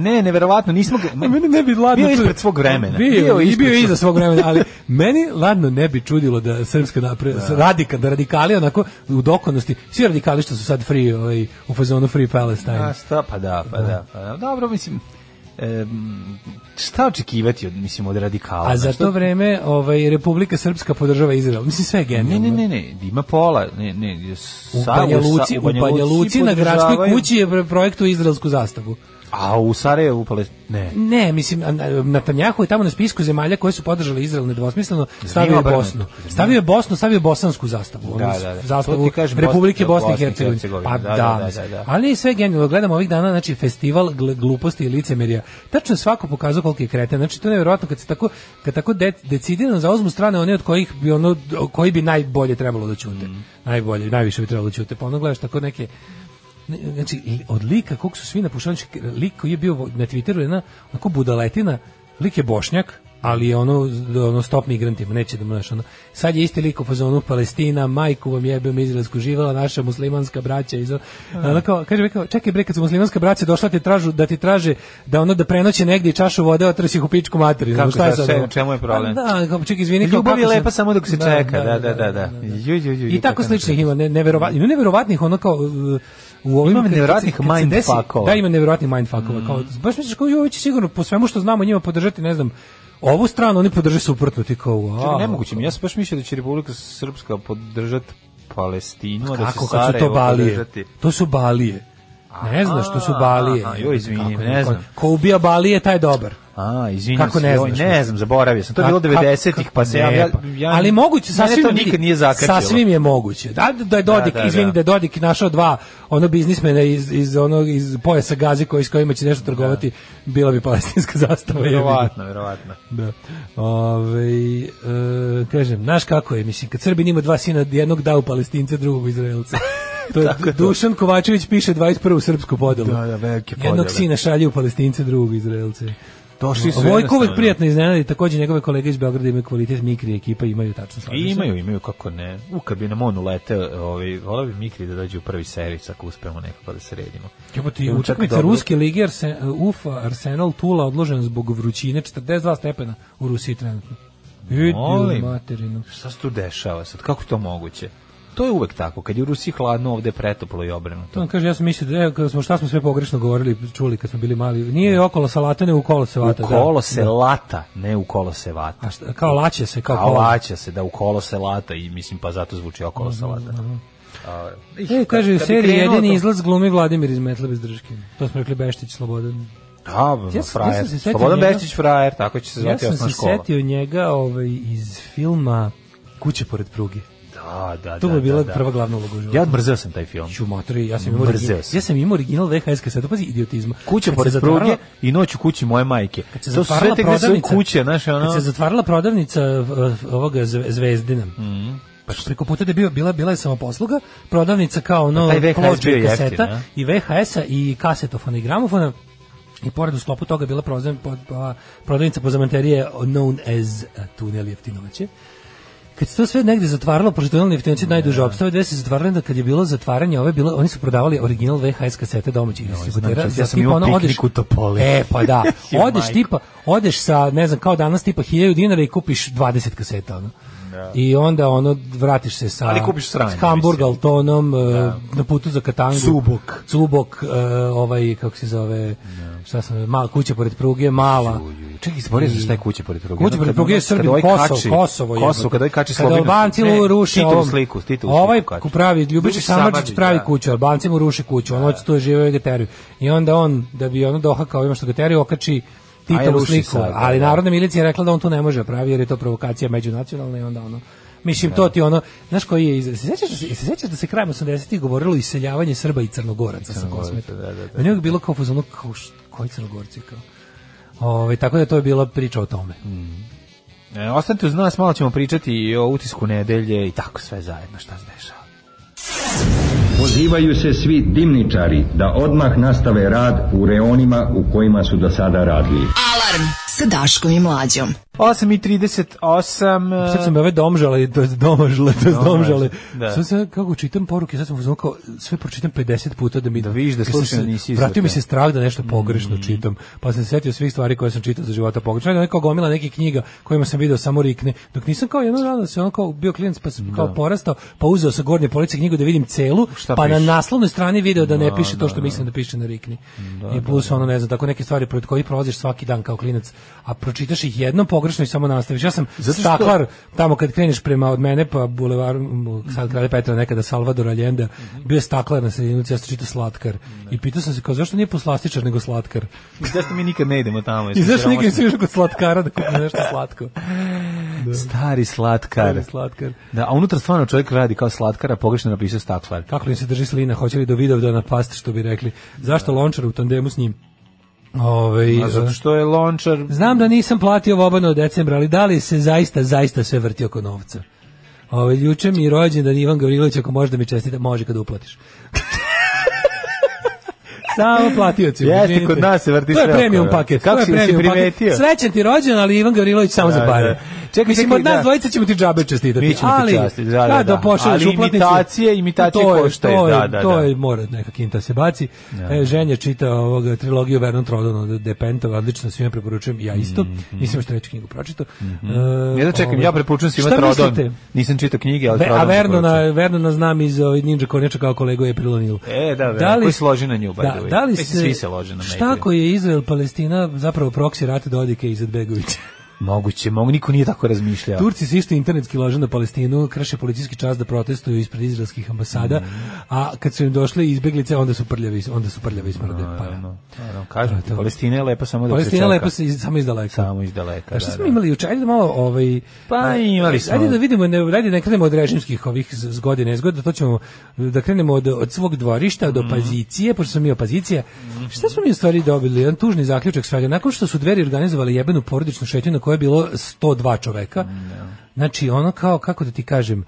S6: ne, neverovatno, nismo ga...
S7: A mene ne bi ladno
S6: Bio je
S7: čudilo-
S6: ispred svog vremena.
S7: Bio, bio,
S6: ispred
S7: bio je
S6: svog-
S7: iza svog vremena, ali meni ladno ne bi čudilo da srpska napre, da. radika, da radikali onako u dokonosti, svi radikali što su sad free, ovaj, u fazonu Free Palestine.
S6: A šta, pa da, pa da. Pa, da. Dobro, mislim, em, šta očekivati od, mislim, od radikala?
S7: A za
S6: znaš,
S7: to
S6: šta-
S7: vreme ovaj, Republika Srpska podržava Izrael. Mislim, sve je
S6: Ne,
S7: genijalno.
S6: ne, ne, ne, ima pola, ne, ne,
S7: U
S6: sa-
S7: Banja Luci,
S6: sa-
S7: u Banja Luci na gradskoj
S6: podržavaju,
S7: kući je pre- projektu izraelsku zastavu.
S6: A u Sarajevu, pa ne.
S7: Ne, mislim, a- a- Netanjahu je tamo na spisku zemalja koje su podržale Izrael nedvosmisleno, stavio je
S6: obrnuto?
S7: Bosnu. Stavio je Bosnu, stavio je bosansku zastavu. Onu
S6: Da, da, da. To
S7: Zastavu
S6: ti kažem,
S7: Republike
S6: Bosna-
S7: Bosne i
S6: Bosne i
S7: Hercegovine.
S6: Hercegovine,
S7: Pa
S6: da,
S7: da,
S6: da, da,
S7: mislim.
S6: da, da.
S7: Ali je sve genijalno. Gledamo ovih dana, znači, festival gl- gluposti i licemerija. Tačno je svako pokazao koliko je kreten. Znači, to je nevjerojatno kad se tako, kad tako de, decidirano zauzmu strane, one od kojih bi ono, koji bi najbolje trebalo da ćute.
S6: Mm.
S7: Najbolje, najviše bi trebalo da ćute. Pa ono gledaš tako neke, ne, znači i od lika kog su svi napušali znači, lik koji je bio vo- na Twitteru jedna onako budaletina lik je bošnjak ali je ono, ono stop migrantima, neće da mu znaš, ono. Sad je isti lik u fazonu Palestina, majku vam jebem izrazku, živela naša muslimanska braća. Iz, ono kao, kaže, bre, kao, čekaj bre, kad su muslimanska braća došla ti tražu, da ti traže da ono da prenoće negdje i čašu vode, otrsi ih u pičku materinu.
S6: Kako,
S7: Šta je
S6: za
S7: sad
S6: čemu-
S7: ovo?
S6: čemu je problem?
S7: Pa Da, kao, čekaj, izvini. kao,
S6: Ljubav je
S7: kako se-
S6: lepa samo dok se čeka, da, da, da, da. Ju, ju, ju,
S7: I
S6: ju,
S7: tako
S6: kako
S7: sličnih
S6: ne-
S7: ima, ne, neverovat, ima neverovatnih ono kao uh, u ovim
S6: Ima
S7: kad- kad se-
S6: neverovatnih
S7: kad se desi-
S6: mindfuckova.
S7: Da, ima neverovatnih mindfuckova. Kao, baš misliš kao joj će sigurno po svemu što znamo njima podržati, ne znam, ovu stranu oni podrže suprotno ti kao. wow.
S6: Čekaj, nemoguće mi, ja sam baš mislio da će Republika Srpska podržati Palestinu, a da će
S7: Kako kad su to
S6: Sarajevo
S7: balije?
S6: podržati.
S7: To su balije. Ne znaš, to su
S6: Aha,
S7: balije.
S6: aha, joj, izvini,
S7: Kako,
S6: ne
S7: ko-
S6: znam.
S7: Ko ubija balije, taj je dobar.
S6: A, izvinjam
S7: Kako
S6: se,
S7: ne
S6: joj,
S7: znaš,
S6: ne
S7: mislim.
S6: znam, zaboravio sam. To je
S7: Ka-
S6: bilo
S7: ka-
S6: 90-ih, pa se ja,
S7: ne,
S6: ja,
S7: pa.
S6: ja...
S7: ali moguće
S6: Mene
S7: sasvim
S6: to nikad nije zakačilo.
S7: Sasvim je moguće. Da da je Dodik,
S6: Da, da,
S7: izvini
S6: da.
S7: da. je Dodik našao dva ono biznismena iz iz onog iz pojasa Gaze koji s kojima će nešto trgovati, bila bi palestinska zastava je.
S6: Da. Verovatno, verovatno.
S7: Da. Ove, e, kažem, znaš kako je, mislim, kad Srbin ima dva sina, jednog dao Palestinca, drugog Izraelca. To je,
S6: Tako je to.
S7: Dušan Kovačević piše 21. srpsku podelu.
S6: Da, da, velike podele.
S7: Jednog sina šalje u Palestince, drugog Izraelce.
S6: Došli su
S7: Vojko
S6: jednostavno.
S7: uvek prijatno iznenadi, takođe njegove kolege iz Beograda imaju kvalitet, mikri ekipa imaju tačno slažem
S6: I
S7: se.
S6: Pa imaju, imaju, kako ne. U, kad bi nam on uleteo, ovaj, volao bi Mikri da dođe u prvi servis ako uspemo nekako da se redimo.
S7: Jebote,
S6: Imamo čak
S7: utakmica
S6: dobro.
S7: Ruske lige Arsen, UFA Arsenal Tula odložena zbog vrućine 42 stepena u Rusiji trenutno.
S6: Molim.
S7: Vidio materinu.
S6: Šta se tu dešava sad? Kako je to moguće? To je uvek tako. Kad je u Rusiji hladno, ovde je pretoplo i
S7: To
S6: obrnuto.
S7: on kaže, ja sam mislio da, evo, kada smo, šta smo sve pogrešno govorili, čuli kad smo bili mali. Nije okolo salata, ne u kolo se
S6: Da. U
S7: vata. da.
S6: kolo se
S7: Da.
S6: lata, ne u kolo se vata.
S7: A šta, kao laće se, kao
S6: A
S7: kolo.
S6: laća se da u kolo se lata i mislim pa zato zvuči okolo se lata. A, ih,
S7: E,
S6: kad-
S7: kaže, u
S6: kad Da bi
S7: seriji
S6: krenulo
S7: jedini
S6: to-
S7: izlaz glumi Vladimir iz Metla bez držke. To smo rekli Beštić, Slobodan.
S6: Da,
S7: Ja sam- ja
S6: frajer.
S7: sam se setio
S6: Slobodan
S7: njega.
S6: Bestić frajer, tako će se zvati
S7: ja sam
S6: osnovna
S7: se
S6: škola.
S7: setio njega ovaj, iz filma Kuće pored pruge.
S6: Da, da, da.
S7: To mu je bila
S6: da, da.
S7: prva glavna uloga u životu.
S6: Ja mrzeo sam taj film.
S7: ću matri, ja sam imao
S6: Mrzeo
S7: original,
S6: sam.
S7: ja sam imao original VHS kasetu, pazi idiotizma.
S6: Kuća
S7: Kad se
S6: pored
S7: zatvarala-
S6: pruge i noć u kući moje majke.
S7: kad se
S6: To su sve
S7: zatvarala
S6: te gde su
S7: prodavnica.
S6: kuće, znaš, ono...
S7: Kad se zatvarala prodavnica v- v- ovoga zve- Zvezdina.
S6: Mhm.
S7: Pa što preko puta da je bio, bila, bila je samoposluga, prodavnica kao ono
S6: Pa taj VHS
S7: ploče
S6: bio
S7: i
S6: jeftin,
S7: kaseta
S6: a?
S7: i VHS-a i kasetofona i gramofona i pored u sklopu toga je bila prozem, po, pa, prodavnica pozamanterije known as eh, tunel jeftinoće. Kad se to sve negde zatvaralo, pošto tunel jeftinoće
S6: Da.
S7: najduže opstave, gde se zatvaralo, da kad je bilo zatvaranje, ove bilo, oni su prodavali original VHS kasete domaćih distributera.
S6: znači,
S7: za
S6: ja sam
S7: tipa
S6: imao
S7: ono,
S6: piknik
S7: odeš-
S6: u Topoli.
S7: E, pa da.
S6: Jo,
S7: Odeš
S6: majko.
S7: tipa, odeš sa, ne znam, kao danas tipa 1000 dinara i kupiš 20 kaseta, ono. I onda ono vratiš se sa
S6: Da. Ali kupiš sranje,
S7: s
S6: mislim.
S7: Hamburg
S6: Da.
S7: Altonom e, na putu za Katangu
S6: Cubok. Da.
S7: Cubok e, ovaj kako se zove šta sam mala kuća pored pruge mala
S6: Čekaj, zaboravio sam šta je kuće pored pruge.
S7: Kuća pored pruge je Srbin, Kosovo, Kosovo je.
S6: ovaj Kosovo, kada ovaj kači
S7: Kada
S6: Slobinu.
S7: Albanci
S6: Ne,
S7: mu ruše
S6: Titovu
S7: ovom-
S6: sliku, Titovu sliku
S7: Ovaj
S6: kači.
S7: ku pravi Ljubiša
S6: Ljubišić
S7: Samardžić
S6: Samardžić,
S7: pravi
S6: da.
S7: kuću, Albanci da mu ruše kuću, on hoće tu da žive i ga teraju. I onda on da bi ono dohakao ima što ga teraju, okači Titovu
S6: ruši
S7: sliku,
S6: sad, da,
S7: ali
S6: da.
S7: narodna milicija je rekla da on to ne može pravi jer je to provokacija međunacionalna i onda ono Mislim,
S6: Da.
S7: to ti ono, znaš koji je, izraz? se sećaš, da se, se sećaš da se krajem 80-ih govorilo o iseljavanje Srba i Crnogoraca sa kosmeta? Da, da, da. Meni je uvijek bilo kao fuzonu, kao št, koji Crnogorci, kao. Ove, tako da to je bila priča o tome.
S6: E, ostanite uz nas, malo ćemo pričati i o utisku nedelje i tako sve zajedno šta se dešava.
S11: Pozivaju se svi dimničari da odmah nastave rad u reonima u kojima su do sada radili.
S5: Alarm sa Daškom i Mlađom.
S6: 8.38
S7: Sad su me ove domžale, to je domažale, to je domžale.
S6: da.
S7: Sad sam, kako čitam poruke, sad sam uzmano kao, sve pročitam 50 puta da mi... Da
S6: vidiš da slučajno nisi izvukao. Mhm.
S7: Vratio mi se strah da nešto pogrešno čitam, pa sam se setio svih stvari koje sam čitao za života pogrešno. Da neka gomila nekih knjiga kojima sam video samo rikne. Dok nisam kao jedno rano se ono kao bio klijent pa sam kao porastao, pa uzeo sa gornje police knjigu da vidim celu,
S6: Da. Šta
S7: pa
S6: piše?
S7: na naslovnoj strani video da ne piše to što mislim da piše na rikni. I plus ono ne znam, tako neke stvari pred kojih prolaziš svaki dan kao klinac, a pročitaš ih jednom pogrešno i samo nastaviš. Ja sam
S6: Zato što-
S7: staklar tamo kad kreneš prema od mene pa bulevar m, sad kralja Petra nekada Salvador Allende bio je staklar na sredinu ceste čita slatkar i pitao sam se kao zašto nije poslastičar nego slatkar
S6: e, Zašto mi nikad ne idemo tamo?
S7: i
S6: jesmo
S7: zašto nikad
S6: siromašni?
S7: nisi išao kod slatkara da kupne nešto slatko
S6: Stari slatkar.
S7: Stari slatkar
S6: Da, a unutra stvarno čovjek radi kao slatkara, pogrešno je napisao staklar.
S7: kako im se drži slina hoće li do vidov da napast što bi rekli zašto lončar u tandemu s njim Ovaj, Ove,
S6: A zato što je lončar...
S7: Znam da nisam platio vobano od decembra, ali da li se zaista, zaista sve vrti oko novca? Ove, juče mi je rođendan Ivan Gavrilović, ako može da mi čestite, može kada uplatiš. Samo platioci.
S6: Jeste,
S7: izvinite.
S6: kod nas se vrti
S7: To
S6: sve
S7: je
S6: oko
S7: premium
S6: novca.
S7: paket.
S6: Kako
S7: to je
S6: si- jesi
S7: premium paket.
S6: primetio?
S7: Srećan ti rođendan, ali Ivan Gavrilović samo
S6: Da,
S7: za pare.
S6: da. Čekaj,
S7: Mislim,
S6: čekaj,
S7: od nas
S6: da.
S7: dvojica ćemo ti džabe čestitati.
S6: Mi ćemo ti
S7: ali,
S6: častiti, da, da,
S7: kad
S6: da.
S7: opošalješ
S6: Ali
S7: uplatnicu,
S6: imitacije, imitacije
S7: to je-
S6: koštaju,
S7: to je-
S6: da, da,
S7: To
S6: da.
S7: je mora neka kinta se baci. E, ženja čita ovoga trilogiju Vernon Trodon od Depentova, odlično svima preporučujem, ja isto. Nisam još treću kngu pročitao. E,
S6: Mhm. Ja da čekam,
S7: ovaj,
S6: ja preporučujem svima
S7: šta
S6: Trodon.
S7: mislite?
S6: Nisam čitao knjige, ali
S7: Ve,
S6: Trodon
S7: a Vernona,
S6: preporučujem.
S7: Vernona znam iz ovaj, Ninja Kornjača kao kolegu je prilonilo.
S6: E, da, da, koji se loži na nju, by the way.
S7: da, da li
S6: Mislim,
S7: se,
S6: svi se lože na
S7: Šta
S6: Medvedu.
S7: ako je Izrael-Palestina zapravo proksi rat Dodike i Izetbegovića?
S6: Moguće, mogu, niko nije tako razmišljao.
S7: Turci se isto internetski lažu na Palestinu, krše policijski čas da protestuju ispred izraelskih ambasada, a kad su im došle izbeglice, onda su prljavi, onda su prljavi smrde. Pa,
S6: Naravno, naravno, kažem ti, Palestina je lepa samo da
S7: Palestina je lepa se iz- samo iz
S6: Samo iz daleka,
S7: A šta
S6: da,
S7: smo
S6: da.
S7: imali juče? Ajde da malo ovaj
S6: Pa, imali smo.
S7: Ajde da vidimo, ne, ajde da ne krenemo od režimskih ovih z- zgoda i nezgoda, to ćemo da krenemo od, od svog dvorišta
S6: Mhm.
S7: do opozicije, pošto smo mi opozicija. Šta smo mi u stvari dobili? Jedan tužni zaključak svega. Nakon što su dveri organizovali jebenu porodičnu šetnju na kojoj je bilo 102 čoveka.
S6: Mm, da.
S7: Znači ono kao kako da ti kažem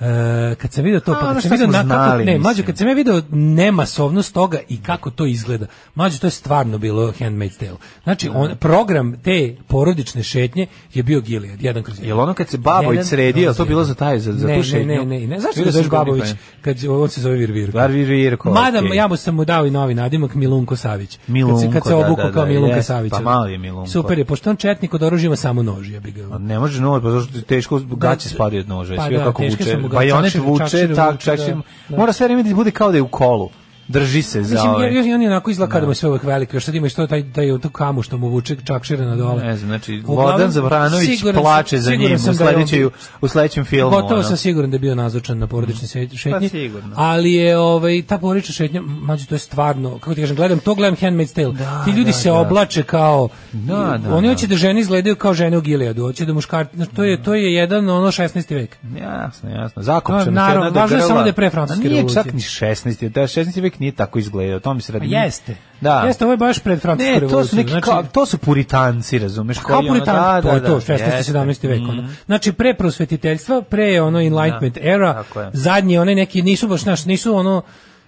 S7: e, kad sam video to,
S6: A,
S7: pa
S6: ono
S7: kad sam
S6: šta
S7: video
S6: smo
S7: nakako-
S6: znali,
S7: ne, mađo,
S6: mislim.
S7: kad sam ja video nemasovnost toga i kako to izgleda, mađo, to je stvarno bilo handmade tale. Znači,
S6: Da.
S7: on, program te porodične šetnje je bio Gilead, jedan kroz jedan.
S6: Jel ono kad se Babović
S7: Jedan
S6: sredi,
S7: kroz
S6: jel to
S7: jedan.
S6: bilo za taj- za- za
S7: ne,
S6: tu
S7: ne, ne,
S6: šetnju?
S7: ne, ne, znaš što
S6: Vidio sam
S7: ga zoveš
S6: ga,
S7: Babović,
S6: ne.
S7: kad on se zove Virvirko.
S6: Varvir Irko.
S7: Mada,
S6: okej.
S7: ja mu sam mu dao i novi nadimak Milunko Savić. kad se,
S6: Milunko,
S7: kad se
S6: da,
S7: obukao
S6: da, da,
S7: kao Milunko
S6: jest,
S7: Savić.
S6: pa mali je Milunko.
S7: Super je, pošto je on četnik od oružja ima samo nož, ja bi ga.
S6: A Ne može nož, pa zašto ti teško gaće spadaju od noža,
S7: Pa
S6: sve
S7: da,
S6: kako
S7: teške
S6: vuče.
S7: su mu ga-
S6: Bajonet
S7: čakšire-
S6: vuče,
S7: čakšire
S6: tak,
S7: vuče, da,
S6: čakšire.
S7: da.
S6: Mora sve vreme da bude kao da je u kolu. Drži se za
S7: Mislim,
S6: ove.
S7: jer, jer on je onako izgleda
S6: Da.
S7: kada mu je sve uvek veliko, još sad ima i što taj, taj tu kamu što mu vuče čakšire na dole.
S6: Ne znam, znači,
S7: Uglavnom,
S6: Vladan Zavranović
S7: siguran sam-
S6: plaće za
S7: siguran
S6: njim
S7: sam
S6: u,
S7: da je on-
S6: sledećoj, u sledećem filmu.
S7: Gotovo
S6: ono.
S7: sam siguran da je bio nazočan na porodičnoj se- šetnji.
S6: Mm. Pa sigurno.
S7: Ali je ovaj ta porodična šetnja, mađo to je stvarno, kako ti kažem, gledam to, gledam Handmaid's Tale. Ti ljudi
S6: da,
S7: se
S6: da.
S7: oblače kao
S6: Da, da,
S7: oni
S6: da.
S7: hoće da žene izgledaju kao žene u Gileadu, hoće da muškarci, znači, to je to je jedan ono 16. vek.
S6: Jasno, jasno. Zakopčeno
S7: Naravno,
S6: se jedna do
S7: važno je
S6: grla.
S7: samo da je pre francuske
S6: A nije
S7: revolucije.
S6: čak ni 16. Da, 16. vek nije tako izgledao. To mi se radi.
S7: Pa Jeste.
S6: Da.
S7: Jeste, ovo je baš pred francusku
S6: Ne, to su
S7: revoluciju,
S6: neki
S7: znači- Pa
S6: kao, to su puritanci, razumeš?
S7: Kao
S6: koji ono-
S7: puritanci,
S6: da,
S7: to je
S6: da,
S7: to,
S6: da,
S7: 16.
S6: jeste. Mm, Mhm. Da,
S7: 17. vek. ono. Znači, pre prosvetiteljstva, pre ono Enlightenment era,
S6: tako je.
S7: zadnji onaj neki, nisu baš naš, nisu ono,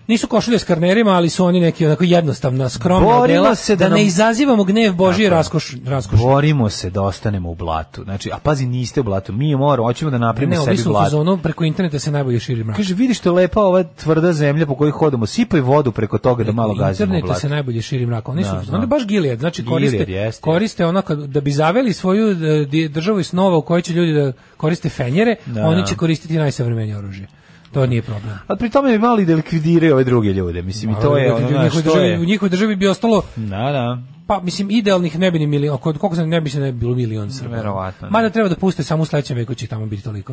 S7: nisu košulje s karnerima, ali su oni neki onako jednostavna, skromna
S6: Borimo
S7: odela,
S6: se
S7: da,
S6: da nam-
S7: ne izazivamo gnev Božije raskoš, raskoš.
S6: Borimo se da ostanemo u blatu. Znači, a pazi, niste u blatu. Mi moramo, hoćemo da napravimo
S7: Ne, ovi
S6: sebi
S7: su u
S6: blatu.
S7: fazonu, preko interneta se najbolje širi mrak.
S6: Kaže, vidiš što je lepa ova tvrda zemlja po kojoj hodamo. Sipaj vodu preko toga da malo gazimo u
S7: interneta
S6: blatu.
S7: se najbolje širi mrak. Oni su,
S6: Da,
S7: oni
S6: da.
S7: baš Gilead, znači
S6: Gilead,
S7: koriste,
S6: jeste.
S7: koriste ono kad, da bi zaveli svoju e, di- državu i snova u kojoj će ljudi da koriste fenjere,
S6: Da.
S7: oni će koristiti najsavremenije oružje. To nije problem.
S6: A pri tome bi mali da likvidiraju ove druge ljude. Mislim, i to je
S7: Ali
S6: ono
S7: u
S6: znaš,
S7: njihovoj
S6: to
S7: državi,
S6: je.
S7: u njihovoj državi bi ostalo
S6: Da, da.
S7: pa mislim idealnih ne bi ni milion, kod koliko sam ne bi se ne bi bilo milion Srba.
S6: Verovatno, ne.
S7: Mada treba da puste samo u sledećem veku će tamo biti toliko.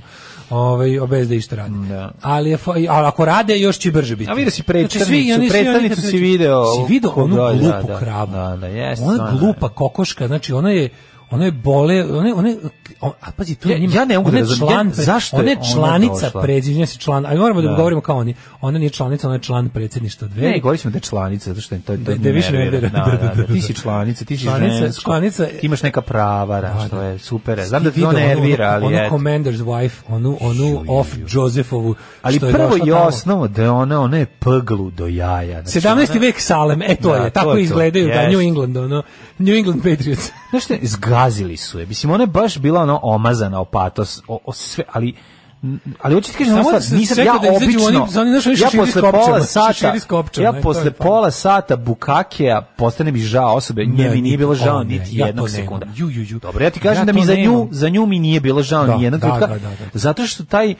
S7: Ovaj obez da išta radi.
S6: Da.
S7: Ali, je, fa- ali ako rade još će brže biti.
S6: A vidio si
S7: Znači, svi- i
S6: predstavnicu,
S7: oni- svi oni kad
S6: predstavnicu
S7: se-
S6: si video.
S7: Si video
S6: ko
S7: onu
S6: dođe,
S7: glupu
S6: da, da.
S7: kravu.
S6: Da, da, jest.
S7: Ona glupa kokoška, znači ona je ona je bole, ona je, ona je, a pazi, to je
S6: Ja-
S7: njima,
S6: ja ne mogu da
S7: ona je
S6: razumem,
S7: član,
S6: ja- zašto je
S7: ona je
S6: ona
S7: članica
S6: došla?
S7: predsjedništva, se član, ali moramo da,
S6: Da.
S7: govorimo kao oni, ona nije članica, ona je član predsjedništva dve.
S6: Ne, govorili smo da je članica, zato što je to, to
S7: Da- da više nervira.
S6: Da, da,
S7: Da, da,
S6: da,
S7: da.
S6: ti si članica, ti si
S7: Članica-
S6: žensko,
S7: članica-
S6: ti imaš neka prava, da, što je super. je. Znam da
S7: Ti
S6: te to
S7: video onu-
S6: nervira, ali
S7: onu,
S6: eto.
S7: Commander's wife, onu, onu off Josefovu,
S6: Ali
S7: što je
S6: prvo
S7: došla
S6: i
S7: tamo.
S6: osnovno da je ona, ona je pglu do jaja. Znači,
S7: 17.
S6: ona-
S7: vek Salem, e
S6: Da,
S7: to
S6: to
S7: je,
S6: je
S7: tako
S6: to,
S7: izgledaju, da,
S6: jest.
S7: New England, ono, New England Patriots.
S6: Znaš šta, zgazili su je. Mislim, ona je baš bila ono omazana o patos, o, o sve, ali m, ali hoću ti kažem,
S7: Samo
S6: ono
S7: da se
S6: stvar, nisam,
S7: čeka
S6: ja
S7: da izađu
S6: obično,
S7: oni- za oni, znaš, oni
S6: ja
S7: šeširi s
S6: posle
S7: kopčama,
S6: pola
S7: šeširi
S6: sata,
S7: s kopčama,
S6: ja
S7: ne, to je
S6: posle
S7: fajn.
S6: pola sata Bukakija postane mi žao osobe, nje mi nije bilo žao
S7: o, ne,
S6: niti
S7: Znači, ja
S6: jednog
S7: to nemam.
S6: sekunda.
S7: Ju, ju, ju.
S6: Dobro, ja ti kažem
S7: Ja
S6: da mi
S7: to
S6: za nju,
S7: nemam.
S6: za nju mi nije bilo žao
S7: Da,
S6: ni jednog
S7: da,
S6: trenutka,
S7: da, da, da.
S6: zato što taj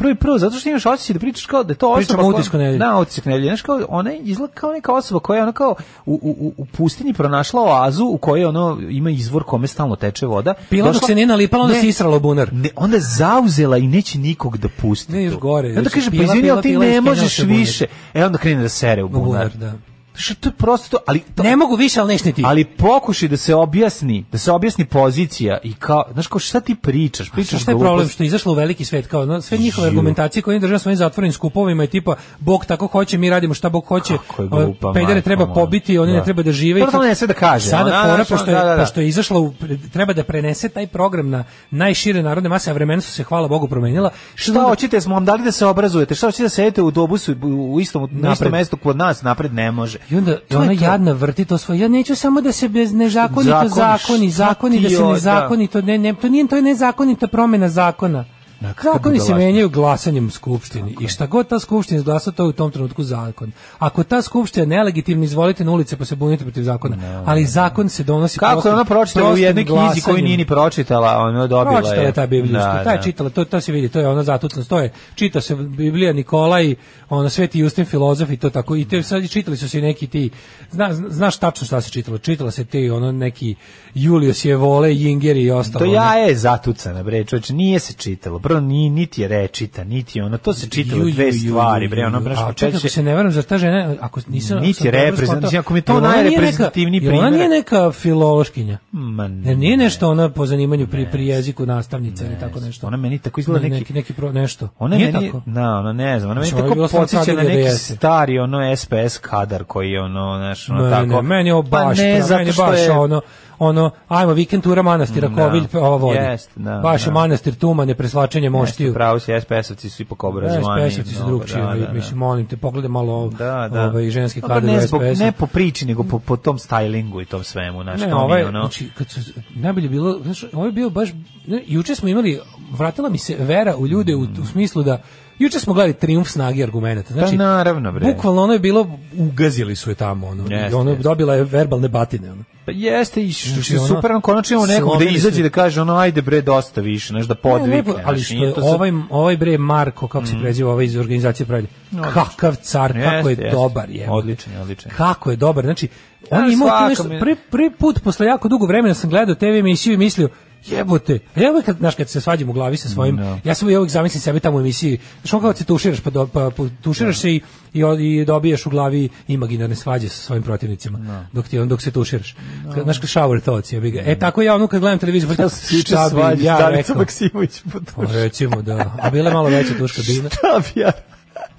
S6: Prvi prvo zato što imaš osjećaj da pričaš kao da je to osoba
S7: Pričamo o utisku nedelje.
S6: Da, otisak nedelje. Znaš kao ona izgleda kao neka osoba koja je ona kao u, u, u pustinji pronašla oazu u kojoj ono ima izvor kome stalno teče voda.
S7: Pila dok
S6: Došla-
S7: se nije nalipala, onda
S6: Ne,
S7: se israla u bunar.
S6: Ne, onda je zauzela i neće nikog da pusti.
S7: Ne, još
S6: tu.
S7: gore,
S6: Onda
S7: znači,
S6: kaže, pa
S7: pila,
S6: izvini,
S7: pila,
S6: ali ti
S7: pila,
S6: ne
S7: iskenjala
S6: možeš
S7: se u bunar.
S6: više. E, onda krene da sere u
S7: U
S6: bunar.
S7: bunar, da.
S6: Što to je prosto, ali... To,
S7: Ne mogu više, ali nešto ti.
S6: Ali pokušaj da se objasni, da se objasni pozicija i kao, znaš kao šta ti pričaš? Pričaš
S7: šta je
S6: glupost.
S7: problem što je izašlo u veliki svet kao no, sve njihove argumentacije koje oni drže na svojim zatvorenim skupovima i tipa Bog tako hoće mi radimo šta Bog hoće
S6: Kako je glupa,
S7: o, pejdere
S6: majko
S7: treba
S6: moja.
S7: pobiti oni
S6: Da.
S7: ne treba da žive i
S6: Prvo tamo ne sve da kaže, ono,
S7: sada
S6: da,
S7: fora
S6: znaš,
S7: pošto je,
S6: da, da, da.
S7: pošto je izašla u, treba da prenese taj program na najšire narodne mase a vremena su se hvala Bogu promenila
S6: Šta hoćete, smo vam dali da se obrazujete, šta hoćete da sedete u dobusu u istom, na istom
S7: Napred.
S6: mestu kod nas, napred ne može.
S7: I onda
S6: To je
S7: ona
S6: to.
S7: jadna vrti to svoje. Ja neću samo da se bez nezakonito
S6: Zakoniš.
S7: zakoni, zakoni da
S6: Šta ti
S7: se
S6: je,
S7: nezakonito ne, ne to nije to je nezakonita promena zakona.
S6: Da, kako
S7: Zakoni se
S6: budalaštvo.
S7: menjaju glasanjem u skupštini i šta god ta skupština izglasa to je u tom trenutku zakon. Ako ta skupština je nelegitimna izvolite na ulice pa se bunite protiv zakona. Ali zakon se donosi
S6: Kako je
S7: prostim-
S6: ona pročitala u
S7: prostim
S6: jednoj knjizi koju
S7: glasanjem.
S6: nije ni pročitala, ona dobila je.
S7: Pročitala je ta biblijska,
S6: Da,
S7: ta je
S6: da.
S7: čitala, to, to se vidi, to je ona zatucnost, to je, čita se Biblija Nikolaj, ono, Sveti Justin filozof i to tako, i te sad i čitali su se i neki ti, zna, zna- znaš tačno šta se čitalo, čitala se te, ono, neki Julius je vole, Jinger i ostalo.
S6: To
S7: ono.
S6: ja je zatucana, bre, čovječe, nije se čitalo. Prvo, ni, niti je rečita, niti je ono, to se čitalo
S7: Ju, ju,
S6: dve
S7: ju, ju,
S6: stvari,
S7: ju,
S6: bre, ono,
S7: ju.
S6: bre,
S7: A
S6: što
S7: čekaj, ako se ne verujem, zar ta žena, ako nisam... ako
S6: Niti
S7: sam dobro
S6: reprezent-
S7: shvatao,
S6: mislim, ako mi je to
S7: jel ona nije neka-
S6: najreprezentativniji
S7: jel Ona nije
S6: primjerak.
S7: neka filološkinja.
S6: Ma
S7: Ne, nije nešto ona po zanimanju pri, pri jeziku nastavnice ili tako nešto.
S6: Ona meni tako izgleda
S7: Ne,
S6: neki-
S7: neki, neki pro, nešto.
S6: Ona
S7: nije
S6: je meni,
S7: tako.
S6: Na, ona ne znam, ona meni
S7: Znači, ona je
S6: tako
S7: bila samo
S6: podsjeća na
S7: tragedija da
S6: neki
S7: jeste.
S6: stari ono SPS kadar koji je ono, znaš, ono
S7: Ne,
S6: tako.
S7: ne, meni je ovo
S6: Pa
S7: baš,
S6: ne,
S7: pra-
S6: zato
S7: meni je
S6: što
S7: baš
S6: je-
S7: ono, ono, ajmo, vikend tura manastira, Kovilj, pa ova vodi.
S6: Jest, Mm, da,
S7: baš je
S6: da.
S7: manastir Tumane, presvlačenje moštiju.
S6: Jeste, Pravo si, SPS-ovci su ipak obrazovani.
S7: SPS-ovci su
S6: mnogo,
S7: drugčiji,
S6: da, da, da.
S7: mislim, molim te, pogledaj malo ovo-
S6: Da, da.
S7: ovaj, ženski
S6: Dobro,
S7: kadar u
S6: ne, zbog,
S7: SPS-u.
S6: ne po priči, nego po, po tom stylingu i tom svemu, znaš,
S7: Ne,
S6: to mi
S7: ovaj,
S6: je ono...
S7: znači, kad su, najbolje je bilo, znaš, ovo je bio baš, ne, juče smo imali, vratila mi se vera u ljude u, u smislu da, juče smo gledali triumf snage argumenta, znači,
S6: Mm. pa naravno, bre.
S7: bukvalno ono je bilo, ugazili su je tamo, ono, i
S6: Jeste,
S7: ono,
S6: jeste.
S7: dobila je verbalne batine, ono.
S6: Pa jeste, i što
S7: Znači,
S6: je
S7: ono,
S6: super, on konačno imamo nekog da
S7: slomili
S6: izađe
S7: su-
S6: da kaže, ono, ajde bre, dosta više, znaš, da
S7: Ne,
S6: podvikne.
S7: lepo, ali
S6: znaš,
S7: što
S6: nije
S7: je
S6: to sad- Mm.
S7: ovaj, ovaj bre Marko, kako se preziva ovaj iz organizacije pravilja, kakav car, kako je
S6: Jeste, jeste.
S7: dobar je.
S6: Odličan je, odličan je.
S7: Kako je dobar, znači, on
S6: Ja,
S7: je imao
S6: svaka
S7: tu nešto,
S6: mi je-
S7: prvi, prvi put posle jako dugo vremena sam gledao TV emisiju i mislio, jebote, a ja uvek, kad, znaš, kad se svađam u glavi sa svojim,
S6: Da.
S7: ja sam ja uvek zamislim sebe tamo u emisiji, znaš, on kao kad se tuširaš, pa, do, pa, pa tuširaš
S6: Da.
S7: se i, i, od- i dobiješ u glavi imaginarne svađe sa svojim protivnicima,
S6: Da.
S7: dok, ti, on- dok se tuširaš. Ka- Znaš, kao shower thoughts, jebi ga. E, tako ja ono kad gledam televiziju, pa,
S6: Ja sam Da. se juče
S7: šta bi
S6: svađao s
S7: ja
S6: Daricom
S7: rekao?
S6: Maksimović po
S7: Pa recimo da, a bila je malo veća tuška bila.
S6: Šta bi ja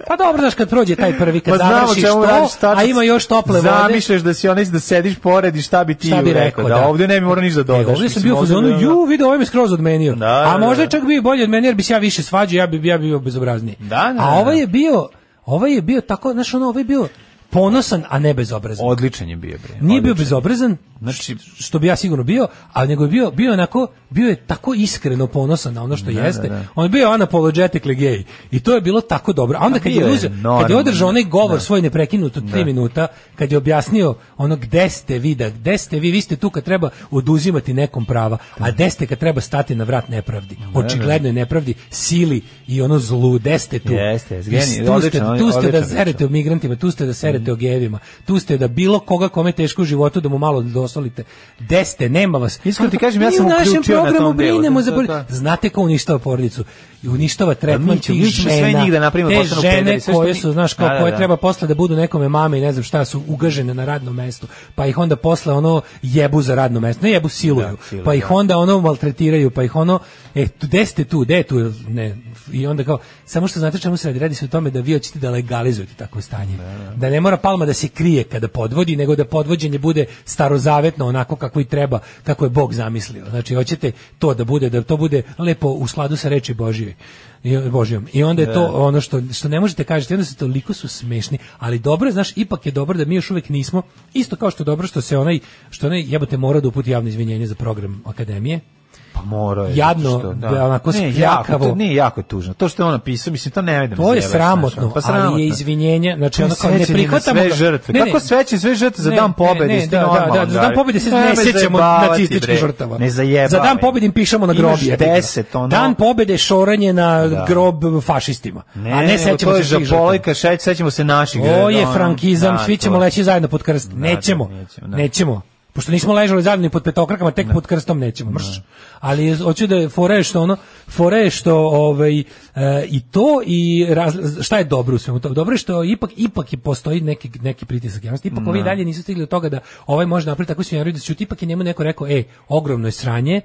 S7: Pa dobro, znaš kad prođe taj prvi, kad
S6: Pa znamo
S7: završiš
S6: čemu
S7: to,
S6: radiš, tačno.
S7: a ima još tople vode.
S6: Zamišljaš da si onaj da sediš pored i šta bi ti
S7: Šta bi rekao,
S6: da.
S7: da.
S6: ovdje ne bi morao ništa
S7: E,
S6: dodaš.
S7: ovdje sam
S6: Mislim, da
S7: bio u
S6: ovdje
S7: fazonu,
S6: bi-
S7: ju, vidio, ovaj me skroz odmenio.
S6: Da,
S7: a
S6: da,
S7: možda
S6: da.
S7: je čak bio i bolje od mene, jer bi se ja više svađao, ja bi, ja bi bio bezobrazniji.
S6: Da, da,
S7: a
S6: da.
S7: ovaj je bio, ovaj je bio tako, znaš, ono, ovaj je bio ponosan, a ne bezobrazan.
S6: Odličan je bio, bre.
S7: Nije bio
S6: odličan.
S7: bezobrazan,
S6: Znači-
S7: š- što bi ja sigurno bio, a nego je bio, bio onako, bio je tako iskreno ponosan na ono što jeste.
S6: da.
S7: On je bio unapologetically gay. I to je bilo tako dobro. A onda kad
S6: bio
S7: je,
S6: je
S7: uzeo, kad je
S6: normalan. da.
S7: održao onaj govor svoj neprekinut od 3 minuta, kad je objasnio ono gde ste vi, da gde ste vi, vi ste tu kad treba oduzimati nekom prava, a gde ste kad treba stati na vrat nepravdi.
S6: Da,
S7: Očigledno je nepravdi, sili i ono zlu, gde ste tu.
S6: Jeste, jeste,
S7: Vi
S6: genij,
S7: tu ste,
S6: odličan,
S7: tu ste da
S6: odličan, Mm.
S7: zerete u migrantima, tu ste da serete raspravljate o gejevima. Tu ste da bilo koga kome je teško u životu da mu malo dosolite. Deste, nema vas.
S6: Iskreno ti
S7: Kako-
S6: kažem, ja
S7: mi
S6: sam
S7: u našem
S6: uključio na tom
S7: programu
S6: delu.
S7: brinemo za
S6: Da,
S7: porodicu.
S6: da.
S7: Znate ko uništava porodicu? I uništava tretman
S6: mi ćemo-
S7: tih
S6: mi ćemo sve
S7: žena.
S6: njih da napravimo
S7: te
S6: postanu pederi,
S7: žene
S6: sve što
S7: koje
S6: mi-
S7: su, znaš, kao,
S6: Da, da,
S7: koje
S6: da.
S7: treba posle da budu nekome mame i ne znam šta su ugažene na radnom mestu, pa ih onda posle ono jebu za radno mesto, ne jebu siluju,
S6: Da, siluju,
S7: pa ih onda ono maltretiraju, pa ih ono e tu gde ste tu, gde je tu ne i onda kao samo što znate čemu se radi, radi se o tome da vi hoćete da legalizujete takvo stanje. Da, ne mora palma da se krije kada podvodi, nego da podvođenje bude starozavetno onako kako i treba, kako je Bog zamislio. Znači hoćete to da bude da to bude lepo u skladu sa reči Božjoj. I, Božjom. I onda je to
S6: Da.
S7: ono što, što ne možete kažete, onda se toliko su smešni, ali dobro, je, znaš, ipak je dobro da mi još uvek nismo, isto kao što je dobro što se onaj, što onaj jebote mora da uputi javno izvinjenje za program Akademije,
S6: Pa morao je.
S7: Jadno,
S6: zato što,
S7: da, onako
S6: Ne, jako,
S7: spljakavo.
S6: to, nije jako je tužno. To što je on napisao, mislim, to ne vidim.
S7: To je sramotno,
S6: pa
S7: ali je izvinjenje, znači ono kao ne prihvatamo
S6: sve
S7: ga.
S6: žrtve.
S7: Ne, ne.
S6: Kako sveće sve žrtve za
S7: Ne,
S6: dan
S7: ne,
S6: pobede,
S7: ne,
S6: jesi ti
S7: da, da,
S6: normalan,
S7: da, za dan
S6: Gari?
S7: pobede se ne
S6: Nemoj
S7: sećamo
S6: zajebavati,
S7: nacističkih
S6: bre.
S7: žrtava.
S6: Ne zajebavaj.
S7: Za dan pobede im pišemo na grob.
S6: Imaš
S7: jebi ga.
S6: 10 ono.
S7: Dan pobede šoranje na
S6: Da.
S7: grob fašistima. a ne
S6: nego
S7: sećamo
S6: to
S7: se
S6: je
S7: svih žrtava.
S6: žapolajka, šeć, sećamo se naših.
S7: O je
S6: ono,
S7: frankizam,
S6: da,
S7: svi ćemo
S6: to.
S7: leći zajedno pod krst. nećemo.
S6: nećemo, da.
S7: Nećemo. Pošto nismo ležali zajedno ni pod petokrakama, tek pod krstom nećemo, mrš.
S6: Da.
S7: Ali je- hoću da je fora je što ono, fora je što ovaj e, i to i raz- šta je dobro u svemu tome? Dobro je što ipak ipak je postoji neki neki pritisak javnosti. Ipak ovi dalje nisu stigli do toga da ovaj može napraviti takvu svinjariju da će ipak je njemu neko rekao, ej, ogromno je sranje,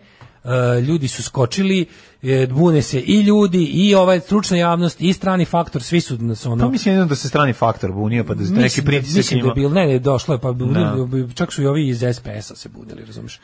S7: e, ljudi su skočili, e, bune se i ljudi, i ovaj stručna javnost, i strani faktor, svi su nas ono...
S6: Pa mislim jedino da se strani faktor bunio, pa da
S7: Mislim
S6: neki
S7: da-
S6: pritisak
S7: mislim da je
S6: ima.
S7: bilo, ne, ne, došlo je, pa
S6: Da.
S7: bi- bi- čak su i ovi iz SPS-a se budili, razumiješ.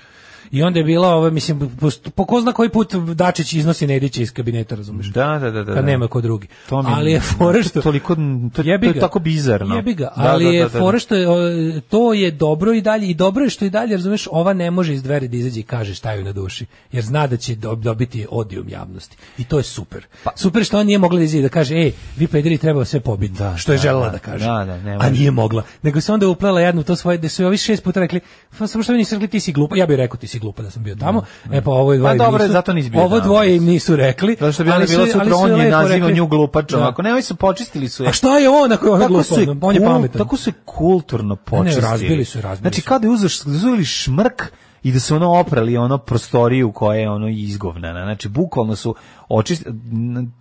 S7: I onda je bila, ove, mislim, post- po ko zna koji put Dačić iznosi Nedića iz kabineta, razumiješ.
S6: Da, da, da, da.
S7: Kad
S6: da.
S7: Pa nema ko drugi.
S6: To mi-
S7: ali je fora što...
S6: Toliko, to, to
S7: Jebi
S6: je
S7: ga.
S6: tako bizarno.
S7: Jebi ga,
S6: Da,
S7: ali
S6: da,
S7: je
S6: da, da, da.
S7: fora što je, o, to je dobro i dalje i dobro je što i dalje, razumeš, ova ne može iz dveri da izađe i kaže šta je na duši, jer zna da će dob- dobiti odijum javnosti. I to je super.
S6: Pa-
S7: super što ona nije mogla da izađe i da kaže, ej, vi pederi treba sve pobiti, što je
S6: da,
S7: želela
S6: da.
S7: da, kaže.
S6: Da, da, ne
S7: A
S6: može.
S7: nije mogla. Nego se onda uplela jednu u to svoje, da su joj ovi šest puta rekli, "Pa samo što mi nisu rekli ti si glupa, ja bih rekao ti si glupa da sam bio tamo, e pa ovo dvoje im
S6: dobro,
S7: nisu-
S6: zato nisi bio tamo.
S7: Ovo dvoje im nisu rekli.
S6: Zato što bi
S7: ali
S6: onda
S7: su-
S6: bilo
S7: ali
S6: sutra,
S7: su joj
S6: on je
S7: lepo
S6: nazivao
S7: rekli-
S6: nju glupačom.
S7: Da.
S6: Ako nemoj su počistili su je.
S7: A šta je on ako je ona
S6: Tako
S7: glupa?
S6: su je
S7: Ono, on je
S6: kul-
S7: pametan.
S6: Tako su je kulturno počistili.
S7: razbili su je, razbili
S6: Znači,
S7: su.
S6: kada je uzeli uzeli šmrk i da su ono oprali ono prostoriju koja je ono izgovnana. Znači, bukvalno su očistili,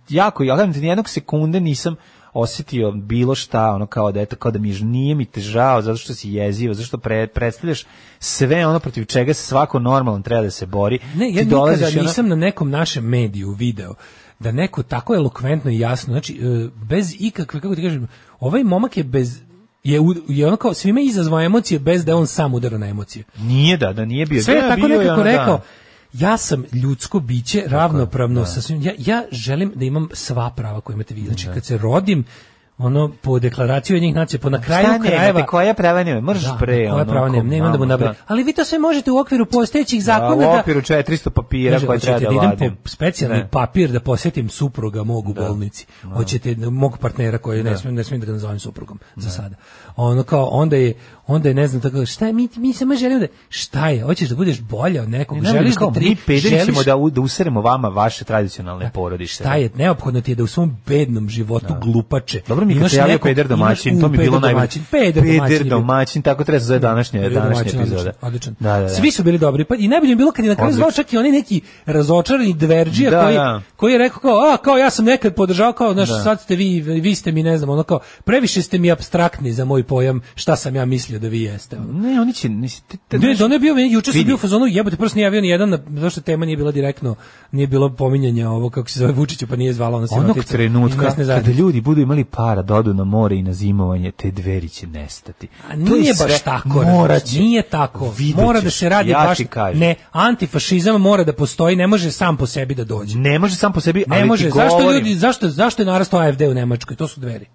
S6: jako, ja gledam, nijednog sekunde nisam osjetio bilo šta, ono kao da eto, kao da mi je- nije mi te žao, zato što si jezio, zato što pre, predstavljaš sve ono protiv čega se svako normalan treba da se bori.
S7: Ne,
S6: Ti
S7: ja nikada
S6: dolaziš i ono-
S7: nisam na nekom našem mediju video da neko tako elokventno i jasno, znači e, bez ikakve, kako ti kažem, ovaj momak je bez je, u- je ono kao svime izazvao emocije bez da je on sam udara na emocije.
S6: Nije da, da nije bio.
S7: Sve
S6: Da,
S7: je tako
S6: bio je
S7: nekako
S6: ono, da.
S7: rekao, ja sam ljudsko biće
S6: da.
S7: ravnopravno sa svim, ja, ja želim da imam sva prava koje imate vi, znači
S6: Da.
S7: kad se rodim, ono po deklaraciji jednih nacija, po na kraju
S6: Šta nemate,
S7: krajeva,
S6: koja prava nema? Mrš
S7: Da,
S6: bre,
S7: koja prava
S6: ko-
S7: nema, nema da mu
S6: mamo,
S7: nabrajam. Ali vi to sve možete u okviru postojećih
S6: Da,
S7: zakona
S6: u
S7: da,
S6: okviru 400 papira
S7: Kaže,
S6: koje treba
S7: hoćete
S6: da
S7: da idem
S6: vadim.
S7: po specijalni
S6: Ne. Da,
S7: papir da posjetim supruga mog u bolnici. Hoćete da- mog partnera koji ne smijem ne smijem da ga nazovem suprugom za sada. Ono kao onda je onda je ne znam tako šta je, mi mi samo želimo da šta je hoćeš da budeš bolja od nekog
S6: Ne,
S7: želiš
S6: kao,
S7: da tri
S6: mi pederi
S7: želiš-
S6: ćemo da, u- da useremo vama vaše tradicionalne porodište.
S7: Šta je, neophodno ti je da u svom bednom životu glupače.
S6: Da. Dobro mi je kad
S7: imaš
S6: se javio
S7: nekog-
S6: peder
S7: imaš-
S6: domaćin,
S7: u,
S6: to mi je bilo
S7: peder
S6: najbolje.
S7: domaćin, Peder domaćin. je bio.
S6: domaćin, tako treba se zove današnja,
S7: Bio
S6: današnja
S7: domaćin, odličan,
S6: epizoda.
S7: Odličan.
S6: Da, da, da.
S7: Svi su bili dobri. Pa i najbolje je bilo kad je na kraju
S6: Odlično.
S7: zvao čak i onaj neki razočarani dverđija
S6: Da,
S7: koji,
S6: da.
S7: koji je rekao kao, a kao ja sam nekad podržao kao znaš, sad ste vi vi ste mi ne znam, ono kao previše ste mi apstraktni za moj pojam šta sam ja mislio da vi jeste. Ono.
S6: Ne, oni će... nisi- te- te-
S7: Ne, da ne bio, meni juče sam
S6: vidi.
S7: bio u fazonu, jebote, prosto nije javio ni jedan, na- zato što tema nije bila direktno, nije bilo pominjanja ovo, kako se zove Vučića, pa nije zvala ona se
S6: Onog trenutka kada ljudi budu imali para da odu na more i na zimovanje, te dveri će nestati.
S7: A
S6: To je
S7: nije
S6: sve-
S7: baš tako,
S6: Morat
S7: razumeš,
S6: će.
S7: nije tako.
S6: Vidjet
S7: Mora da
S6: ćeš,
S7: se radi
S6: ja
S7: baš
S6: ti kažem.
S7: ne, antifašizam mora da postoji, ne može sam po sebi da dođe.
S6: Ne može sam po sebi, ali
S7: Ne
S6: ti
S7: može. Zašto
S6: govorim-
S7: ljudi, zašto zašto je narastao AFD u Nemačkoj? To su dveri.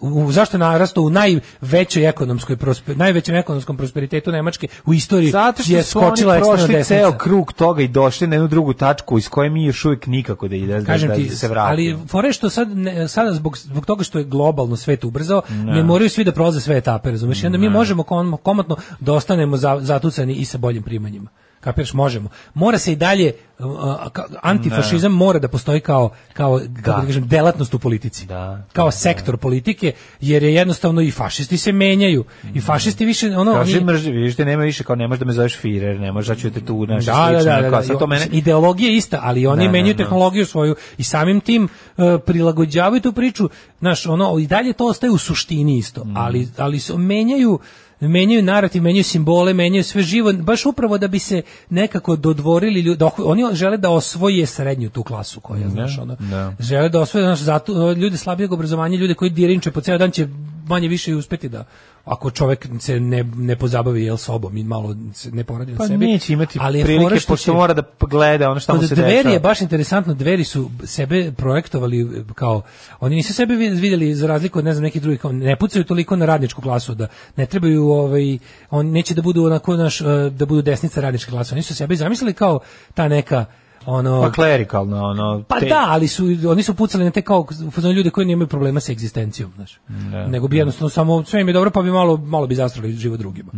S7: U, u- zašto je narastao u najvećoj ekonomskoj prospe, najvećem ekonomskom prosperitetu Nemačke u istoriji
S6: Zato što
S7: je
S6: su oni
S7: skočila ekstremna
S6: prošli
S7: desnica.
S6: ceo krug toga i došli na jednu drugu tačku iz koje mi još uvijek nikako da ide da,
S7: Kažem
S6: da
S7: ti,
S6: se
S7: ali
S6: vratimo.
S7: fore što sad, ne, sada zbog, zbog toga što je globalno svet ubrzao, ne, moraju svi da prolaze sve etape, razumeš? I onda mi možemo kom- komotno da ostanemo za, zatucani i sa boljim primanjima. Kapiraš, možemo. Mora se i dalje uh, ka- antifašizam mora da postoji kao kao kako da. kažem delatnost u politici.
S6: Da,
S7: kao sektor politike jer je jednostavno i fašisti se menjaju
S6: Da.
S7: i fašisti više ono
S6: Kaže
S7: oni-
S6: mrži, vidiš, te nema više kao ne možeš da me zoveš Firer, ne možeš da ću te tu naš
S7: da, da, da, da, da,
S6: to mene Da,
S7: Ideologija je ista, ali oni
S6: Ne, ne,
S7: menjaju
S6: ne.
S7: tehnologiju svoju i samim tim e, prilagođavaju tu priču. Znaš, ono, i dalje to ostaje u suštini isto,
S6: Mm.
S7: ali, ali su, menjaju menjaju narativ, menjaju simbole, menjaju sve živo, baš upravo da bi se nekako dodvorili ljudi, da ohu- oni žele da osvoje srednju tu klasu koja, znaš, ono,
S6: da.
S7: žele da osvoje, znaš, zato, ljudi slabijeg obrazovanja, ljudi koji dirinče po ceo dan će manje više i uspeti da, ako čovek se ne, ne pozabavi jel sobom i malo se ne poradi
S6: pa
S7: na sebi.
S6: neće imati
S7: ali je fora
S6: prilike
S7: što
S6: pošto
S7: će-
S6: mora da p- gleda ono šta mu
S7: Kod
S6: se
S7: dveri
S6: dešava.
S7: je baš interesantno, dveri su sebe projektovali e, kao, oni nisu sebe vid- vidjeli za razliku od ne znam nekih drugih, kao ne pucaju toliko na radničku klasu, da ne trebaju, ovaj, on neće da budu onako naš, eh, da budu desnica radničke klase, oni su sebe zamislili kao ta neka, ono,
S6: pa klerikalno ono
S7: pa
S6: te-
S7: da, ali su oni su pucali na te kao u fazonu ljude koji nemaju problema sa egzistencijom, znaš.
S6: Da,
S7: Nego bi jednostavno samo sve im je dobro, pa bi malo malo bi zastrali život drugima.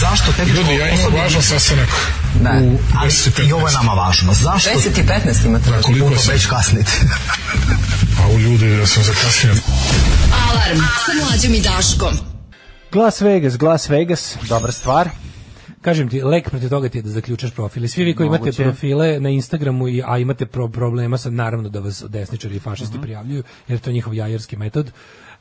S12: Zašto tek Ljudi, ja imam važan sastanak. Ne. Ali i ovo je nama važno. Zašto? 10 i 15 imate. Da, koliko sam? Već kasnite. A u ljudi, ja sam zakasnio.
S5: Alarm sa mlađom i Daškom.
S6: Glas Vegas, Glas Vegas, dobra stvar.
S7: Kažem ti, lek protiv toga ti je da zaključaš profile. Svi vi koji
S6: Moguće.
S7: imate profile na Instagramu, i, a imate pro- problema sa, naravno da vas desničari i fašisti
S6: Mhm.
S7: prijavljuju, jer to je njihov jajerski metod,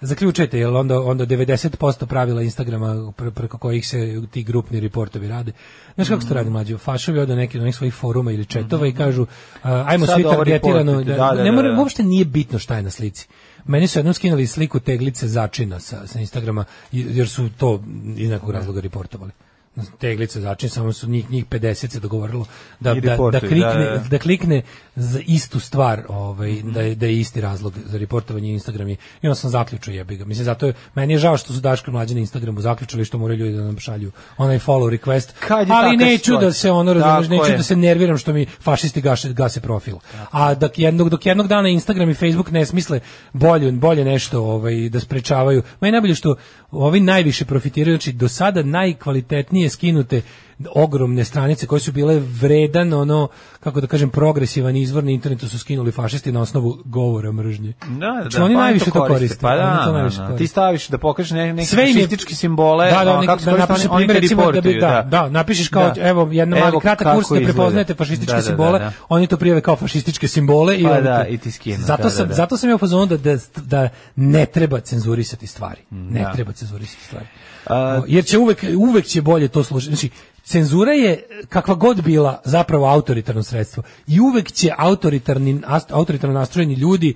S7: zaključujete, jer onda, onda 90% pravila Instagrama pre- preko kojih se ti grupni reportovi rade. Znaš kako se to radi mlađe? Fašovi odu na neki od onih svojih foruma ili četova i kažu, a, ajmo
S6: Mhm. Sad ovaj
S7: svi
S6: ovo
S7: targetirano.
S6: reportujte, da, da,
S7: ne
S6: da,
S7: mora,
S6: da.
S7: uopšte nije bitno šta je na slici. Meni su jednom skinuli sliku teglice začina sa, sa Instagrama, jer su to iz nekog razloga reportovali. Znači, Teglice začin, samo su njih, njih 50 se dogovorilo da,
S6: I
S7: da, da,
S6: reportuju,
S7: klikne,
S6: da, da,
S7: da,
S6: da. Mhm.
S7: klikne za istu stvar, ovaj, da, je, da je isti razlog za reportovanje Instagram. I i onda sam zaključio jebi ga. Mislim, zato je, meni je žao što su Daško i mlađe na Instagramu zaključili što moraju ljudi da nam šalju onaj follow request.
S6: Kad je
S7: ali
S6: taka
S7: neću
S6: situacija.
S7: da se ono, razumeš,
S6: Tako
S7: neću
S6: je.
S7: da se nerviram što mi fašisti gaše, gase profil. A dok jednog, dok jednog dana Instagram i Facebook ne smisle bolje, bolje nešto ovaj, da sprečavaju. Ma i najbolje što ovi najviše profitiraju, znači do sada najkvalitetnije skinute ogromne stranice koje su bile vredan ono, kako da kažem, progresivan izvor na internetu su skinuli fašisti na osnovu govora mržnje. Znači, oni
S6: pa
S7: najviše to
S6: koriste,
S7: koriste.
S6: Pa da,
S7: oni to
S6: da,
S7: najviše
S6: da.
S7: koriste.
S6: ti staviš da pokažeš ne, neke
S7: Sve im je-
S6: fašističke simbole,
S7: Da, da,
S6: ono,
S7: neki-
S6: kako se
S7: da
S6: koriste,
S7: napišeš
S6: oni- oni te
S7: primjer, recimo, da bi-
S6: reportuju,
S7: da, da, napišeš kao, evo, jedan mali
S6: Evo
S7: kratak
S6: kako
S7: kurs da
S6: izgleda.
S7: prepoznajete fašističke
S6: Da, da, da,
S7: simbole,
S6: da.
S7: oni to prijave kao fašističke simbole i
S6: Pa
S7: onda
S6: da,
S7: te-
S6: i ti skinu,
S7: Zato
S6: da, da,
S7: sam
S6: da.
S7: zato sam ja u fazonu da, da da ne treba cenzurisati stvari. Ne
S6: da.
S7: treba cenzurisati stvari. O, Jer će uvek uvek će bolje to služiti. Znači, cenzura je kakva god bila zapravo autoritarno sredstvo i uvek će autoritarni ast- autoritarno nastrojeni ljudi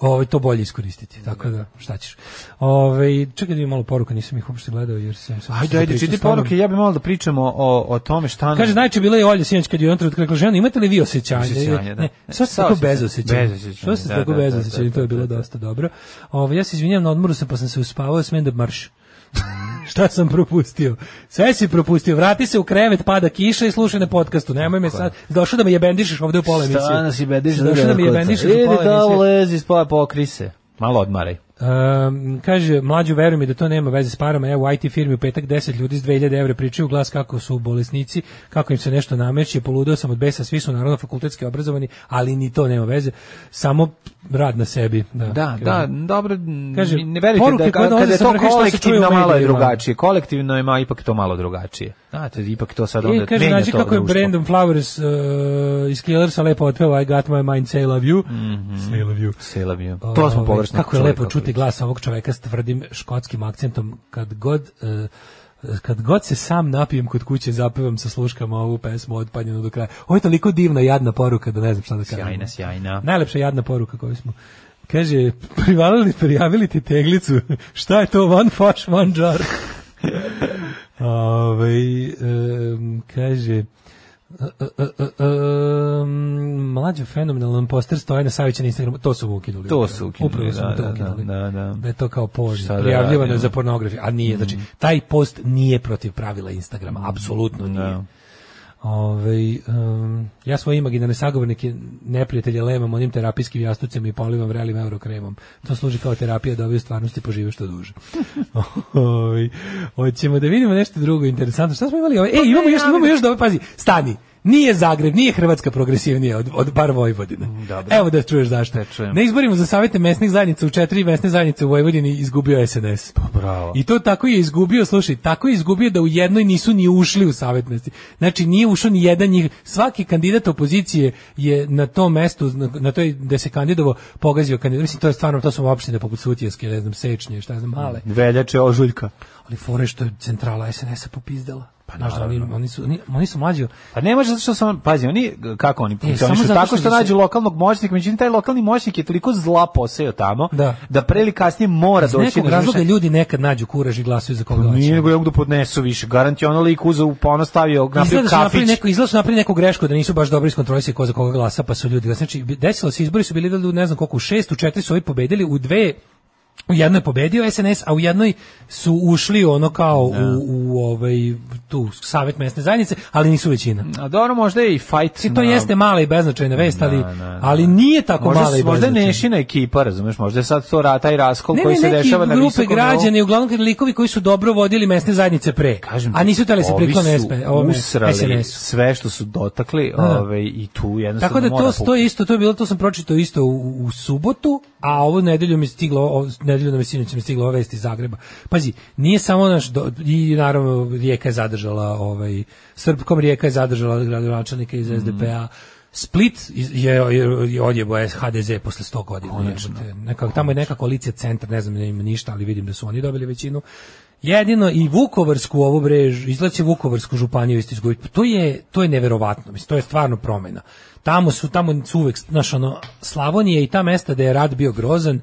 S7: ovaj to bolje iskoristiti. Tako da šta ćeš. Ovaj čekaj da vidim malo poruka, nisam ih uopšte gledao jer sam sam
S6: Ajde, ajde, čiti poruke, ja bih malo da pričamo o, o tome šta nam...
S7: Kaže, najče bila je Olja Sinić kad je u jednom trenutku rekla, žena, imate li vi osjećanje?
S6: Osjećanje, da.
S7: Ne, sve ste tako
S6: Saosećanje.
S7: bezosećanje.
S6: Bezosećanje,
S7: Sve ste
S6: da,
S7: tako
S6: da, da,
S7: bezosećanje,
S6: da,
S7: to je bilo
S6: da, da.
S7: dosta dobro. Ovo, ja se izvinjam, na odmoru sam pa sam se uspavao, smijem da marš. Šta sam propustio? Sve si propustio. Vrati se u krevet, pada kiša i slušaj na podcastu. Nemoj me sad. Došao da me jebendišeš ovde u pola emisije.
S6: Stana si bediš
S7: Došao da me jebendišeš u
S6: Idi
S7: pola
S6: tamo,
S7: emisije.
S6: lezi, spava pokrise. Malo odmaraj.
S7: Um, kaže, mlađu veruj mi da to nema veze s parama, evo u IT firmi u petak 10 ljudi s 2000 evra pričaju u glas kako su bolesnici, kako im se nešto nameće, poludeo sam od besa, svi su naravno fakultetski obrazovani, ali ni to nema veze, samo rad na sebi. Da,
S6: Da,
S7: Kaže.
S6: da, dobro, m,
S7: Kaže,
S6: ne verite
S7: poruke
S6: da
S7: koje
S6: ka- kada
S7: dolaze
S6: je
S7: sa
S6: to
S7: vrha i šta se čuje u
S6: kolektivno malo je
S7: medijima.
S6: drugačije. Kolektivno je ma, ipak to malo drugačije. Znate, ipak to sad onda
S7: I kaže,
S6: menja
S7: znači
S6: to
S7: kako je
S6: društvo.
S7: Brandon Flowers uh, iz Killersa lepo otpeo I got my mind, say I love you.
S6: Mhm.
S7: Say I love you.
S6: Say I love you. To smo
S7: Ovaj,
S6: površni.
S7: Kako je lepo čuti glas ovog čoveka s tvrdim škotskim akcentom kad god eh, kad god se sam napijem kod kuće zapevam sa sluškama ovu pesmu od panjenu do kraja. Ovo je toliko divna jadna poruka da ne znam šta da kažem.
S6: Sjajna, sjajna.
S7: Najlepša jadna poruka koju smo Kaže, privalili, prijavili ti teglicu. Šta je to? One faš, one jar. Ovaj, em, kaže, e, e, e, em, mlađo fenomenalan poster stoje na Savića na Instagramu. To su mu ukinuli.
S6: To su ukinuli,
S7: Upravo su mu
S6: da,
S7: to
S6: da,
S7: ukinuli.
S6: da, da.
S7: je to kao porno.
S6: Šta da
S7: Prijavljivano je
S6: radimo? Mhm.
S7: za
S6: Da.
S7: pornografiju. A nije, znači, taj post nije protiv pravila Instagrama. Apsolutno nije. Ove, um, ja svoje imaginarne sagovornike neprijatelje lemam onim terapijskim jastucima i polivam vrelim eurokremom. To služi kao terapija da ove stvarnosti požive što duže. Ove, hoćemo da vidimo nešto drugo interesantno. Šta smo imali?
S6: Pa
S7: Ove, e, imamo još, imamo još da pazi, stani. Nije Zagreb, nije Hrvatska progresivnija od, od bar Vojvodine.
S6: Dobro.
S7: Evo da čuješ zašto.
S6: čujem.
S7: Na izborima za savete mesnih zajednica u četiri mesne zajednice u Vojvodini izgubio SNS. Pa
S6: bravo.
S7: I to tako je izgubio, slušaj, tako je izgubio da u jednoj nisu ni ušli u savjetnosti. Znači nije ušao ni jedan njih, svaki kandidat opozicije je na tom mestu, na, na toj gde se kandidovao, pogazio kandidat. Mislim, to je stvarno, to su opštine poput Sutjeske, ne znam, Sečnje, šta znam, male.
S6: Mhm. Veljače ožuljka.
S7: Ali fore što je centrala SNS-a popizdala. Pa oni, oni, su, oni, oni su mlađi.
S6: Pa ne može zato što sam, pazi, oni, kako oni
S7: samo
S6: funkcionišu,
S7: zato što
S6: tako što
S7: da se-
S6: nađu lokalnog moćnika, međutim, taj lokalni moćnik je toliko zla poseo tamo,
S7: Da.
S6: da pre ili kasnije mora
S7: Iz
S6: doći. da,
S7: nekog
S6: na
S7: razloga
S6: izvršenje.
S7: ljudi nekad nađu kuraž i glasuju za koga
S6: Nije
S7: hoće.
S6: nego ja mogu da podnesu više. Garant je ono lik uzeo, pa ono stavio, napravio
S7: Izgleda da su napravili
S6: kafić.
S7: neko, izgleda su napravili neku grešku da nisu baš dobro iskontrolisali ko za koga glasa, pa su ljudi glasali. Znači, bi- desilo se, izbori su bili da ne znam koliko, u šest, u četiri su ovi pobedili, u dve U jednoj je pobedio SNS, a u jednoj su ušli ono kao
S6: Da.
S7: u, u ovaj, tu savjet mesne zajednice, ali nisu većina.
S6: A dobro, možda je i fight.
S7: I to
S6: na-
S7: jeste mala i beznačajna vest, ali,
S6: da, da.
S7: ali nije tako
S6: možda,
S7: mala i
S6: možda je
S7: beznačajna.
S6: nešina ekipa, razumeš, možda je sad to ra- taj raskol
S7: Ne,
S6: koji
S7: ne,
S6: se
S7: neki
S6: dešava da na
S7: grupe
S6: visokom
S7: građana i uglavnom likovi koji su dobro vodili mesne zajednice pre,
S6: Kažem ti,
S7: a nisu tele se
S6: ovi
S7: priklone
S6: su
S7: SP, ovome,
S6: usrali
S7: SNS.
S6: sve što su dotakli
S7: Da.
S6: ovaj, i tu jednostavno
S7: Tako da
S6: mora
S7: to
S6: puk-
S7: stoji isto, to je bilo, to sam pročitao isto u, u subotu, a ovu nedelju mi je stiglo, o- nedelju na mesinoć mi je stiglo ova vest iz Zagreba. Pazi, nije samo naš, do- i naravno Rijeka je zadržala, ovaj, Srpkom Rijeka je zadržala gradonačelnika
S6: Mhm.
S7: iz SDP-a, Split iz- je, je, je odjebo HDZ posle 100 godina. jebote. Neka, tamo je neka koalicija centar, ne znam da ima ništa, ali vidim da su oni dobili većinu. Jedino i Vukovarsku ovu brež, izlaće Vukovarsku županiju isto izgubiti. Pa To je, to je neverovatno, mislim, to je stvarno promena. Tamo su, tamo su uvek, znaš, ono, Slavonija i ta mesta da je rad bio grozan,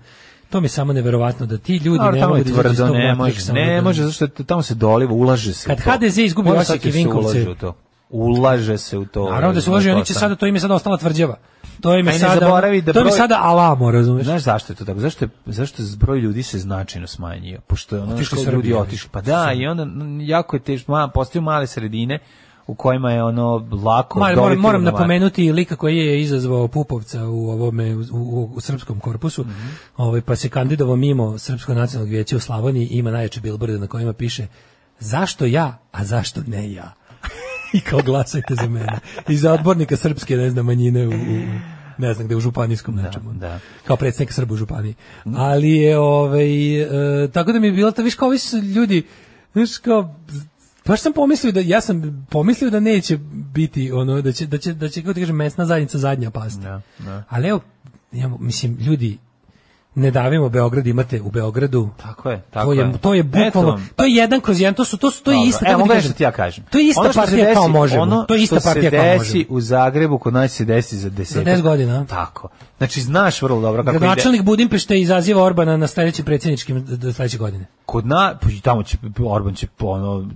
S7: to mi je samo neverovatno da ti ljudi
S6: Dobro,
S7: ne
S6: tamo
S7: mogu
S6: je
S7: da izađu iz
S6: tvrdo,
S7: tog
S6: ne
S7: matriksa,
S6: može,
S7: ono,
S6: ne
S7: da-
S6: može, zato što je- tamo se doliva, ulaže se
S7: Kad
S6: u to.
S7: HDZ izgubi
S6: Mora
S7: Osijek
S6: svaki
S7: i
S6: se
S7: Vinkovce.
S6: ulaže u to. Ulaže se u to.
S7: Naravno da su uložili, oni će sada, to im je sada ostala tvrđava. To im
S6: Aj,
S7: je
S6: ne
S7: sada,
S6: zaboravi da
S7: to im je
S6: broj-
S7: sada alamo, razumeš?
S6: Znaš zašto je to tako? Zašto je, zašto je broj ljudi se značajno smanjio? Pošto je ono
S7: Otišli
S6: što
S7: Srbi,
S6: ljudi
S7: ali.
S6: otišli. Pa da, i onda mm, jako je teško, ma, postaju male sredine u kojima je ono lako
S7: Mar,
S6: doliti
S7: moram, moram
S6: na van.
S7: napomenuti i lika koji je izazvao Pupovca u ovome u, u, u srpskom korpusu.
S6: Mhm.
S7: ovaj pa se kandidovao mimo Srpskog nacionalnog vijeća u Slavoniji i ima najjače bilborde na kojima piše zašto ja, a zašto ne ja. I kao glasajte za mene. I za odbornika srpske, ne znam, manjine u, u ne znam gde u županijskom nečemu.
S6: da. Mhm.
S7: Kao predsjednik Srba u županiji. Ali je ovaj e, tako da mi je bilo ta viš kao ovi su ljudi znaš kao baš sam pomislio da ja sam pomislio da neće biti ono da će da će da će kako ti kažem mesna zajednica zadnja pasti.
S6: Da,
S7: Ali evo ja, mislim ljudi ne davimo Beograd imate u Beogradu
S6: Tako je, tako
S7: to je,
S6: je.
S7: to je
S6: Eto
S7: bukvalno
S6: vam.
S7: to je jedan kroz jedan to su to su to je
S6: Dobro,
S7: isto
S6: evo,
S7: kako ti
S6: mogu nešto
S7: kažem,
S6: ti ja kažem.
S7: To je ista
S6: Ono što se
S7: partija
S6: desi-
S7: kao možemo.
S6: Ono
S7: to je ista
S6: što
S7: partija
S6: se
S7: kao možemo.
S6: desi u Zagrebu, kod nas se desi za 10.
S7: Za 10 godina, a?
S6: Tako. Znači, znaš vrlo dobro kako ide.
S7: Gradonačelnik Budimpešte izaziva Orbana na sledećim predsjedničkim d- d- sledeće godine.
S6: Kod na, pa i tamo će, Orban će, ono,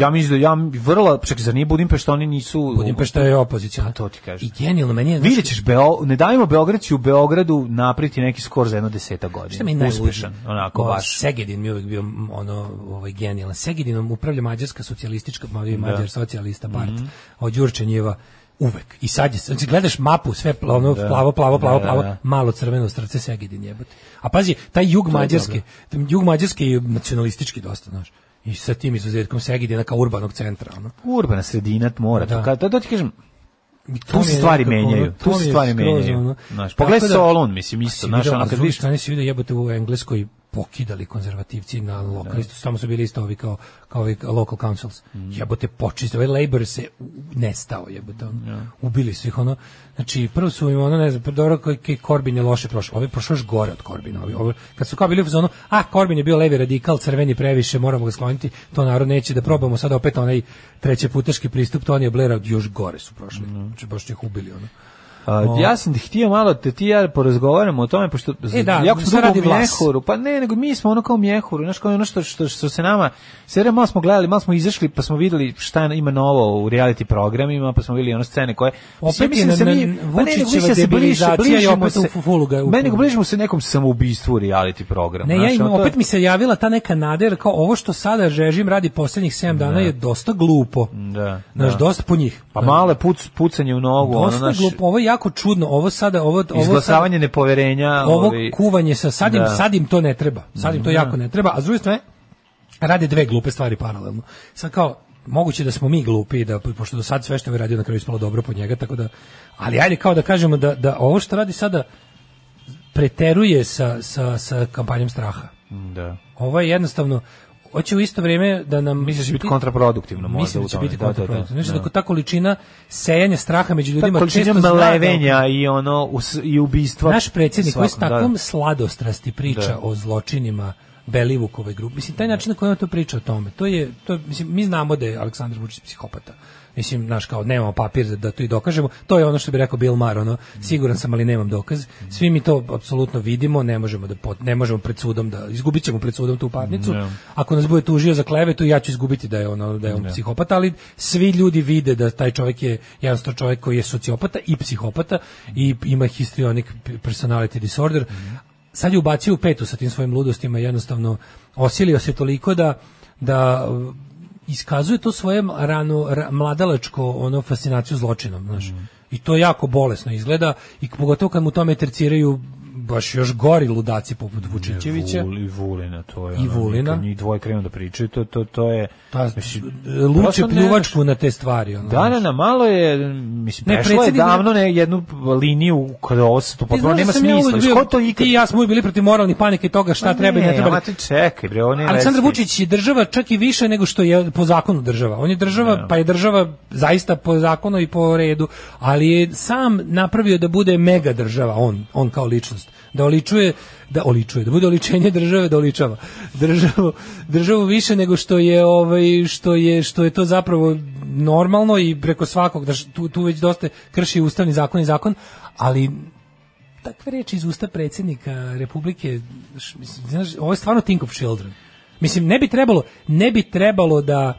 S6: ja mislim da, ja vrlo, čak, zar nije Budimpešta, oni nisu...
S7: Budimpešta je opozicija.
S6: Pa To ti kažem.
S7: I genijalno meni je
S6: Vidjet ćeš, Beo, ne davimo Beograd će u Beogradu napriti neki skor za jedno deseta godina.
S7: Šta mi je najluđe?
S6: Uspešan, onako
S7: O,
S6: baš.
S7: Segedin mi je uvijek bio m, ono ovaj genijalan. Segedinom upravlja mađarska socijalistička, ma,
S6: Da.
S7: ovaj mađar socijalista part
S6: Mhm.
S7: od Đurčenjeva uvek. I sad je, znači gledaš mapu sve pla- ono, plavo, plavo, plavo,
S6: Da, da,
S7: plavo,
S6: da.
S7: malo crveno srce Segedin jebote. A pazi, taj jug mađarske, taj jug mađarske je nacionalistički dosta, znaš. I sa tim izuzetkom Segedina kao urbanog centra, ono.
S6: Urbana sredina mora.
S7: Da.
S6: To, ka- to, to ti kažem,
S7: To
S6: tu
S7: mi
S6: se
S7: je
S6: stvari
S7: nekako, ono,
S6: menjaju.
S7: to
S6: Tu se
S7: mi je
S6: stvari
S7: skroz, ono.
S6: menjaju. Znaš,
S7: Tako
S6: pogledaj
S7: da-
S6: Solon, mislim, isto.
S7: si
S6: Znaš,
S7: video,
S6: ono
S7: a s
S6: kad
S7: druge
S6: vidiš...
S7: strane si vidio jebote u Engleskoj pokidali konzervativci na lokalistu, tamo su bili isto ovi kao, kao ovi local councils. Jebote počistili, ovaj labor se u- nestao jebote. Ono. Ubili su ih ono. Znači, prvo su im ono, ne znam, prvo dobro koji koji Korbin je loše prošao. Ovi je prošao još gore od Korbina. Ovi, ovi- kad su kao bili u zonu, a Korbin je bio levi radikal, crveni previše, moramo ga skloniti, to narod neće da probamo sada opet onaj treće putaški pristup, to on je Blaira, još gore su prošli. Znači, baš su ih ubili ono.
S6: A, ja sam ti htio malo da ti i ja porazgovaramo o tome pošto
S7: E, da,
S6: jako
S7: sve
S6: smo
S7: radi
S6: radi
S7: glas.
S6: mjehuru, pa ne, nego mi smo ono kao mjehuru, znaš, kao ono što što, što se nama sve malo smo gledali, malo smo izašli, pa smo videli šta ima novo u reality programima, pa smo videli one scene koje
S7: Opet
S6: Ja mislim
S7: je
S6: da se
S7: na-
S6: mi-
S7: na-
S6: pa ne, nego
S7: Vučićeva
S6: mislim da se bliže-
S7: debilizacija i
S6: bližimo
S7: opet u
S6: se-
S7: fu- fulu ga- u-
S6: Ne, nego bližimo se nekom samoubistvu u reality programu.
S7: Ne, ja
S6: znaš,
S7: imam,
S6: ono, to je-
S7: opet mi se javila ta neka nada, jer kao ovo što sada režim radi poslednjih 7 dana je dosta glupo.
S6: da,
S7: Znaš,
S6: da.
S7: dosta po njih.
S6: Pa male puc, pucanje u nogu, ono,
S7: Dosta
S6: znaš,
S7: glupo, ovo je jako čudno, ovo sada, ovo, ovo sada-
S6: izglasavanje nepoverenja.
S7: ovo
S6: ovaj,
S7: kuvanje sa sad im,
S6: Da.
S7: sad im to ne treba. Sad im to
S6: Da.
S7: jako ne treba, a s druge strane rade dve glupe stvari paralelno. Sad kao moguće da smo mi glupi i da pošto do sad sve što je radio na kraju ispalo dobro po njega, tako da ali ajde kao da kažemo da, da ovo što radi sada preteruje sa, sa, sa kampanjom straha.
S6: Da.
S7: Ovo je jednostavno hoće u isto vrijeme da nam
S6: Misliš da će biti
S7: ti-
S6: kontraproduktivno možda
S7: Mislim
S6: u
S7: da će
S6: tome,
S7: biti
S6: da, da, da.
S7: kontraproduktivno. Mislim
S6: Da.
S7: da ta količina sejanja straha među
S6: Ta
S7: ljudima
S6: količina
S7: često zna da-
S6: melevenja i ono us- i ubistva.
S7: naš predsjednik koji s
S6: svakom, da.
S7: takvom sladostrasti priča
S6: Da.
S7: o zločinima Belivukove grupe. Mislim, taj način na koji on to priča o tome, to je, to, mislim, mi znamo da je Aleksandar Vučić psihopata. Mislim, naš kao, nemamo papir da, da to i dokažemo. To je ono što bi rekao Bill Maher, ono, siguran sam, ali nemam dokaz. Svi mi to apsolutno vidimo, ne možemo da pot- ne možemo pred sudom da izgubit ćemo pred sudom tu parnicu.
S6: Da.
S7: Ako nas bude tužio za klevetu, ja ću izgubiti da je ono da je on
S6: Da.
S7: psihopat, ali svi ljudi vide da taj čovjek je jednostavno čovjek koji je sociopata i psihopata i ima histrionic personality disorder. Sad je ubacio u petu sa tim svojim ludostima, jednostavno osilio se toliko da da uh, iskazuje to svoje rano ra- mladalačko ono fascinaciju zločinom, znaš. I to jako bolesno izgleda i pogotovo kad mu tome terciraju baš još gori ludaci poput Vučićevića.
S6: Vul- I Vulina, to je.
S7: I
S6: ono,
S7: Vulina. Pa,
S6: kad Njih dvoje krenu da pričaju, to, to, to je...
S7: Ta,
S6: mislim,
S7: luče
S6: prosto ne-
S7: pljuvačku na te stvari. Ono,
S6: Da,
S7: znaš.
S6: ne, ne, malo je, mislim,
S7: Ne,
S6: prešlo je
S7: predsjednik-
S6: davno ne, jednu liniju kada ovo se tu
S7: Ti znaš
S6: potpuno
S7: da
S6: nema
S7: sam ja
S6: smisla.
S7: uvek bio-
S6: Ko to ikad...
S7: Ti i ja smo uvijek bili protiv moralnih panika i toga šta
S6: Ma
S7: treba i ne treba. da-
S6: ma ti čekaj, bre, ovo ne
S7: Aleksandar Vučić je država čak i više nego što je po zakonu država. On je država, pa je država zaista po zakonu i po redu, ali je sam napravio da bude mega država on, on kao ličnost. Da oličuje, da oličuje, da bude oličenje države, da oličava državu, državu više nego što je ovaj što je što je to zapravo normalno i preko svakog da š- tu, tu već dosta krši ustavni zakon i zakon, ali takve reči iz usta predsjednika Republike, š- mislim, znaš, ovo je stvarno think of children. Mislim, ne bi trebalo, ne bi trebalo da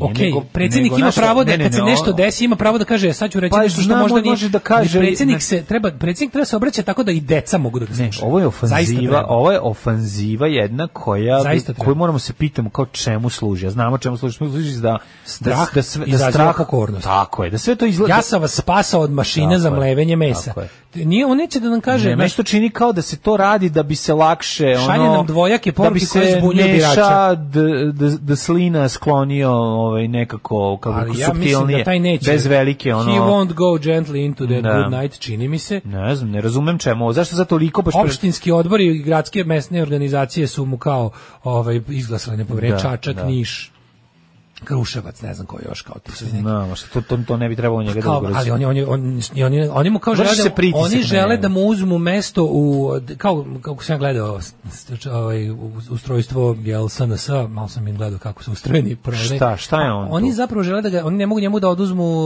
S7: Ok,
S6: nego-
S7: predsjednik
S6: nego
S7: ima
S6: naša-
S7: pravo da
S6: ne, ne,
S7: kad se
S6: ne,
S7: nešto
S6: ono-
S7: desi, ima pravo da kaže, "E, sad ću reći
S6: Pa,
S7: nešto što
S6: znamo,
S7: možda nije.
S6: može da kaže-
S7: ali predsjednik
S6: ne-
S7: se treba predsjednik treba se obraćati tako da i deca mogu da ga
S6: Ne,
S7: slušaju.
S6: ovo je
S7: Zaista
S6: ofanziva,
S7: treba.
S6: ovo je ofanziva jedna koja
S7: Zaista treba.
S6: koju moramo da se pitamo kao čemu služi. A znamo čemu služi, čemu služi da
S7: Strah
S6: da, sve-
S7: izaziva pokornost.
S6: Tako je, da sve to izgleda.
S7: Ja sam vas spasao od mašine
S6: Tako
S7: za
S6: je,
S7: mlevenje mesa.
S6: tako je.
S7: Nije, on neće da nam kaže,
S6: ne,
S7: znaš,
S6: nešto čini kao da se to radi da bi se lakše ono
S7: Šalje nam dvojake poruke koje zbunjuju
S6: Da bi se
S7: birače.
S6: Neša d- d- d- slina sklonio ovaj nekako kako
S7: ali
S6: ali
S7: ja mislim da taj neće.
S6: bez velike ono.
S7: He won't go gently into that
S6: Da.
S7: good night, čini mi se.
S6: Ne znam, ne razumem čemu. ovo, Zašto za toliko pa baš pre-
S7: opštinski odbori i gradske mesne organizacije su mu kao ovaj izglasali nepoverenje
S6: Da,
S7: Čačak,
S6: da.
S7: Niš, Kruševac, ne znam ko još kao tu su neki.
S6: Znam, a što to, to ne bi trebalo njega da
S7: Pa Kao,
S6: ugrozi.
S7: ali oni oni oni oni, oni mu kao
S6: Vrši
S7: žele da,
S6: se pritisak
S7: oni
S6: na
S7: žele
S6: njega.
S7: da mu uzmu mesto u kao kako sam ja gledao s- s- ovaj u- ustrojstvo jel SNS malo sam im gledao kako su ustrojeni prvi.
S6: Šta, šta je on
S7: Oni
S6: tu?
S7: zapravo žele da ga oni ne mogu njemu da oduzmu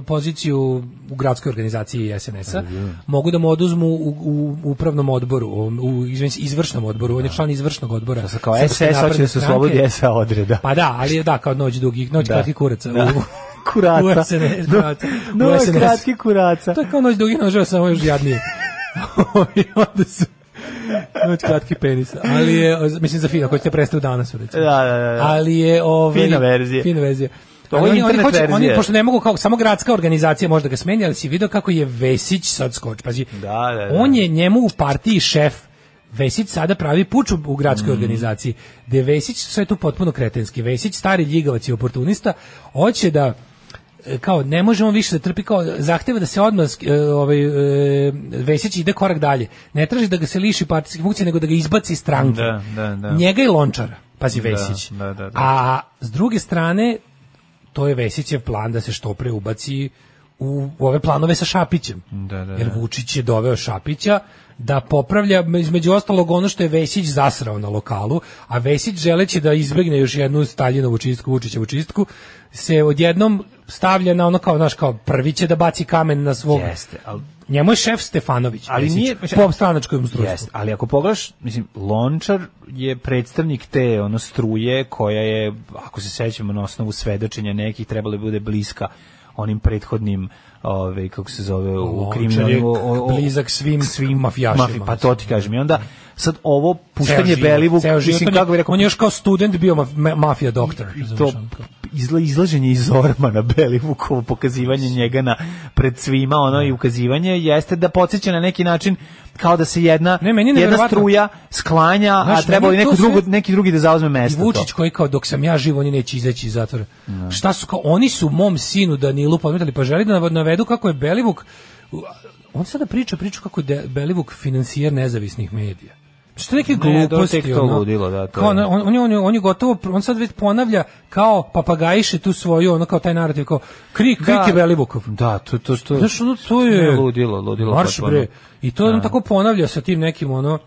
S7: e, poziciju u gradskoj organizaciji SNS-a. Mogu da mu oduzmu u, u upravnom odboru, u, u izvin- izvršnom odboru, on je član izvršnog odbora.
S6: Sad Da. kao
S7: Srpske
S6: SS hoće
S7: napredne
S6: da se
S7: stranke.
S6: oslobodi SA odreda.
S7: Pa da, ali je da kao noć dugih, noć
S6: Da.
S7: kratkih kuraca.
S6: Da.
S7: u-
S6: kuraca.
S7: U SNS, kuraca.
S6: No,
S7: U
S6: no,
S7: SNS.
S6: kratki kuraca.
S7: To je kao noć dugih noževa, samo još jadnije. I onda su noć kratki penisa. Ali je, mislim, za fino, koji ste prestao danas, recimo.
S6: Da, da, da, da.
S7: Ali je... Ovaj,
S6: Fina verzija.
S7: Fina verzija.
S6: To je
S7: Ali oni, oni,
S6: internet
S7: hoće, oni,
S6: verzija.
S7: pošto ne mogu, kao, samo gradska organizacija može da ga smeni, ali si video kako je Vesić sad skoč. Pazi,
S6: Da, da, da.
S7: on je njemu u partiji šef. Vesić sada pravi puč u- u
S6: Mm.
S7: gradskoj organizaciji. Gde Vesić, sve tu potpuno kretenski. Vesić, stari ljigavac i oportunista, hoće da e, kao ne možemo više da trpi kao zahteva da se odmah e, ovaj e, Vesić ide korak dalje. Ne traži da ga se liši partijske funkcije nego da ga izbaci iz stranke.
S6: Da, da, da.
S7: Njega i Lončara. Pazi
S6: Da,
S7: Vesić.
S6: da, da, da.
S7: A s druge strane to je Vesićev plan da se što pre ubaci u ove planove sa Šapićem.
S6: Da, da,
S7: Jer Vučić je doveo Šapića da popravlja između ostalog ono što je Vesić zasrao na lokalu, a Vesić želeći da izbegne još jednu Staljinovu čistku, Vučićevu čistku, se odjednom stavlja na ono kao, znaš, kao prvi će da baci kamen na svog...
S6: Jeste, ali
S7: Njemu je šef Stefanović,
S6: ali
S7: Vesić,
S6: nije
S7: po stranačkom ustrojstvu.
S6: Jeste, ali ako pogledaš, mislim Lončar je predstavnik te ono struje koja je ako se sećamo na osnovu svedočenja nekih trebalo da bude bliska onim prethodnim ovaj kako se zove u
S7: Lončar je
S6: kriminalu o- o-
S7: blizak svim svim mafijašima. da.
S6: mafi- pa to ti kažem i onda sad ovo
S7: Ceo
S6: puštanje
S7: život,
S6: Belivuk
S7: ceo život,
S6: mislim
S7: on je-
S6: kako bi rekao
S7: on je još kao student bio maf- ma- mafija doktor.
S6: to
S7: razumeš, ono kao.
S6: izla, izlaženje iz orma na Belivukovo pokazivanje njega na pred svima
S7: Da.
S6: ono i ukazivanje jeste da podsjeća na neki način kao da se jedna
S7: Ne, meni je
S6: jedna
S7: neverovatno.
S6: struja sklanja
S7: Znaš,
S6: a trebalo
S7: meni
S6: i
S7: je
S6: neko
S7: to sve-
S6: drugo neki drugi da zauzme
S7: I
S6: mesto Da.
S7: Vučić koji kao dok sam ja živ oni neće izaći iz zatvora. Šta su kao oni su mom sinu Danilu podmetali pa želi da nav- navedu kako je Belivuk on sada priča priču kako je De- Belivuk financijer nezavisnih medija. Što neke
S6: to je
S7: gluposti.
S6: da, tek to
S7: ono.
S6: ludilo, da, to
S7: Kao
S6: je.
S7: ono, on, on, je- on, je- on je gotovo, on sad već ponavlja kao papagajiše tu svoju, ono kao taj narativ, kao krik, krik je Belivukov.
S6: da to to što
S7: Znaš, ono, to je...
S6: ludilo ludilo
S7: Marš
S6: potpuno.
S7: bre. I to on tako ponavlja sa tim nekim, ono,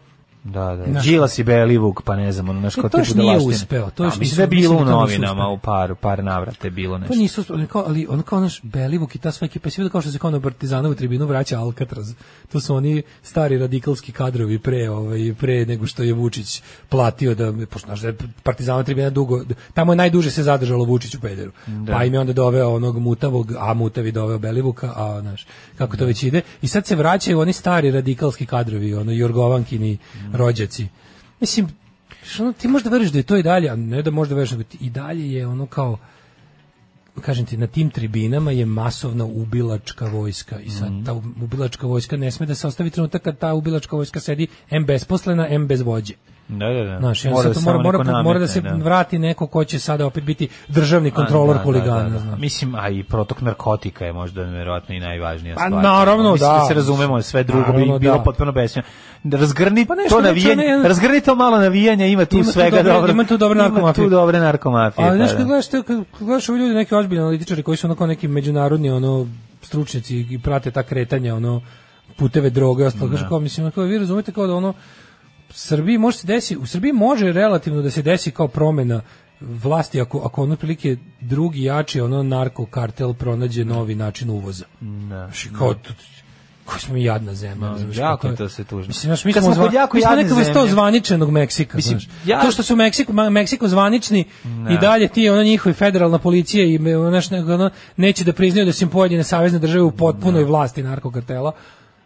S6: Da, da.
S7: Znaš.
S6: Đilas i Belivuk, pa ne znam, ono naš
S7: E,
S6: kao
S7: to
S6: ti
S7: još
S6: bude
S7: nije uspeo, to još
S6: mislim da je
S7: nisu- mislim
S6: bilo u
S7: da to nisu
S6: novinama
S7: uspeli.
S6: u par par navrata je bilo nešto.
S7: To Pa nisu, ali kao, ali on kao naš Belivuk i ta sva ekipa, svi da kao što se kao na Partizanovu tribinu vraća Alcatraz. To su oni stari radikalski kadrovi pre, ovaj, pre nego što je Vučić platio da, pošto znaš da je Partizanova tribina dugo, tamo je najduže se zadržalo Vučić u Pederu. Pa im je onda doveo onog mutavog, a mutavi doveo Belivuka, a znaš, kako to već ide. I sad se vraćaju oni stari radikalski kadrovi, ono Jorgovankini rođaci. Mislim, što ono, ti možda veriš da je to i dalje, a ne da možda veriš, nego ti i dalje je ono kao, kažem ti, na tim tribinama je masovna ubilačka vojska i sad
S6: Mhm.
S7: ta ubilačka vojska ne sme da se ostavi trenutak kad ta ubilačka vojska sedi em besposlena, em bez vođe.
S6: Da, da, da.
S7: Znaš,
S6: Mora
S7: mora,
S6: da se
S7: mora,
S6: samo
S7: mora,
S6: neko
S7: mora da
S6: nametne,
S7: se vrati neko ko će sada opet biti državni kontrolor
S6: A, da,
S7: huligana.
S6: da, da, da.
S7: znaš.
S6: Mislim, a i protok narkotika je možda verovatno i najvažnija
S7: Pa,
S6: stvar.
S7: naravno,
S6: Mislim
S7: da.
S6: se razumemo, sve drugo
S7: Naravno,
S6: bi bilo
S7: da.
S6: potpuno besmisleno. Razgrni
S7: Pa nešto,
S6: to
S7: znači,
S6: navijanje,
S7: ono je-
S6: razgrni to malo navijanja, ima tu
S7: Ima tu
S6: svega
S7: dobre-
S6: dobro.
S7: ima tu dobre narkomafije.
S6: Ima tu dobre narkomafije.
S7: Ali
S6: pa
S7: znaš,
S6: da.
S7: kad gledaš, te- kad gledaš ovi ljudi, neki ozbiljni analitičari koji su onako neki međunarodni ono, stručnjaci i prate ta kretanja, ono, puteve droge, i ostalo,
S6: Da.
S7: kažu kao, mislim, ono, kao, vi razumete kao da ono, Srbiji može se desi, u Srbiji može relativno da se desi kao promena vlasti ako, ako ono prilike drugi jači ono narkokartel pronađe novi način uvoza.
S6: Da.
S7: Znači, kao, to- koji smo mi jadna zemlja. razumeš,
S6: jako
S7: kako
S6: je to sve tužno.
S7: Mislim, znaš, mi
S6: Kad
S7: smo,
S6: smo
S7: zva,
S6: kod jako
S7: mi smo
S6: jadne
S7: neka vrsta
S6: zemlje.
S7: zvaničenog Meksika.
S6: Mislim,
S7: znaš.
S6: ja-
S7: To što su u Meksiku, Ma- Meksiko zvanični i dalje ti, ono njihova federalna policija i me- znaš, nego, ono, neće da priznaju da su im pojedine savezne države u potpunoj vlasti narkokartela.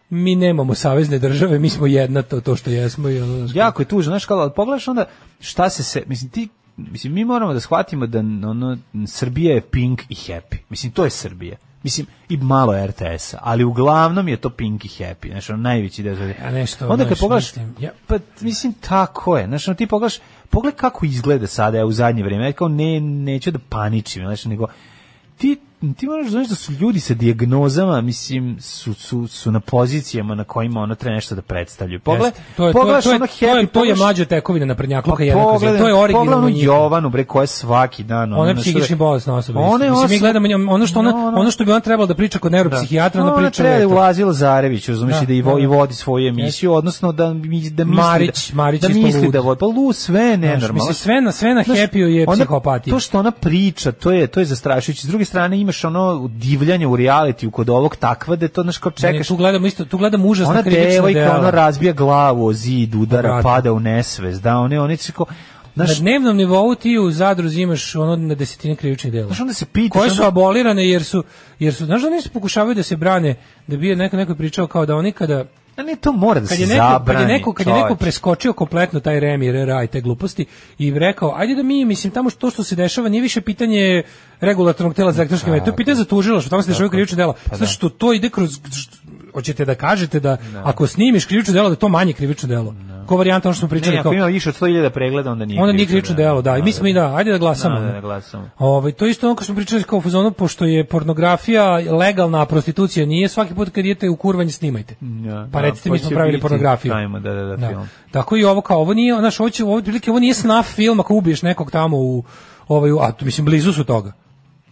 S7: Mi nemamo savezne države, mi smo jedna to, to što jesmo. I ono, znaš,
S6: Jako je tužno, znaš, kao, ali pogledaš onda šta se se, mislim, ti, mislim, mi moramo da shvatimo da ono, Srbija je pink i happy. Mislim, to je Srbija. Mislim, i malo RTS-a, ali uglavnom je to pink i happy, znaš, ono, najveći deo Srbije.
S7: Ja nešto,
S6: Onda kad
S7: znaš,
S6: pogledaš,
S7: mislim, ja-
S6: pa, mislim, tako je, znaš, ono, ti pogledaš, pogledaj kako izgleda sada ja, u zadnje vrijeme, ja kao, ne, neću da paničim, znaš, nego, ti ti moraš da znaš da su ljudi sa dijagnozama, mislim, su, su, su na pozicijama na kojima ono treba nešto da predstavljaju. Pogled,
S7: Jeste. to je, to, je,
S6: pogledaš
S7: to, je,
S6: ono
S7: to je,
S6: happy,
S7: to je
S6: pogledaš-
S7: mlađa tekovina na prednjakluka
S6: Pa
S7: jednako za-
S6: pogledaj-
S7: To je
S6: pogledaj
S7: originalno
S6: onu
S7: njihovo.
S6: Jovanu bre koja je svaki dan
S7: Ona je
S6: nešto da-
S7: psihički bolesna osoba.
S6: Ona je
S7: Mislim, mi
S6: osoba-
S7: gledamo njom- ono što ona,
S6: No, ona-
S7: ono što bi ona trebala da priča kod neuropsihijatra,
S6: No,
S7: ona
S6: ona
S7: priča.
S6: treba da je
S7: leto.
S6: ulazila Zarević, razumiješ,
S7: Da,
S6: i da, i, vo-
S7: da.
S6: i vodi svoju emisiju, odnosno da, mi- da misli
S7: Marić-
S6: da,
S7: Marić
S6: da,
S7: isto
S6: misli
S7: lud.
S6: da vodi. Pa lu, sve je
S7: Znaš,
S6: nenormalno.
S7: mislim, sve na, sve na
S6: Znaš,
S7: happy je
S6: ona-
S7: psihopatija.
S6: To što ona priča, to je, to je zastrašujuće. S druge strane imaš ono divljanje u realitiju kod ovog takva da je to, znaš, kao
S7: Ne,
S6: čekaš
S7: tu gledamo isto, tu gledamo užasno
S6: ona
S7: krivična
S6: devojka,
S7: dela.
S6: ona razbija glavu o zid, udara,
S7: Odvratno.
S6: pada u nesvez, da, one, one će kao, znaš,
S7: Na dnevnom nivou ti u zadruzi imaš ono na desetine krivičnih dela.
S6: znaš, onda se pitaš,
S7: koje su
S6: onda-
S7: abolirane jer su jer su znaš da oni se pokušavaju da se brane da bi je neko neko je pričao kao da oni kada
S6: A ne, to mora da
S7: kad
S6: se
S7: je neko kad
S6: zabrani.
S7: je neko kad je neko
S6: čoveče.
S7: preskočio kompletno taj rem i RRA i te gluposti i rekao ajde da mi mislim tamo što to što se dešava nije više pitanje regulatornog tela za elektroničke medije to
S6: Da,
S7: je pitanje za tužilaštvo tamo se
S6: pa-
S7: dešavaju krivična dela zato što to ide kroz što- hoćete da kažete da ako snimiš krivično delo da je to manje krivično delo ko varijanta ono što smo pričali
S6: Da. Ne, ako
S7: kao
S6: ima više od 100.000 pregleda, onda nije
S7: Onda nije krivično delo, da. I mi smo i da, ajde da glasamo.
S6: Da, da, da glasamo.
S7: Ovaj to je isto ono kao što smo pričali kao u fazonu pošto je pornografija legalna, a prostitucija nije, svaki put kad idete u kurvanje snimajte.
S6: Ja,
S7: pa
S6: da,
S7: recite
S6: pa
S7: mi smo
S6: će
S7: pravili
S6: biti,
S7: pornografiju.
S6: ajmo, da, da, da, film.
S7: Tako i ovo kao ovo nije, znaš, ovo će ovo otprilike, ovo nije snaf film ako ubiješ nekog tamo u ovaj u- a to mislim blizu su toga.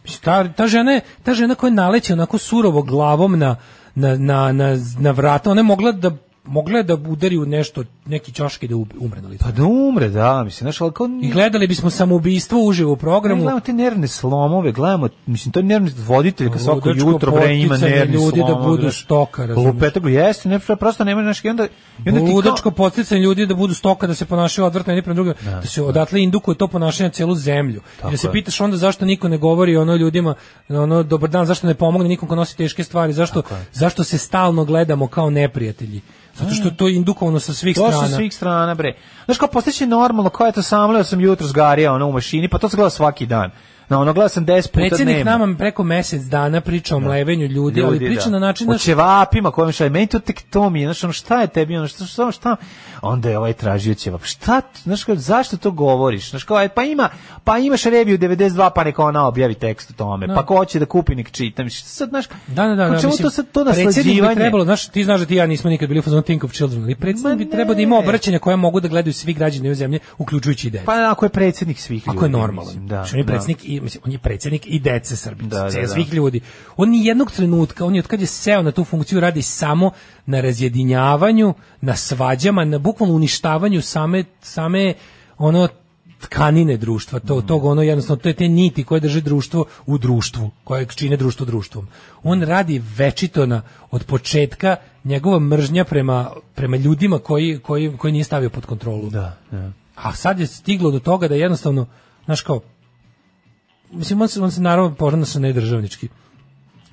S7: Mislim, Ta, ta, žena, je- ta žena koja naleće onako surovo glavom na, na, na, na, na vrata, ona je mogla da mogla je da udari u nešto, neki čaški da ub- umre na licu.
S6: Pa da umre, da, mislim, znaš, ali kao...
S7: I gledali bismo samoubistvo uživo u
S6: Pa Ne,
S7: programu.
S6: gledamo te nervne slomove, gledamo, mislim, to je nervni voditelj, kad svako
S7: Ludačko
S6: jutro bre ima
S7: poticanje
S6: nervni
S7: ljudi da
S6: slomove.
S7: budu
S6: znaš.
S7: stoka, razumeš?
S6: Lupetog, jeste, ne, prosto nema znaš, i onda, i onda ti kao-
S7: Ludačko podsticanje ljudi da budu stoka, da se ponašaju odvrtno jedni prema drugim, da se odatle indukuje to ponašanje na celu zemlju. I da se
S6: je.
S7: pitaš onda zašto niko ne govori ono ljudima, ono dobar dan, zašto ne pomogne nikom ko nosi teške stvari, zašto, zašto se stalno gledamo kao neprijatelji. Zato što je to indukovano sa svih
S6: To
S7: strana.
S6: sa svih strana, bre. Znaš, kao postaće normalno, kao eto samljao sam jutro zgarija ono u mašini, pa to se gleda svaki dan. Na ono gleda sam 10 puta dnevno.
S7: Predsjednik nama preko mjesec dana priča o mlevenju ljudi, ali priča
S6: da.
S7: na način
S6: o
S7: naš-
S6: ćevapima kojim šalje meni to tek to mi je znaš ono šta je tebi ono šta šta, šta? onda je ovaj tražio ćevap šta t- znaš kao, zašto to govoriš znaš kao aj, pa ima pa imaš reviju 92 pa neka ona objavi tekst o tome
S7: Da.
S6: pa ko hoće da kupi nek čita mislim šta sad znaš
S7: Da, da, da,
S6: kao
S7: da,
S6: čemu
S7: mislim,
S6: to sad to
S7: predsjednik bi
S6: naslađivanje
S7: trebalo, znaš, ti znaš da ti i ja nismo nikad bili u fazonu Think of Children, ali predsjednik
S6: Ma
S7: bi trebao da ima obraćanja koja mogu da gledaju svi građani ove zemlje, uključujući i decu.
S6: pa ako je predsjednik svih ljudi
S7: Ako je normalan.
S6: mislim,
S7: da,
S6: da,
S7: on je
S6: da.
S7: predsjednik i mislim on je predsjednik i dece Srbije,
S6: Da, da,
S7: sve-
S6: da.
S7: svih ljudi. On ni jednog trenutka, on je od kad je seo na tu funkciju radi samo na razjedinjavanju, na svađama, na bukvalno uništavanju same same ono tkanine društva, to,
S6: Mm.
S7: tog ono jednostavno, to je te niti koje drže društvo u društvu, koje čine društvo društvom. On radi večito na, od početka njegova mržnja prema, prema ljudima koji, koji, koji nije stavio pod kontrolu.
S6: da, da.
S7: A sad je stiglo do toga da jednostavno, znaš kao, mislim, on se, on se naravno ponaša nedržavnički.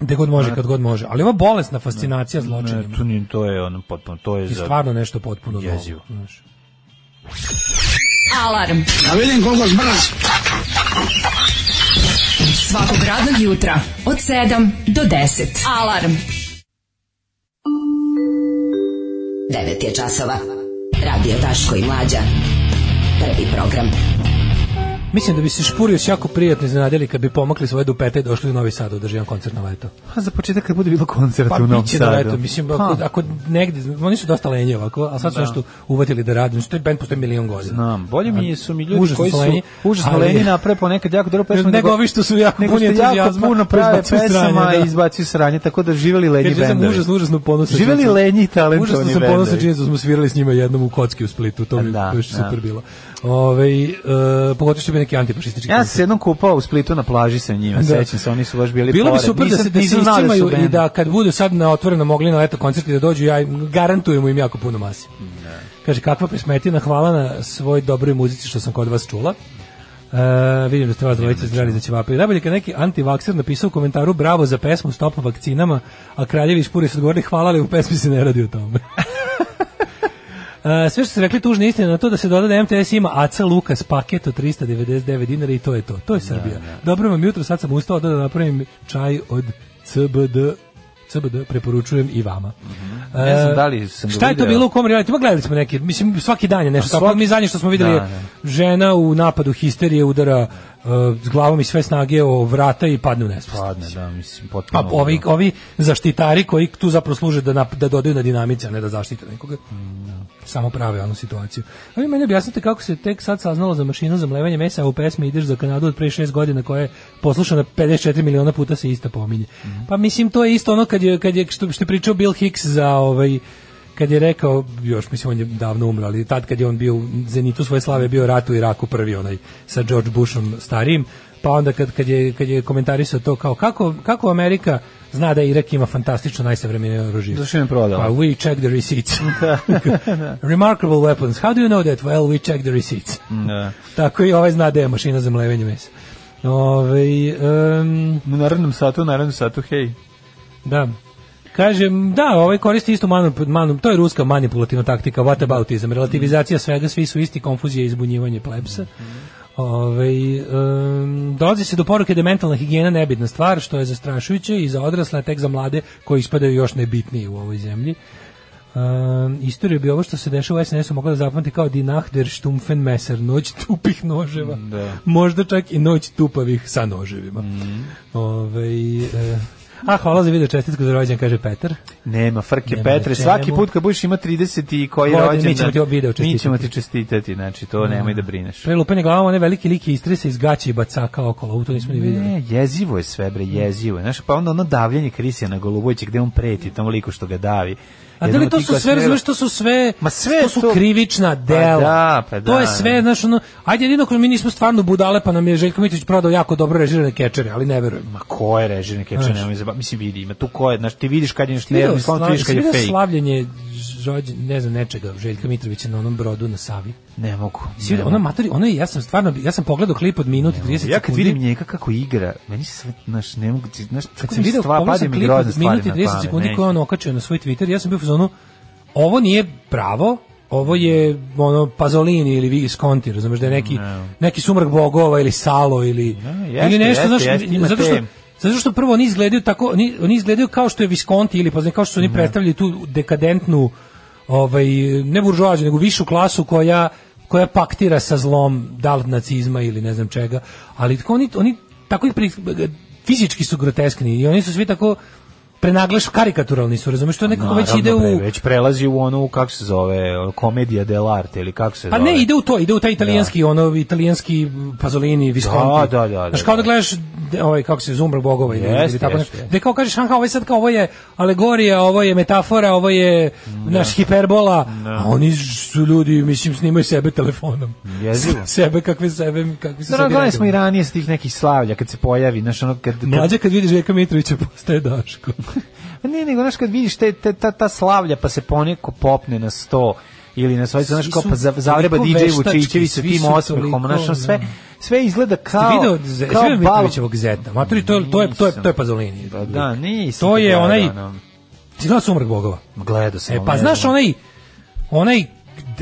S7: Gde god može, kad god može. Ali ova bolesna fascinacija zločinima
S6: Ne, to, nije, to je ono potpuno, to je
S7: je
S6: za...
S7: stvarno nešto potpuno novo.
S6: Jezivo.
S7: znaš.
S5: Alarm.
S13: Da vidim koliko zbrz.
S5: Svakog radnog jutra od 7 do 10.
S10: 9
S5: Alarm.
S10: je časova. Radio Daško i Mlađa. Prvi program.
S7: Mislim da bi se Špurius jako prijatno iznenadili kad bi pomakli svoje dupete i došli u Novi Sad da održi jedan koncert na leto.
S6: Pa za početak kad bude bilo koncert
S7: Pa
S6: u Novom
S7: biće na
S6: Sadu.
S7: leto, mislim,
S6: Pa,
S7: ako, ako negde, oni su dosta lenji ovako, a sad su
S6: Da.
S7: nešto uvatili da radim, što je band postoji milion godina.
S6: Znam, bolje mi je- su mi ljudi
S7: Užasno
S6: koji su
S7: lenji,
S6: užasno
S7: ali-
S6: lenji naprave ponekad jako dobro pesmu.
S7: Nego ovi što su jako
S6: nego
S7: puni
S6: što jako
S7: entuzijazma,
S6: puno prave
S7: izbacuju sranje,
S6: pesama
S7: da.
S6: i izbacuju sranje, tako da živeli lenji
S7: Kaže, ja sam
S6: bendovi.
S7: užasno, užasno ponosan.
S6: Živeli
S7: činjenicom-
S6: lenji i talentovani
S7: Užasno
S6: bendovi.
S7: sam ponosan činjenicom da smo svirali s njima jednom u kocki u Splitu, to bi
S6: Da,
S7: baš
S6: da.
S7: super bilo. Ove, e, pogotovo što bi neki antifašistički
S6: Ja sam
S7: koncert.
S6: se jednom kupao u Splitu na plaži sa njima,
S7: Da.
S6: sećam se, oni su baš bili
S7: Bilo bi
S6: pored.
S7: super da se,
S6: Nisam-
S7: da se
S6: nisam znao su
S7: iscimaju i
S6: bend.
S7: da kad budu sad na otvoreno mogli na leto koncerti da dođu, ja im garantujemo im jako puno masi.
S6: Da.
S7: Kaže, kakva pesmetina, hvala na svoj dobroj muzici što sam kod vas čula. E, vidim da ste vas dvojice zdrali za ćevape. Najbolje kad neki antivakser napisao u komentaru bravo za pesmu Stop vakcinama, a Kraljević Puri su odgovorili hvala, ali u pesmi se ne radi o tome. E, sve što ste rekli tužna istina na to da se doda da MTS ima AC Lukas paket od 399 dinara i to je to. To
S6: Da,
S7: je Srbija. Dobro vam jutro, sad sam ustao da da napravim čaj od CBD CBD preporučujem i vama.
S6: Ne znam
S7: E,
S6: da li sam ga
S7: Šta je to
S6: video.
S7: bilo u kom reality? Ma gledali smo neke, mislim svaki dan je nešto
S6: A
S7: tako.
S6: svaki-
S7: Mi zadnje što smo videli
S6: Da,
S7: je žena u napadu histerije udara e, s glavom i sve snage o vrata i padne u nesvest.
S6: Padne, da, mislim, potpuno.
S7: Pa ovi, ovi zaštitari koji tu zapravo služe da, nap- da dodaju na dinamici, a ne da zaštite nekoga. Samo prave onu situaciju. A vi meni objasnite kako se tek sad saznalo za mašinu za mlevanje mesa, a u pesmi ideš za Kanadu od pre šest godina koja je poslušana 54 miliona puta se ista pominje. Pa mislim to je isto ono kad je, kad je što, što je pričao Bill Hicks za ovaj kad je rekao, još mislim on je davno umro, ali tad kad je on bio u zenitu svoje slave bio rat u Iraku prvi onaj sa George Bushom starijim, pa onda kad, kad, je, kad je komentarisao to kao kako, kako Amerika zna da Irak ima fantastično najsavremenije oružje.
S6: Zašto im je prodala?
S7: Pa we check the receipts. Remarkable weapons. How do you know that? Well, we check the receipts.
S6: Da.
S7: Tako i ovaj zna da je mašina za mlevenje mesa. Ove, em,
S6: U narodnom satu, u narodnom satu, hej.
S7: da. Kažem, da, ovaj koristi istu manu, manu, to je ruska manipulativna taktika, what aboutism, relativizacija svega, svi su isti, konfuzija i izbunjivanje plebsa. Ove, em, dolazi se do poruke da je mentalna higijena nebitna stvar, što je zastrašujuće i za odrasle, a tek za mlade koji ispadaju još nebitniji u ovoj zemlji. Um, istoriju bi ovo što se dešava u SNS-u mogla da zapamati kao Die Nacht der Stumpfen Messer, noć tupih noževa. Možda čak i noć tupavih sa noževima. Ovaj, e, A, hvala za video čestitku za rođendan, kaže Petar.
S6: Nema frke
S7: Nema
S6: Petre,
S7: na
S6: svaki
S7: čemu.
S6: put kad budeš ima 30 i koji
S7: Godine, mi
S6: rođendan.
S7: ćemo ti ovo video
S6: Mi ćemo
S7: čestitati.
S6: ti čestitati, znači to nemoj da brineš.
S7: Prelupanje glavom, one velike like istrese iz gaća i bacaka okolo, u to nismo ni vidjeli.
S6: Ne, E, jezivo je sve bre, jezivo je. Znaš, pa onda ono davljenje Krisijana Golubovića gde on preti tom liku što ga davi.
S7: A da
S6: Jedan
S7: li
S6: od
S7: to
S6: tih
S7: su
S6: koja
S7: sve,
S6: smela-
S7: razumeš, to su sve,
S6: Ma sve
S7: to su
S6: to-
S7: krivična
S6: Pa
S7: dela.
S6: da, pa
S7: To
S6: da,
S7: je sve,
S6: da.
S7: znaš, ono, ajde jedino ako mi nismo stvarno budale, pa nam je Željko Mitrović prodao jako dobro režirane kečere, ali ne verujem.
S6: Ma ko je režirni kepče,
S7: Znaš.
S6: nemoj zabaviti. Mislim, vidi, ima tu ko je, znaš, ti vidiš kad je nešto
S7: Ti video
S6: nervni, slon, ti
S7: slavlje-
S6: vidiš kad je
S7: si video
S6: fake.
S7: slavljenje rođen, ne znam, nečega, Željka Mitrovića na onom brodu na Savi.
S6: Ne mogu.
S7: Si
S6: ne
S7: vidio, ona
S6: mogu.
S7: materi, ona je, ja sam stvarno, ja sam pogledao klip od minut i 30 sekundi.
S6: Ja kad vidim njega kako igra, meni se sve, znaš, ne mogu, ti- znaš,
S7: kad
S6: tako
S7: sam
S6: mi
S7: video
S6: stvar,
S7: pogledao sam
S6: pade mi
S7: klip
S6: grozne
S7: od
S6: stvari na
S7: minut i
S6: pamet.
S7: 30 sekundi koje
S6: ne.
S7: on okačio na svoj Twitter, ja sam bio u fazonu ovo nije pravo, ovo je ono Pazolini ili Visconti, razumeš da je neki neki sumrak bogova ili Salo ili
S6: jeste,
S7: ili nešto
S6: jeste,
S7: znaš
S6: jeste, ima
S7: zato što
S6: te-
S7: Zato što prvo oni izgledaju tako, oni, oni izgledaju kao što je Visconti ili pa znam, kao što su oni predstavljali tu dekadentnu ovaj ne buržoaziju nego višu klasu koja koja paktira sa zlom da li nacizma ili ne znam čega, ali tako oni oni tako ih pri, fizički su groteskni i oni su svi tako prenaglaš karikaturalni su, razumeš, to nekako već
S6: Naravno,
S7: ide u
S6: bre, već prelazi u onu kako se zove komedija dell'arte ili kako se
S7: Pa
S6: zove.
S7: ne, ide u to, ide u taj italijanski, ono, italijanski Pazolini, Visconti.
S6: Da, da, da, da,
S7: Znaš, kao da gledaš, de- ovaj, kako se, Zumbrg bogova ili
S6: Jeste,
S7: ili tako
S6: jeste.
S7: nešto. Gde kao kažeš, aha, ovo je sad kao, ovo je alegorija, ovo je metafora, ovo je,
S6: Da.
S7: naš, hiperbola. A oni su ljudi, mislim, snimaju sebe telefonom.
S6: Jezivo.
S7: sebe, kakve sebe, kakve se
S6: Dobro,
S7: sebi
S6: gledali smo i
S7: radimo.
S6: ranije s tih nekih slavlja kad se pojavi, znaš, ono kad... kad-
S7: Mlađe kad vidiš Žeka Mitrovića postaje Daško.
S6: Pa Ne, nego, znaš, kad vidiš te, te, ta, ta slavlja pa se poneko popne na sto ili na svojicu, znaš,
S7: Svi
S6: kao
S7: su
S6: pa za- zavreba
S7: toliko
S6: DJ
S7: veštački,
S6: Vučićević sa
S7: svi
S6: tim
S7: su
S6: osmehom,
S7: toliko,
S6: znaš, ono sve,
S7: da.
S6: sve izgleda kao...
S7: Video
S6: kao
S7: Zvijezda
S6: bal-
S7: Mitrovićevog zeta. Matori, to, je- to, je, to, je, to je Pazolini.
S6: Pa da, nisam.
S7: To je
S6: gledao,
S7: onaj-
S6: ono.
S7: Ti gledao Sumrak bogova?
S6: Gledao sam.
S7: E,
S6: ono,
S7: pa
S6: ne
S7: znaš
S6: znam.
S7: onaj onaj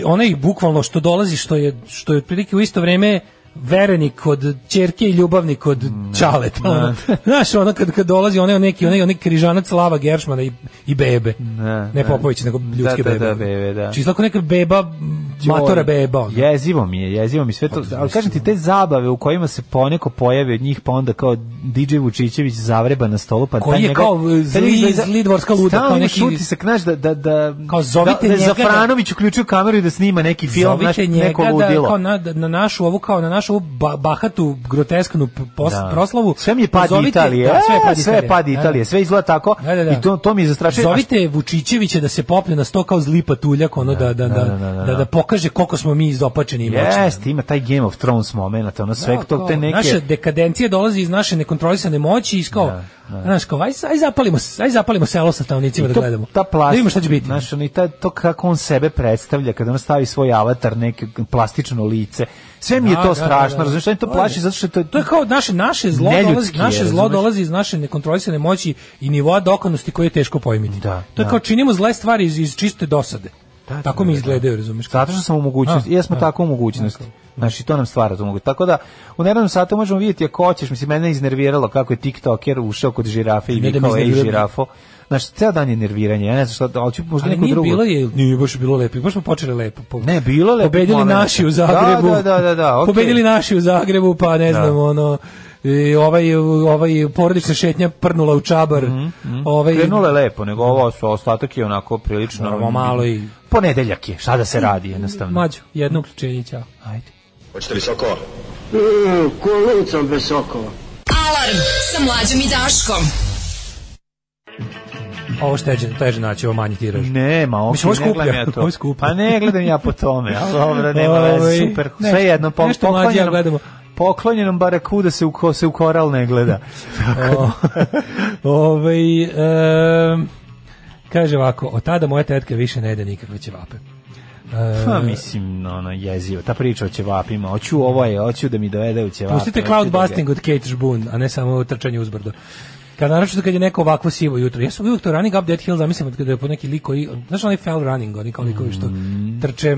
S7: onaj bukvalno što dolazi što je što je otprilike u isto vrijeme verenik od ćerke i ljubavnik od
S6: Mm,
S7: čaleta. ono. Znaš, ono kad, kad dolazi onaj neki onaj, onaj križanac Lava Geršmana i, i bebe.
S6: Ne,
S7: ne
S6: ne.
S7: Popović, nego ljudske
S6: Da, da,
S7: bebe.
S6: da, bebe, da.
S7: Čisto ako neka beba, m, matora beba. ono.
S6: Jezivo mi je, jezivo mi je sve to. Ali kažem ti, te zabave u kojima se poneko pojave od njih, pa onda kao DJ Vučićević zavreba na stolu, pa
S7: Koji
S6: taj
S7: je
S6: njega-
S7: kao,
S6: taj
S7: zli-
S6: izgleda-
S7: zli dvorska luda,
S6: Stalno
S7: kao
S6: imaš
S7: neki-
S6: utisak, znaš, da, da, da,
S7: Kao, zovite
S6: da, da
S7: njega da-
S6: Zafranović uključio kameru i da snima neki film, znaš,
S7: Zovite
S6: neko
S7: njega da,
S6: ludilo.
S7: kao na, da- na našu ovu kao na našu ovu ba- bahatu grotesknu p- pos,
S6: Da.
S7: proslavu.
S6: Sve mi je pad
S7: Pozovite-
S6: Italije, E,
S7: da, sve je pad
S6: sve je
S7: Italije.
S6: pad
S7: Da, da.
S6: Italije, sve izgleda tako
S7: Da, da, da.
S6: i to, to mi je zastrašuje. A
S7: Zovite Vučićevića da se popne na sto kao zli patuljak, ono da, da, da, da,
S6: da, da,
S7: da, pokaže koliko smo mi izopačeni i moćni.
S6: Jeste, ima taj Game of Thrones moment, ono sve
S7: Da,
S6: to,
S7: kao,
S6: te neke...
S7: Naša dekadencija dolazi iz naše nekontrolisane moći i kao,
S6: Da,
S7: znaš, kao, aj, aj, zapalimo, aj zapalimo selo sa stanovnicima
S6: I
S7: da gledamo.
S6: Ta
S7: Da
S6: plastika,
S7: vidimo šta će biti.
S6: Znaš, ono, i ta, to kako on sebe predstavlja, kada on stavi svoj avatar, neke plastično lice. Sve mi je
S7: Da,
S6: to
S7: da,
S6: strašno,
S7: da, da.
S6: razumiješ, on to plaši, zato što to,
S7: To je kao naše naše zlo
S6: Neljudski
S7: dolazi,
S6: je,
S7: naše zlo
S6: razumeš?
S7: dolazi iz naše nekontrolisane moći i nivoa dokonosti koje je teško pojmiti.
S6: Da,
S7: to je
S6: da.
S7: kao činimo zle stvari iz, iz čiste dosade.
S6: Da,
S7: Tako
S6: da,
S7: mi
S6: da, da.
S7: izgledaju, razumeš?
S6: Zato što smo u mogućnosti,
S7: A, da.
S6: jesmo
S7: a.
S6: tako u mogućnosti. Znači, to nam stvara tu mogućnost. Tako da, u narednom satu možemo vidjeti ako hoćeš, mislim, mene je iznerviralo kako je TikToker ušao kod žirafe i
S7: Ne da
S6: vikao,
S7: me
S6: ej
S7: iznervira.
S6: žirafo. Znači, ceo dan je nerviranje, ja ne znam šta, ali ću možda
S7: Ali
S6: neku
S7: nije
S6: drugu.
S7: bilo je, nije baš bilo lepo. Baš smo počeli lepo. Po,
S6: Ne, bilo lepih
S7: Pobedili
S6: momenata.
S7: naši u Zagrebu.
S6: Da, da, da, da, da, okej.
S7: Pobedili naši u Zagrebu, pa ne
S6: Da.
S7: znam, ono i ovaj ovaj porodična šetnja prnula u čabar. Ovaj
S6: Krenulo Mhm, je lepo, nego ovo su ostatak je onako prilično...
S7: Normalno, malo i-
S6: Ponedeljak je, šta da se radi jednostavno.
S7: mlađo, jedno uključenje, ćao.
S6: Ajde.
S13: Hoćete visoko?
S14: Kolicom bez sokova.
S5: Alarm sa mlađom i Daškom.
S7: Ovo šteđe, teže naći, ovo manji tiraž.
S6: Mhm. Nema, ok,
S7: Mislim, ovo je
S6: ne gledam
S7: skuplje,
S6: ja to.
S7: ovo je skuplje.
S6: Pa ne gledam ja po tome, ali dobro, nema
S7: Ovaj,
S6: veze, super.
S7: nešto-
S6: Sve jedno, po,
S7: nešto mlađe ja gledamo.
S6: poklonjenom, poklonjenom barakuda se u, ko, se u koral ne gleda. da.
S7: O, ovaj, em, kaže ovako, od tada moja tetka više ne jede nikakve ćevape. E,
S6: Pa mislim, ono, jezivo, ta priča o ćevapima, hoću ovo je, hoću da mi dovede u ćevape.
S7: Pustite
S6: hoću da ga-
S7: cloudbusting od Kate Žbun, a ne samo trčanje uzbrdo. Kad naročito kad je neko ovakvo sivo jutro. Ja sam uvijek to running up Dead Hill zamislim kada je po neki liko i... Znaš onaj fell running, oni kao likovi što
S6: Mm.
S7: trče...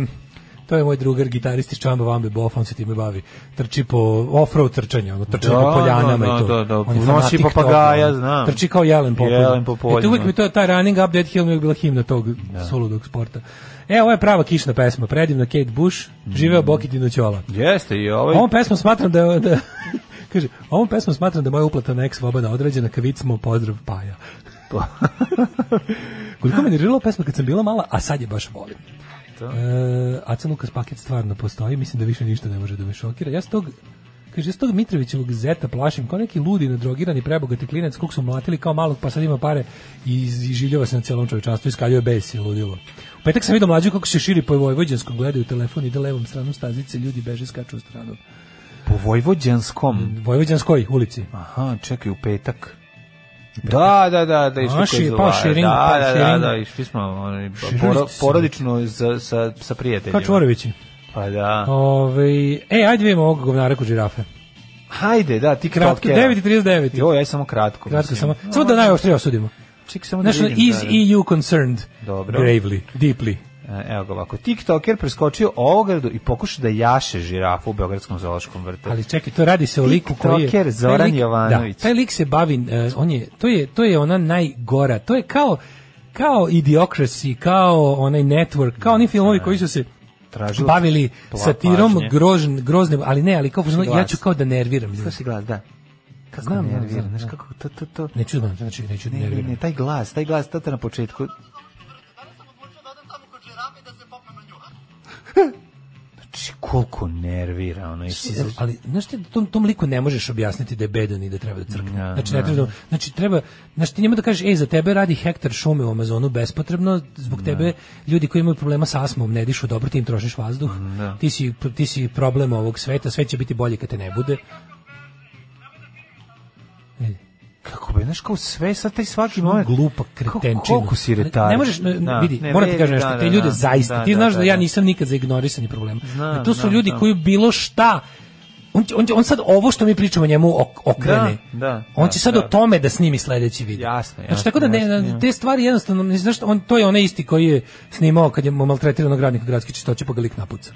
S7: To je moj drugar gitarist iz Čamba Vambe Bof, on se time bavi. Trči po off-road trčanje, ono, trči
S6: Da,
S7: po poljanama
S6: da,
S7: i to.
S6: da, da,
S7: On je
S6: nosi
S7: fanatik
S6: papagaja,
S7: toga, ono.
S6: znam.
S7: Trči kao jelen po polju.
S6: Jelen Da. po polju,
S7: E, to uvijek
S6: da.
S7: mi to, taj running up Dead Hill mi je uvijek bila himna tog suludog sporta. E, ovo je prava kišna pesma, predivna Kate Bush, živeo Boki Dinoćola.
S6: Jeste i ovaj...
S7: Ovom pesmom smatram da, da, Kaže, ovom pesmom smatram da je moja uplata na ex-vobana određena, kavic smo, pozdrav, paja. Koliko me nervirala pesma kad sam bila mala, a sad je baš volim. E, Aca Lukas paket stvarno postoji, mislim da više ništa ne može da me šokira. Ja s tog, kaže, ja s tog Mitrovićevog zeta plašim, kao neki ludi, nadrogirani, prebogati klinac, kog su mlatili kao malog, pa sad ima pare i iz- iživljava se na celom čovečanstvu, iskaljuje bes i ludilo. U petak sam vidio mlađu kako se širi po Vojvođanskom, gledaju telefon, ide levom stranom stazice, ljudi beže, skaču u stranu.
S6: Po Vojvođanskom.
S7: Vojvođanskoj ulici.
S6: Aha, čekaj, u petak. Da, da, da, da, išli
S7: A,
S6: kod
S7: šir- pa
S6: Zolare.
S7: širing,
S6: da,
S7: pa
S6: da, da,
S7: širing.
S6: da, išli smo onaj,
S7: Širili
S6: poro-
S7: ste se.
S6: porodično za, sa, sa prijateljima.
S7: Kao Čvorovići.
S6: Pa da.
S7: Ove, e, ajde vidimo ovog govnara kod žirafe.
S6: Hajde, da, ti
S7: Kratko,
S6: kratke.
S7: 9.39.
S6: Jo, ja samo kratko.
S7: Kratko
S6: mislim.
S7: samo. Samo da najoštrije osudimo.
S6: Ček, samo da
S7: National
S6: vidim,
S7: is
S6: da, da.
S7: EU concerned.
S6: Dobro.
S7: Gravely, deeply.
S6: E, Evo ga ovako. TikToker preskočio ogradu i pokušao da jaše žirafu u Beogradskom zoološkom vrtu.
S7: Ali čekaj, to radi se o liku koji je...
S6: TikToker
S7: taj
S6: Zoran
S7: lik-
S6: Jovanović.
S7: Da, taj lik se bavi, eh, on je, to, je, to je ona najgora, to je kao, kao idiokrasi, kao onaj network, kao oni filmovi koji su se
S6: Da. Tražilo
S7: bavili
S6: pla-
S7: satirom
S6: pažnje.
S7: grožn, groznim, ali ne, ali kao, fuzonu, ja
S6: Glas.
S7: ću kao da nerviram ljudi.
S6: Slušaj glas, da. Kako
S7: Znam,
S6: me
S7: znam,
S6: nervira,
S7: znam,
S6: znaš
S7: znam.
S6: kako to, to, to.
S7: Neću, da- znači, neću da
S6: da. Ne, ne,
S7: nerviram.
S6: ne, taj glas, taj glas, tata na početku. Znači, koliko nervira, ono, i si...
S7: E, ali znaš ti, tom, tom liku ne možeš objasniti da je bedan i da treba da crkne.
S6: Ja,
S7: znači, ne
S6: ja.
S7: treba, da- znači, treba, znači, ti njemu da kažeš, ej, za tebe radi hektar šume u Amazonu bespotrebno, zbog tebe ljudi koji imaju problema sa asmom ne dišu dobro, ti im trošiš vazduh,
S6: Da.
S7: ti, si, ti si problem ovog sveta, sve će biti bolje kad te ne bude. Ej,
S6: Kako bi, znaš, kao sve, sad taj svaki moment...
S7: glupa
S6: Kako-
S7: kretenčina.
S6: Znači, Koliko si Da, retar.
S7: Ne, ne možeš, ne, vidi, moram ti kažem nešto,
S6: da.
S7: te ljude zaista, ti znaš da, ja nisam nikad za ignorisanje problema.
S6: Znam,
S7: Znači, to su
S6: znam,
S7: ljudi
S6: znam.
S7: koji bilo šta, on, će- on, će- on sad ovo što mi pričamo njemu ok- okrene.
S6: Da, da,
S7: on
S6: da,
S7: će sad
S6: da.
S7: o tome da snimi sledeći video.
S6: Jasno, jasno,
S7: Znači, tako da ne,
S6: jasno, jasno.
S7: te stvari jednostavno, ne znaš, on, to je onaj isti koji je snimao kad je maltretiranog radnika gradske čistoće pa ga lik napuca.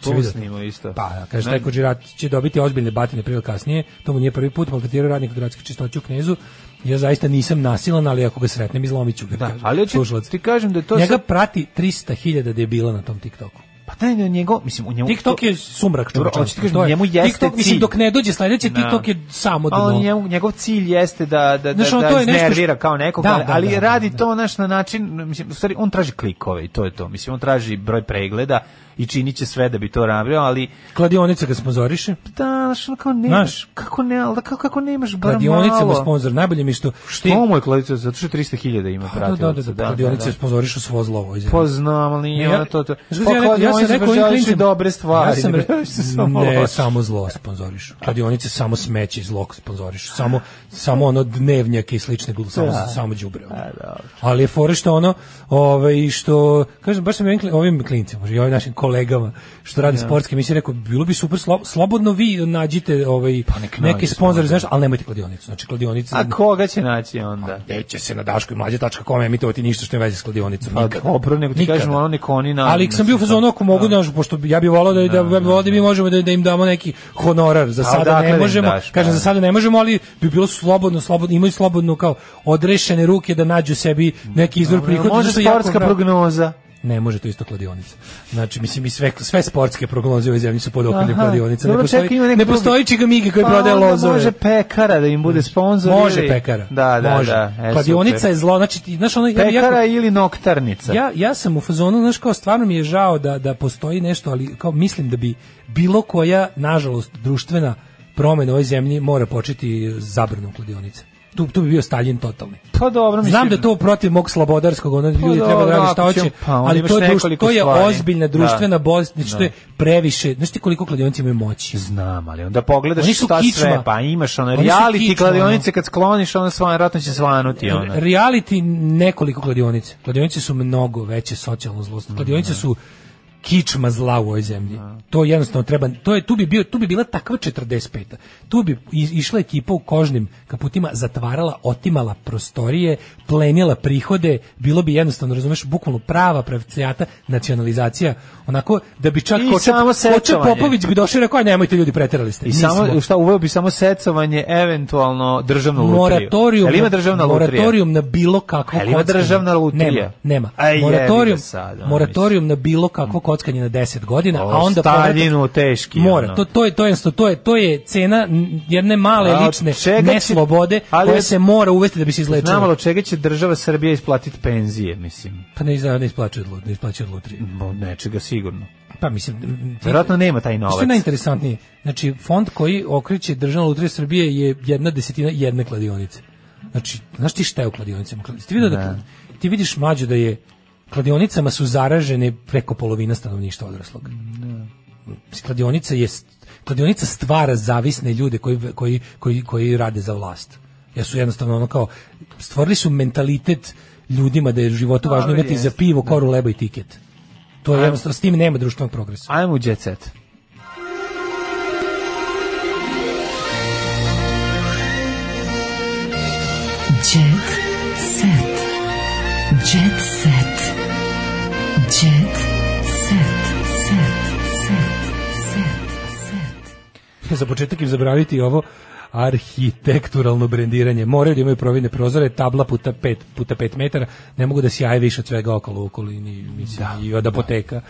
S7: Će
S6: To
S7: vidjeti.
S6: snimo isto.
S7: Pa, da, kaže,
S6: Ne,
S7: taj kođirat će dobiti ozbiljne batine prije ili kasnije, to mu nije prvi put, maltretirao radnika gradske čistoće u knezu, ja zaista nisam nasilan, ali ako ga sretnem, izlomit ću ga.
S6: Da,
S7: kaže
S6: ali hoću
S7: slušalac.
S6: ti kažem da je to...
S7: Njega
S6: sad-
S7: prati 300.000 debila na tom TikToku.
S6: Pa taj je njegov, mislim, u njemu...
S7: TikTok
S6: to-
S7: je sumrak
S6: Dobro,
S7: čovječanstva,
S6: hoću ti kažem,
S7: to je-
S6: njemu jeste
S7: TikTok, mislim,
S6: cilj.
S7: dok ne dođe sledeći,
S6: Da.
S7: TikTok je samo
S6: A on
S7: dno.
S6: njemu- njegov cilj jeste da da da,
S7: Znaš, ono,
S6: da
S7: to je nešto što-
S6: iznervira kao nekog,
S7: Da,
S6: ali,
S7: da,
S6: ali
S7: da,
S6: radi
S7: da.
S6: to naš na način, mislim, u stvari on traži klikove i to je to. Mislim on traži broj pregleda i činiće sve da bi to radio, ali
S7: Kladionica ga sponzoriše.
S6: da znaš, ono kao nemaš,
S7: Znaš.
S6: kako ne, ali da kako, kako nemaš bar
S7: Kladionica mu
S6: malo.
S7: sponzor. Najbolje mi je što...
S6: Što mu je kladionica? Zato što 300.000 ima
S7: Da, da, da, da,
S6: pratilaca.
S7: kladionice sponzorišu svo zlo ovoj zemlji.
S6: Poznam, Pa ali nije
S7: Ne,
S6: ona to to.
S7: Znaš
S6: Pa
S7: kako sam ja, rekao, ja
S6: kladionice
S7: sam rekao ovim
S6: izvršavajući
S7: klincima,
S6: dobre stvari.
S7: Ja sam re-
S6: izvršavajući samo
S7: ne,
S6: loše.
S7: samo zlo sponzoriš. Kladionice samo smeće i zlo sponzoriš. Samo, samo ono dnevnjake i slične gluposti, samo,
S6: Da.
S7: samo đubre. ono.
S6: A, dobro.
S7: Ali je fore što ono, ovaj što kažem baš sam ovim, klin- ovim klincima, i ovim našim kolegama što rade
S6: Da.
S7: sportske emisije rekao bilo bi super slo- slobodno vi nađite ovaj
S6: Pa nek nađe
S7: neki sponzor,
S6: sponzor.
S7: znaš, ali nemojte kladionicu. Znači kladionice
S6: A koga će naći onda?
S7: gde će se na daško i mlađe.com emitovati ništa što ne veze s kladionicom.
S6: Pa
S7: Nikada.
S6: dobro, nego ti
S7: Nikada.
S6: kažem, ono nek oni na-
S7: Ali sam bio
S6: da.
S7: u fazonu ako mogu, znaš, pošto ja bih volao da, da, ja bih volao da mi možemo da, da im damo neki honorar. Za
S6: A
S7: sada
S6: odakle da
S7: ne
S6: im
S7: možemo,
S6: daš,
S7: kažem,
S6: da.
S7: za sada ne možemo, ali bi bilo slobodno, slobodno, imaju slobodno kao odrešene ruke da nađu sebi neki izvor prihoda.
S6: Može
S7: zato što je da jako
S6: sportska
S7: bra-
S6: prognoza.
S7: Ne može to isto kladionica. Znači, mislim, i sve, sve sportske prognoze u ovoj zemlji su pod
S6: Aha,
S7: okriljem kladionice. Ne
S6: dobro,
S7: postoji,
S6: čekaj, ima neko
S7: ne
S6: drugi.
S7: postoji čigamigi koji
S6: Pa
S7: prodaje
S6: onda
S7: lozove.
S6: Može pekara da im bude sponzor.
S7: Može
S6: ili-
S7: pekara.
S6: Da, da,
S7: može.
S6: da. e,
S7: Kladionica
S6: super.
S7: je zlo, znači ti znaš ono ja bih jako-
S6: Pekara ili noktarnica.
S7: ja, ja sam u fazonu, znaš, kao stvarno mi je žao da, da postoji nešto, ali kao mislim da bi bilo koja, nažalost, društvena promena u ovoj zemlji mora početi zabranom kladionice. Tu, tu bi bio Stalin totalni.
S6: Pa dobro, mislim. Pa
S7: Znam da je to protiv mog slobodarskog, ono ljudi treba
S6: dobro,
S7: da rade
S6: ako
S7: šta
S6: ćemo,
S7: hoće,
S6: pa onda
S7: ali
S6: imaš
S7: to je, druš-
S6: nekoliko
S7: to je
S6: stvari.
S7: ozbiljna društvena
S6: Da.
S7: bolest, znači
S6: Da.
S7: to je previše, znaš ti koliko kladionice imaju moći.
S6: Znam, ali onda pogledaš
S7: Oni su
S6: šta
S7: kičma.
S6: sve, pa imaš ono
S7: Oni su
S6: reality
S7: kičma,
S6: kladionice, kad skloniš, ono svan, vjerojatno će svanuti, ono.
S7: reality nekoliko kladionice. Kladionice su mnogo veće socijalno zlo.
S6: Mhm.
S7: Kladionice su kičma zla u ovoj zemlji.
S6: Da.
S7: To jednostavno treba, to je, tu bi, bio, tu bi bila takva 45. Tu bi i- išla ekipa u kožnim kaputima, zatvarala, otimala prostorije, plenila prihode, bilo bi jednostavno, razumeš, bukvalno prava pravcijata, nacionalizacija, onako da bi čak
S6: I
S7: Kočep,
S6: samo
S7: Kočep
S6: sečovanje.
S7: Popović bi došao i rekao, "Aj, nemojte ljudi, preterali ste.
S6: I samo,
S7: Nismo.
S6: šta, uveo bi samo secovanje, eventualno državnu lutriju.
S7: Moratorijum.
S6: Jel ima državna lutrija?
S7: Moratorijum na bilo kakvo
S6: Jel ima
S7: kockanje.
S6: državna lutrija?
S7: Nema, nema.
S6: A jebi ga
S7: moratorijum,
S6: sad, ono,
S7: moratorijum na bilo kakvo kockanje na 10 godina,
S6: Ovo,
S7: a onda
S6: Staljinu teški,
S7: Mora,
S6: ono.
S7: to to je to je jednostavno- to je to je cena jedne male
S6: A od
S7: lične
S6: čega će-
S7: neslobode
S6: ali-
S7: koja se mora uvesti da bi se izlečila.
S6: Znamo od čega će država Srbija isplatiti penzije, mislim.
S7: Pa ne znam, ne isplaćuje od lud- ne isplaćuje od lutrije.
S6: Bo nečega sigurno.
S7: Pa mislim, m,
S6: Verovatno nema taj novac.
S7: Što je najinteresantnije? Znači, fond koji okreće Državna lutrija Srbije je jedna desetina jedne kladionice. Znači, znaš ti šta je u kladionicama? Kladi- Ti, vidio da,
S6: Ne.
S7: ti vidiš mlađu da je kladionicama su zaražene preko polovina stanovništva odraslog. Mislim, Kladionica je st- kladionica stvara zavisne ljude koji, koji, koji, koji rade za vlast. Ja su jednostavno ono kao stvorili su mentalitet ljudima da je u životu važno
S6: Dobro,
S7: imati za
S6: jest,
S7: pivo, koru, leba i tiket. To je
S6: Ajmo.
S7: jednostavno, s tim nema društvenog progresa.
S6: Ajmo u jet set.
S5: Jet set. Jet set. Jet set. Set. Set. Set. Set.
S7: za početak im zabraniti ovo arhitekturalno brendiranje. Moraju da imaju providne prozore, tabla puta 5 puta 5 metara, ne mogu da sjaje više od svega okolo u okolini, mislim,
S6: Da,
S7: i od apoteka.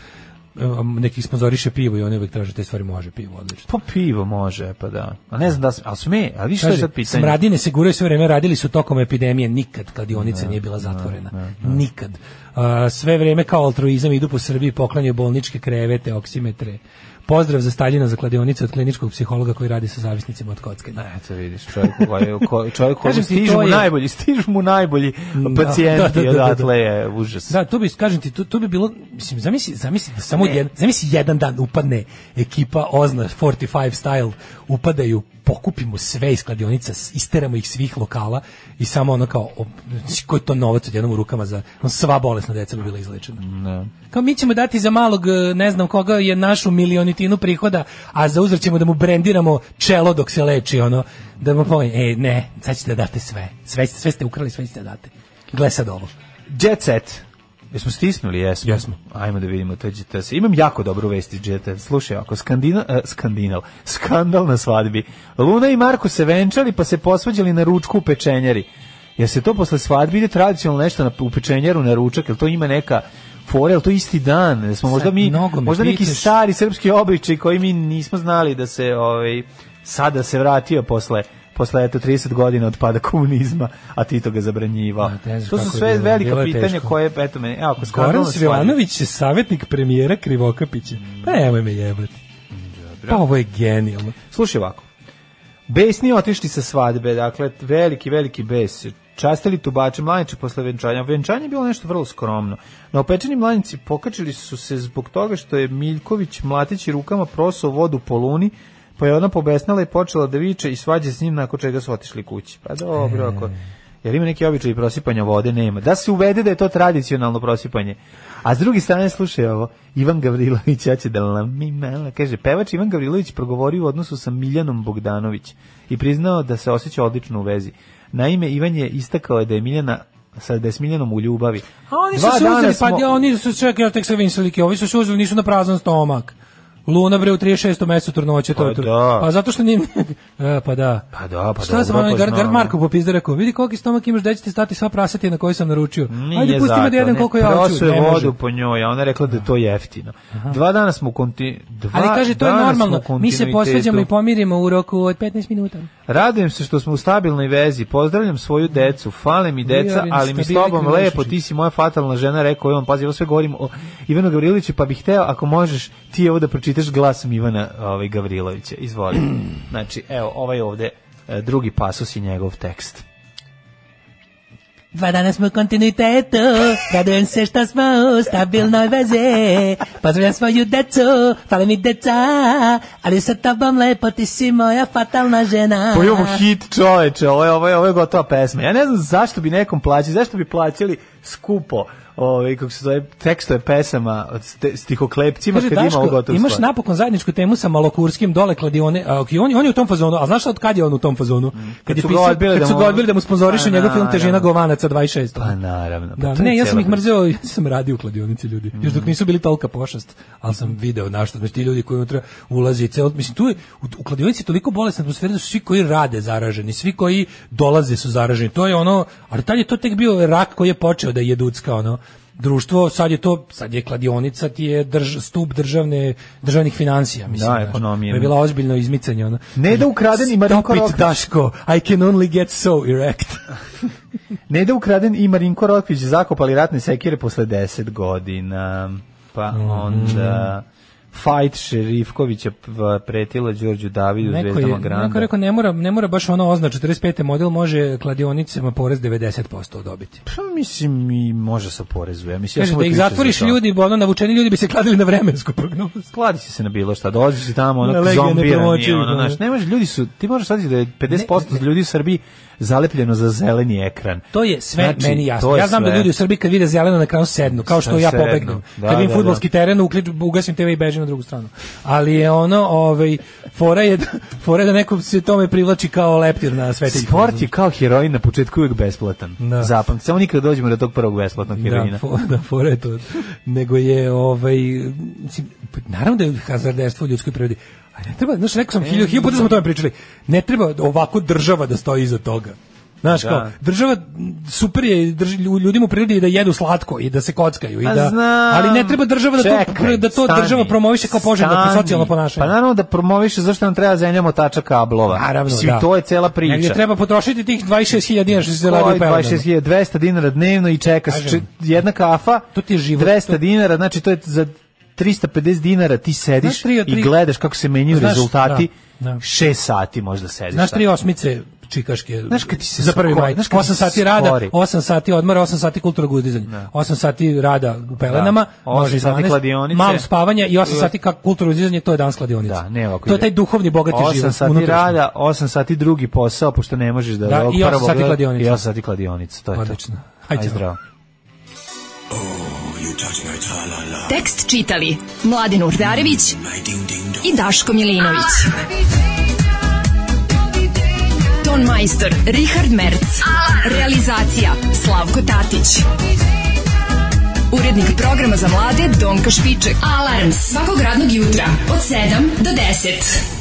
S7: Em, Neki sponzoriše pivo i oni uvek traže te stvari, može pivo, odlično.
S6: Pa pivo može, pa da. A ne znam da, ali sme, a vi što je
S7: Kaže,
S6: sad pitanje?
S7: smradine se guraju sve vreme, radili su tokom epidemije, nikad kladionica
S6: Da,
S7: nije bila zatvorena. Nikad. A, sve vreme kao altruizam idu po Srbiji, poklanjaju bolničke krevete, oksimetre. Pozdrav za Staljina za kladionice od kliničkog psihologa koji radi sa zavisnicima od kockanja.
S6: Eto vidiš, čovjek koji, ko, čovjek koji
S7: Kažem ti,
S6: stižu
S7: to
S6: mu
S7: je-
S6: najbolji, stižu mu najbolji
S7: Da,
S6: pacijenti,
S7: da, da, da, da.
S6: odatle je užas.
S7: Da, tu bi kažem ti, tu, tu bi bilo, mislim, zamisli, zamisli da samo jedan, zamisli jedan dan upadne ekipa Ozna 45 Style, upadaju, pokupimo sve iz kladionica, s- isteramo ih svih lokala i samo ono kao, op- znači, koji to novac odjednom u rukama za, on sva bolesna deca bi bila izlečena.
S6: Ne.
S7: Kao mi ćemo dati za malog, e, ne znam koga, je našu milionitinu prihoda, a za uzor ćemo da mu brendiramo čelo dok se leči, ono, da mu povem, e, ne, sad ćete da date sve, sve, sve ste ukrali, sve ćete da date. Gle sad ovo.
S6: Jet set. Jesmo stisnuli, jesmo.
S7: Jesmo.
S6: Ajmo da vidimo to jet set. Imam jako dobru vest iz jet set. Slušaj, ako skandina, eh, skandinal, skandal na svadbi. Luna i Marko se venčali pa se posvađali na ručku u pečenjari. Jel se to posle svadbi ide tradicionalno nešto na, u pečenjaru na ručak? Jel to ima neka fora, jel to isti dan? Jel smo možda
S7: Sad
S6: mi,
S7: mnogo me
S6: možda neki
S7: pitaš.
S6: stari srpski običaj koji mi nismo znali da se ovaj, sada se vratio posle posle eto 30 godina od pada komunizma, a Tito ga zabranjivao.
S7: ne znam
S6: To su
S7: kako je
S6: sve
S7: bilo. Bilo
S6: velika
S7: je
S6: pitanja
S7: teško.
S6: koje, eto, meni, evo, ako skandalno
S7: Goran
S6: stvari-
S7: Svilanović je savjetnik premijera Krivokapića. Pa nemoj me jebati. Pa ovo je genijalno.
S6: Slušaj ovako. Besni otišli sa svadbe, dakle, veliki, veliki bes. Častili tubače mlaniće posle venčanja. Venčanje je bilo nešto vrlo skromno. Na opečeni mlanici pokačili su se zbog toga što je Miljković mlateći rukama prosao vodu po luni, pa je ona pobesnala i počela da viče i svađa s njim nakon čega su otišli kući. Pa dobro, ako...
S7: E.
S6: Jer ima neki običaj prosipanja vode, nema. Da se uvede da je to tradicionalno prosipanje. A s druge strane, slušaj ovo, Ivan Gavrilović, ja će da lamimela, kaže, pevač Ivan Gavrilović progovorio u odnosu sa Miljanom Bogdanović i priznao da se osjeća odlično u vezi. Naime, Ivan je istakao da je Miljana sa da je s Miljanom u ljubavi.
S7: A oni su
S6: Dva
S7: se
S6: dana
S7: uzeli,
S6: smo-
S7: pa ja, oni su čekaj, ja tek sam vidim slike, ovi su se uzeli, nisu na prazan stomak. Luna bre u 36. mesecu trudnoće to
S6: Pa
S7: je tru-
S6: da.
S7: Pa zato što njim E, pa da.
S6: Pa da, pa
S7: Šta sam
S6: dobro,
S7: onaj
S6: pa
S7: gar, gar
S6: znam.
S7: Marko popizda rekao, vidi koliki stomak imaš, da će ti stati sva prasatina koju sam naručio.
S6: Nije
S7: Ajde pusti me
S6: zato,
S7: da jedem
S6: ne,
S7: koliko ja hoću.
S6: Prosuo
S7: Ne
S6: je
S7: može.
S6: vodu po njoj, a ona je rekla da je to jeftino. Dva dana smo u konti... dva
S7: Ali kaže to je
S6: dana smo
S7: normalno.
S6: u
S7: Mi se posvađamo
S6: kontinuitetu.
S7: i pomirimo u roku od 15 minuta.
S6: Radujem se što smo u stabilnoj vezi. Pozdravljam svoju decu. Fale Mhm. mi deca,
S7: are in
S6: ali mi s
S7: stabilni
S6: tobom
S7: relationship.
S6: lepo. Ti si moja fatalna žena, rekao je on. Pazi, ovo sve govorim o Ivanu Gavriloviću, pa bih hteo, ako možeš, ti ovo da pročitaš glasom Ivana ovaj, Gavrilovića. Izvoli. Znači, evo, ovaj ovde e, drugi pasus i njegov tekst.
S13: Dva dana smo u kontinuitetu, radujem se što smo u stabilnoj veze. Pozdravljam svoju decu, fale mi deca, ali sa tobom lepo ti si moja fatalna žena.
S6: Pa imamo hit čoveče, ovo je, ovo je, ovo je gotova pesma. Ja ne znam zašto bi nekom plaćali, zašto bi plaćali skupo ovaj, kako se zove, tekstove pesama od ste- stihoklepcima
S7: Kaže,
S6: kad ima ovo
S7: Daško,
S6: gotovo
S7: imaš napokon zajedničku temu sa malokurskim dole kladione, a ok, on, on je u tom fazonu, a znaš šta od kad je on u tom fazonu?
S6: kad
S7: je
S6: su ga
S7: pisao-
S6: odbili da
S7: kad su
S6: mu-
S7: ga odbili da mu sponzorišu
S6: Pa,
S7: njegov film
S6: naravno.
S7: Težina Govanaca 26.
S6: Pa naravno. Pa
S7: Da,
S6: to je
S7: ne, ja sam
S6: cijela Mm.
S7: ih mrzeo, ja sam radio u kladionici ljudi. Još dok nisu bili tolika pošast, ali sam video na što, znači ti ljudi koji unutra ulaze i ceo, mislim tu je u, u kladionici je toliko bolesna atmosfera da su svi koji rade zaraženi, svi koji dolaze su zaraženi. To je ono, ali tad je to tek bio rak koji je počeo da je ducka ono društvo, sad je to, sad je kladionica, ti je drž, stup državne, državnih financija, mislim.
S6: Da,
S7: znaš.
S6: ekonomije.
S7: To je bila ozbiljno izmicanje. Ono.
S6: Ne da ukraden i Marinko
S7: Stop
S6: Rokvić.
S7: it, Daško, I can only get so erect.
S6: Ne da ukraden i Marinko Rokvić zakopali ratne sekire posle 10 godina. Pa onda... Fight Šerifkovića p- pretila Đorđu Davidu,
S7: Neko je,
S6: Zvezdama
S7: neko je
S6: Granda.
S7: rekao, ne mora, ne mora baš ono ozna 45. model, može kladionicama porez 90% dobiti.
S6: Pa mislim i može se porezuje. Mislim, ja
S7: Kaže,
S6: sam
S7: da
S6: uvijek
S7: ih
S6: više
S7: zatvoriš
S6: za to.
S7: ljudi, ono, navučeni ljudi bi se kladili na vremensku prognozu.
S6: Kladi si se na bilo šta, dođi si tamo,
S7: Na
S6: ono,
S7: legije
S6: zombirani,
S7: nepremoćivih,
S6: ono,
S7: ono.
S6: znaš, ne može, ljudi su, ti možeš shvatiti da je 50% ljudi u Srbiji zalepljeno za zeleni ekran.
S7: To je sve
S6: Znači,
S7: meni jasno.
S6: to je
S7: Ja znam da
S6: sve.
S7: ljudi u Srbiji kad vide zeleno na ekranu sednu, kao što
S6: Sad
S7: ja
S6: sednu.
S7: pobegnem.
S6: Da,
S7: kad vidim
S6: da,
S7: fudbalski teren, uključim, ugasim TV i bežim na drugu stranu. Ali je ono, ovaj fora je da, fora je da neko se tome privlači kao leptir na svetiljku.
S6: Sport je kao heroin na početku uvijek besplatan.
S7: Da.
S6: Zapamti, samo nikad dođemo do tog prvog besplatnog
S7: Da,
S6: heroina.
S7: fo, da, fora je to. Nego je, ovaj, mislim, naravno da je hazarderstvo u ljudskoj prirodi, a ne treba, znaš, rekao sam,
S6: E,
S7: hiljo, hiljo puta smo o
S6: da.
S7: tome pričali, ne treba ovako država da stoji iza toga. Znaš,
S6: Da.
S7: kao, država m, super je drži, lju- ljudima u prirodi da jedu slatko i da se kockaju. I
S6: Pa
S7: da,
S6: znam.
S7: ali ne treba država da to,
S6: Čekaj,
S7: da to
S6: stani,
S7: država promoviše kao poželjno
S6: stani.
S7: socijalno ponašanje.
S6: Pa naravno da promoviše zašto nam treba zemlja motača kablova.
S7: Naravno,
S6: Mislim,
S7: da.
S6: to je cela priča.
S7: Negdje treba potrošiti tih 26.000 dinara što se zaradi u
S6: Koji
S7: Pelenu.
S6: 26.200 dinara dnevno i čeka se
S7: Kažem.
S6: če- jedna kafa,
S7: To ti je život,
S6: 200
S7: to-
S6: dinara, znači to je za 350 dinara ti sediš
S7: Znaš, tri od tri-
S6: i gledaš kako se menjaju
S7: Znaš,
S6: rezultati,
S7: da, da.
S6: 6 sati možda sediš. da.
S7: Znaš
S6: tako.
S7: tri osmice čikaške.
S6: Znaš kad ti se
S7: za prvi
S6: skori-
S7: maj.
S6: znaš kad ti
S7: 8
S6: se
S7: sati rada,
S6: skori.
S7: 8 sati odmora, 8 sati kulturnog uzdizanja. 8 sati rada u pelenama,
S6: Da. Osam
S7: može i
S6: sati
S7: 12,
S6: kladionice.
S7: Malo spavanja i 8
S6: I-
S7: sati kako kulturno uzdizanje, to je dan kladionice.
S6: Da, ne ovako
S7: To je
S6: ide.
S7: taj duhovni bogati
S6: 8
S7: život.
S6: sati
S7: unutrašnji.
S6: rada, 8 sati drugi posao, pošto ne možeš da...
S7: Da,
S6: ovog
S7: i osam
S6: prvog
S7: sati
S6: gleda- I
S7: kladionica.
S6: 8 sati kladionica, to je
S7: Odlično.
S6: to.
S7: Hajde,
S6: Aj,
S7: zdravo.
S6: zdravo.
S15: Tekst čitali Mladin Urdarević i Daško Milinović. Ton majstor Richard Merc. Realizacija Slavko Tatić. Urednik programa za mlade Donka Špiček. Alarms svakog radnog jutra od 7 do 10.